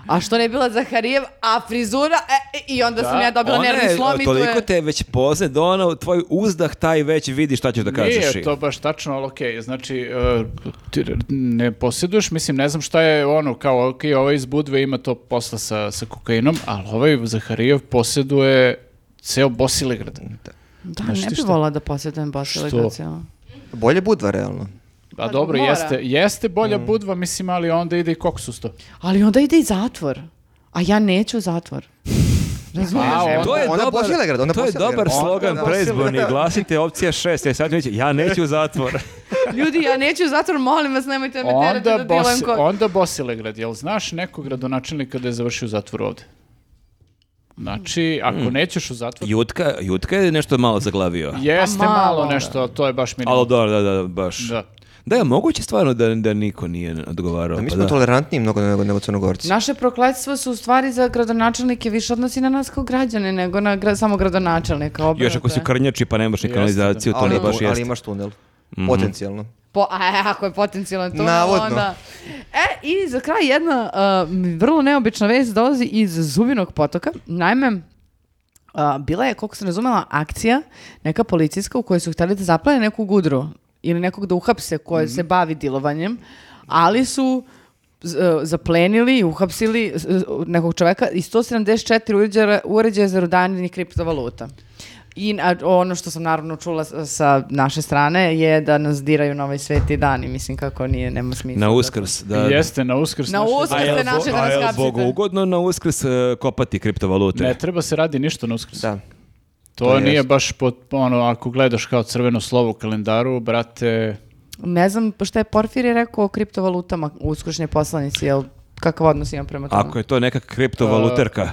C: A što ne je bila Zaharijev, a frizura, e, e, i onda sam ja dobila
A: Ona
C: nervni
A: je
C: slom i tu
A: toliko
C: je...
A: te već pozne da ona, tvoj uzdah taj već vidi šta ćeš da kažeš. i-
D: Nije to baš tačno, ali okej, znači, e, ti ne posjeduješ, mislim, ne znam šta je ono, kao, okej, ovaj iz Budve ima to posla sa, sa kokainom, ali ovaj Zaharijov posjeduje ceo Bosilegrad.
C: Da,
D: Znaš
C: ne
D: ti
C: bi
D: šta?
C: volala da posjetam baš
D: Što?
C: delegaciju.
E: Bolje Budva, realno.
D: Pa
C: Pa
D: dobro,
C: mora.
D: jeste, jeste bolja
A: Mm.
D: Budva, mislim, ali onda ide i koksusto.
C: Ali onda ide i zatvor. A ja neću u zatvor.
D: A, Pa, onda-
A: To Pa je
E: Ona
A: dobar,
E: Bosilegrad, ona
A: to je
E: Bosilegrad.
A: dobar
E: Onda
A: slogan
E: Bosilegrad.
A: preizborni. Glasite opcija 6, jer sad neće, ja neću u zatvor.
C: Ljudi, ja neću u zatvor, molim vas, nemojte da me terati
D: Onda,
C: da bilam
D: Bosi-
C: ko...
D: onda Bosilegrad, jel znaš nekog gradonačelnika da je završio zatvor ovde? Znači, ako
A: Mm.
D: nećeš u zatvor,
A: Jutka, Jutka je nešto malo zaglavio.
D: jeste
C: Pa malo,
D: malo
C: da.
D: nešto, ali to je baš
A: Alo,
D: minimalno.
A: da, da, da, baš. Da.
D: Da.
A: je moguće stvarno da, da niko nije odgovarao.
E: A mi
A: pa
E: smo
A: da.
E: tolerantniji mnogo nego, nego Crnogorci.
C: Naše prokletstvo su u stvari za gradonačelnike više odnosi na nas kao građane nego na gra- samo gradonačelnika. Obrnuto
A: Još ako si
C: je.
A: krnjači pa nemaš ni
D: Jeste,
A: kanalizaciju, to
E: ali,
A: ne baš
E: ali
A: jeste.
E: imaš tunel.
A: Mhm.
E: Potencijalno.
C: Po, a e, ako je potencijalno to,
E: Navodno.
C: onda... E, i za kraj jedna uh, vrlo neobična vez dolazi iz Zubinog potoka. Naime, uh, bila je, koliko sam razumela, akcija neka policijska u kojoj su hteli da zaplane neku gudru ili nekog da uhapse koje se bavi dilovanjem, ali su z- e, zaplenili i uhapsili e, nekog čoveka i 174 uređaja, uređaja za rudarenje kriptovaluta. I na- ono što sam naravno čula s- sa naše strane je da nas diraju na ovaj sveti dan i mislim kako nije, nema smisla.
A: Na
C: da-
A: uskrs, da.
D: Jeste, na uskrs.
C: Na
D: naše-
C: Uskrs
A: A jel
C: ste
A: bo-
C: naše da
A: a
C: nas
A: jel
C: hapsite.
A: Bogu ugodno na uskrs e, kopati kriptovalute.
D: Ne treba se radi ništa na uskrs.
E: Da.
D: to
E: to
D: nije
E: jest.
D: baš pod, ono, ako gledaš kao crveno slovo u kalendaru, brate,
C: Ne znam šta je Porfirije rekao o kriptovalutama u uskrušnje poslanici, jel kakav odnos imam prema tome?
A: Ako je to neka kriptovaluterka.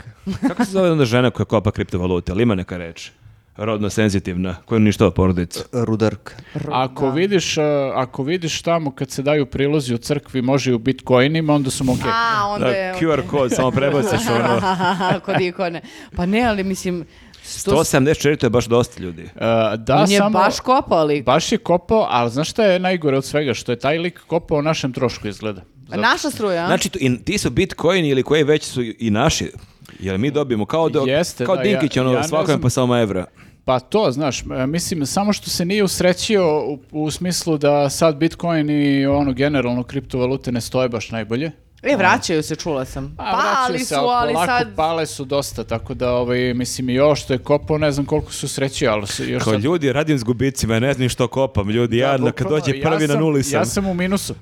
A: Kako se zove onda žena koja kopa kriptovalute? Ali ima neka reč. Rodno senzitivna, koja uništava porodicu.
E: Rudark.
D: ako vidiš, uh, ako vidiš tamo kad se daju prilozi u crkvi, može i u bitcoinima, onda su mu okej.
C: A, onda
A: Da,
C: je...
A: QR kod, samo prebaciš ono.
C: Kod ikone. Pa ne, ali mislim... sto-
A: 174 to je baš dosta ljudi.
D: Uh, da,
C: on je
D: samo,
C: baš kopao lik.
D: baš je kopao, ali znaš šta je najgore od svega? Što je taj lik kopao o našem trošku izgleda. Zato-
C: Pa Naša struja. a?
A: Znači, tu- i- ti su Bitcoin ili koji već su i naši, jer mi dobijemo kao, do,
D: Jeste,
A: kao
D: da,
A: Dinkić,
D: ja-
A: ono,
D: ja ne
A: svakome
D: znam.
A: po samo evra.
D: Pa to, znaš, e, mislim, samo što se nije usrećio u, u smislu da sad Bitcoin i ono generalno kriptovalute ne stoje baš najbolje.
C: E, vraćaju se, čula sam.
D: A, Pa, vraćaju
C: Pa, ali
D: se,
C: su, ali
D: polako pa-
C: sad...
D: pale su dosta, tako da, ovaj, mislim, i ovo što je kopao, ne znam koliko su sreći, ali su još
A: Kao
D: sad-
A: ljudi, radim s gubicima, ja ne znam ni što kopam. Ljudi, ja,
D: Da,
A: kad
D: bukvalno,
A: dođe
D: ja
A: prvi na
D: sam-
A: nuli sam.
D: Ja sam u minusu.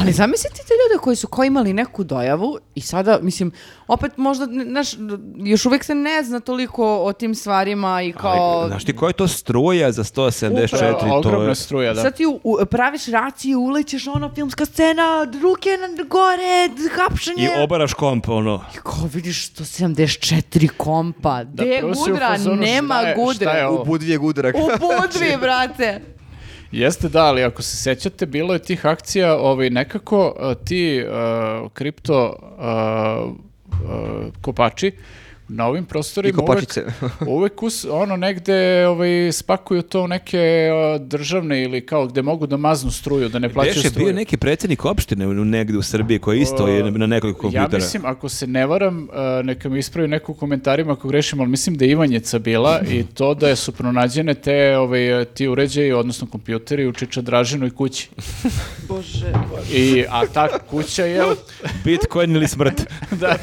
C: Ali zamislite te ljude koji su kao imali neku dojavu i sada, mislim, opet možda, n- znaš, još uvijek se ne zna toliko o tim stvarima i kao...
A: Ali, znaš ti koja je to struja za 174?
D: Upravo,
A: to
D: ogromna
A: je...
D: struja, da.
C: Sad ti u- u- praviš raciju, ulećeš ono filmska scena, ruke na gore, d- hapšenje.
A: I obaraš komp, ono.
C: I kao vidiš 174 kompa. Da, Gde je
D: prvo si u
C: gudra?
D: fazonu,
C: Nema
D: šta je- šta
C: gudre.
D: je ovo?
E: U budvijeg udrak.
C: U budvi, brate.
D: Jeste da, ali ako se sećate, bilo je tih akcija, ovaj, nekako a, ti a, kripto a, a, kopači na ovim
E: I
D: prostorima uvek,
E: kopačice.
D: uvek us, ono negde ovaj, spakuju to u neke a, državne ili kao gde mogu da maznu struju, da ne plaćaju
A: Deš je
D: struju.
A: bio neki predsjednik opštine u- negde u Srbiji koji isto je na nekoliko
D: Ja
A: kompjutera.
D: mislim, ako se ne varam, a, neka mi ispravi neko u komentarima ako grešim, ali mislim da je Ivanjeca bila i to da su pronađene te, ovaj, ti uređaji, odnosno kompjuteri u Čiča Dražinoj kući.
C: Bože.
D: I, a ta kuća je,
A: Bitcoin ili smrt.
D: da,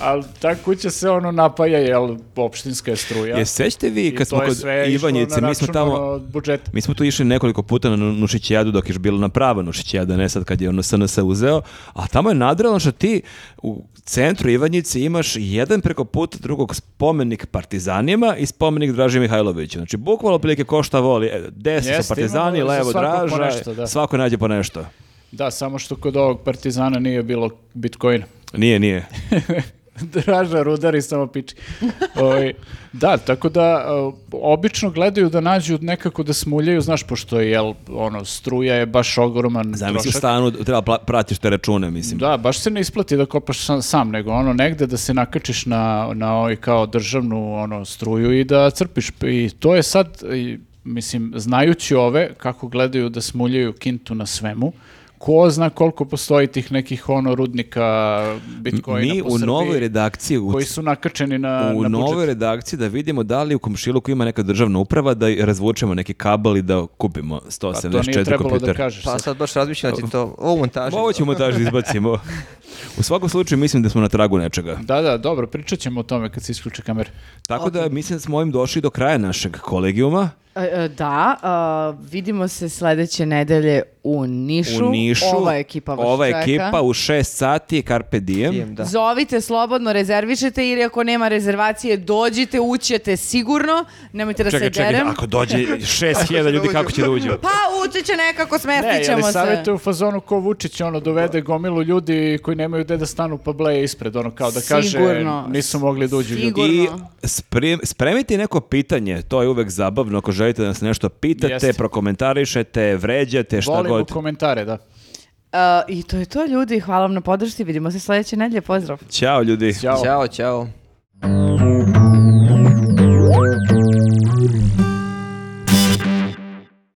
D: ali ta kuća se ono napaja, jel, opštinska je struja.
A: Je sećate vi
D: I
A: kad smo
D: to je
A: kod
D: sve išlo
A: Ivanjice,
D: na
A: mi smo
D: račun,
A: tamo...
D: ono, budžeta.
A: Mi smo tu išli nekoliko puta na Nu- Nušićijadu dok je još bilo na prava Nušićijada, ne sad kad je ono SNS uzeo, a tamo je nadralno što ti u centru Ivanjice imaš jedan preko puta drugog spomenik partizanima i spomenik Draži Mihajloviću. Znači, bukvalno prilike ko šta voli, e, desno
D: Jeste,
A: su partizani,
D: imamo za
A: levo
D: svakog po
A: Draža,
D: nešto, da.
A: svako nađe po nešto.
D: Da, samo što kod ovog partizana nije bilo bitcoina.
A: Nije, nije.
D: Draža rudari samo piči. Ovaj, da, tako da o, obično gledaju da nađu nekako da smuljaju, znaš, pošto je jel, ono, struja je baš ogroman
A: Zamisli u
D: trošak.
A: stanu, treba pla- pratiš te račune, mislim.
D: Da, baš se ne isplati da kopaš sam, sam, nego ono negde da se nakačiš na, na ovaj kao državnu ono, struju i da crpiš. I to je sad, i, mislim, znajući ove kako gledaju da smuljaju kintu na svemu, ko zna koliko postoji tih nekih ono rudnika bitcoina
A: Mi
D: po
A: u
D: Srbiji
A: novoj redakciji, u
D: koji su nakačeni na,
A: u
D: na
A: novoj
D: budžet.
A: redakciji da vidimo da li u komšiluku ima neka državna uprava da i razvučemo neki kabel i da kupimo
D: Pa to nije
A: 174
D: trebalo da
A: kompjuter.
D: kažeš.
E: Pa
D: sad.
E: sad baš razmišljam da ti to, ovo montaže.
A: Ovo ćemo taži da izbacimo. U svakom slučaju mislim da smo na tragu nečega.
D: Da, da, dobro, pričat ćemo o tome kad se isključe kamere.
A: Tako da mislim da smo ovim došli do kraja našeg kolegijuma.
C: e, Da, e, vidimo se sledeće nedelje u Nišu.
A: U Nišu.
C: Ova ekipa vas
A: Ova
C: čeka.
A: ekipa u 6 sati, Carpe Diem.
E: Pijem, da.
C: Zovite slobodno, rezervišete ili ako nema rezervacije dođite, ućete sigurno, nemojte da
A: Čekaj,
C: se
A: čekaj,
C: derem.
A: ako dođe 6000 ljudi, kako će da uđu?
C: Pa ući će nekako,
D: Ne,
C: smestit
D: ali
C: ćemo E, se.
D: savjetuju u fazonu ko Vučić, ono, dovede gomilu ljudi koji nemaju gde da stanu, pa bleje ispred, ono, kao da kaže,
C: Sigurno.
D: nisu mogli da uđu ljudi.
C: Sigurno.
A: I spre- spremite neko pitanje, to je uvek zabavno ako želite da nas nešto pitate,
D: Jeste.
A: prokomentarišete, vređate, šta
D: Volimo
A: god.
D: komentare, da.
C: E, I to je to ljudi, hvala vam na podršci, vidimo se sledeće nedelje, pozdrav.
A: Ćao ljudi.
D: Ćao.
E: Ćao, ćao.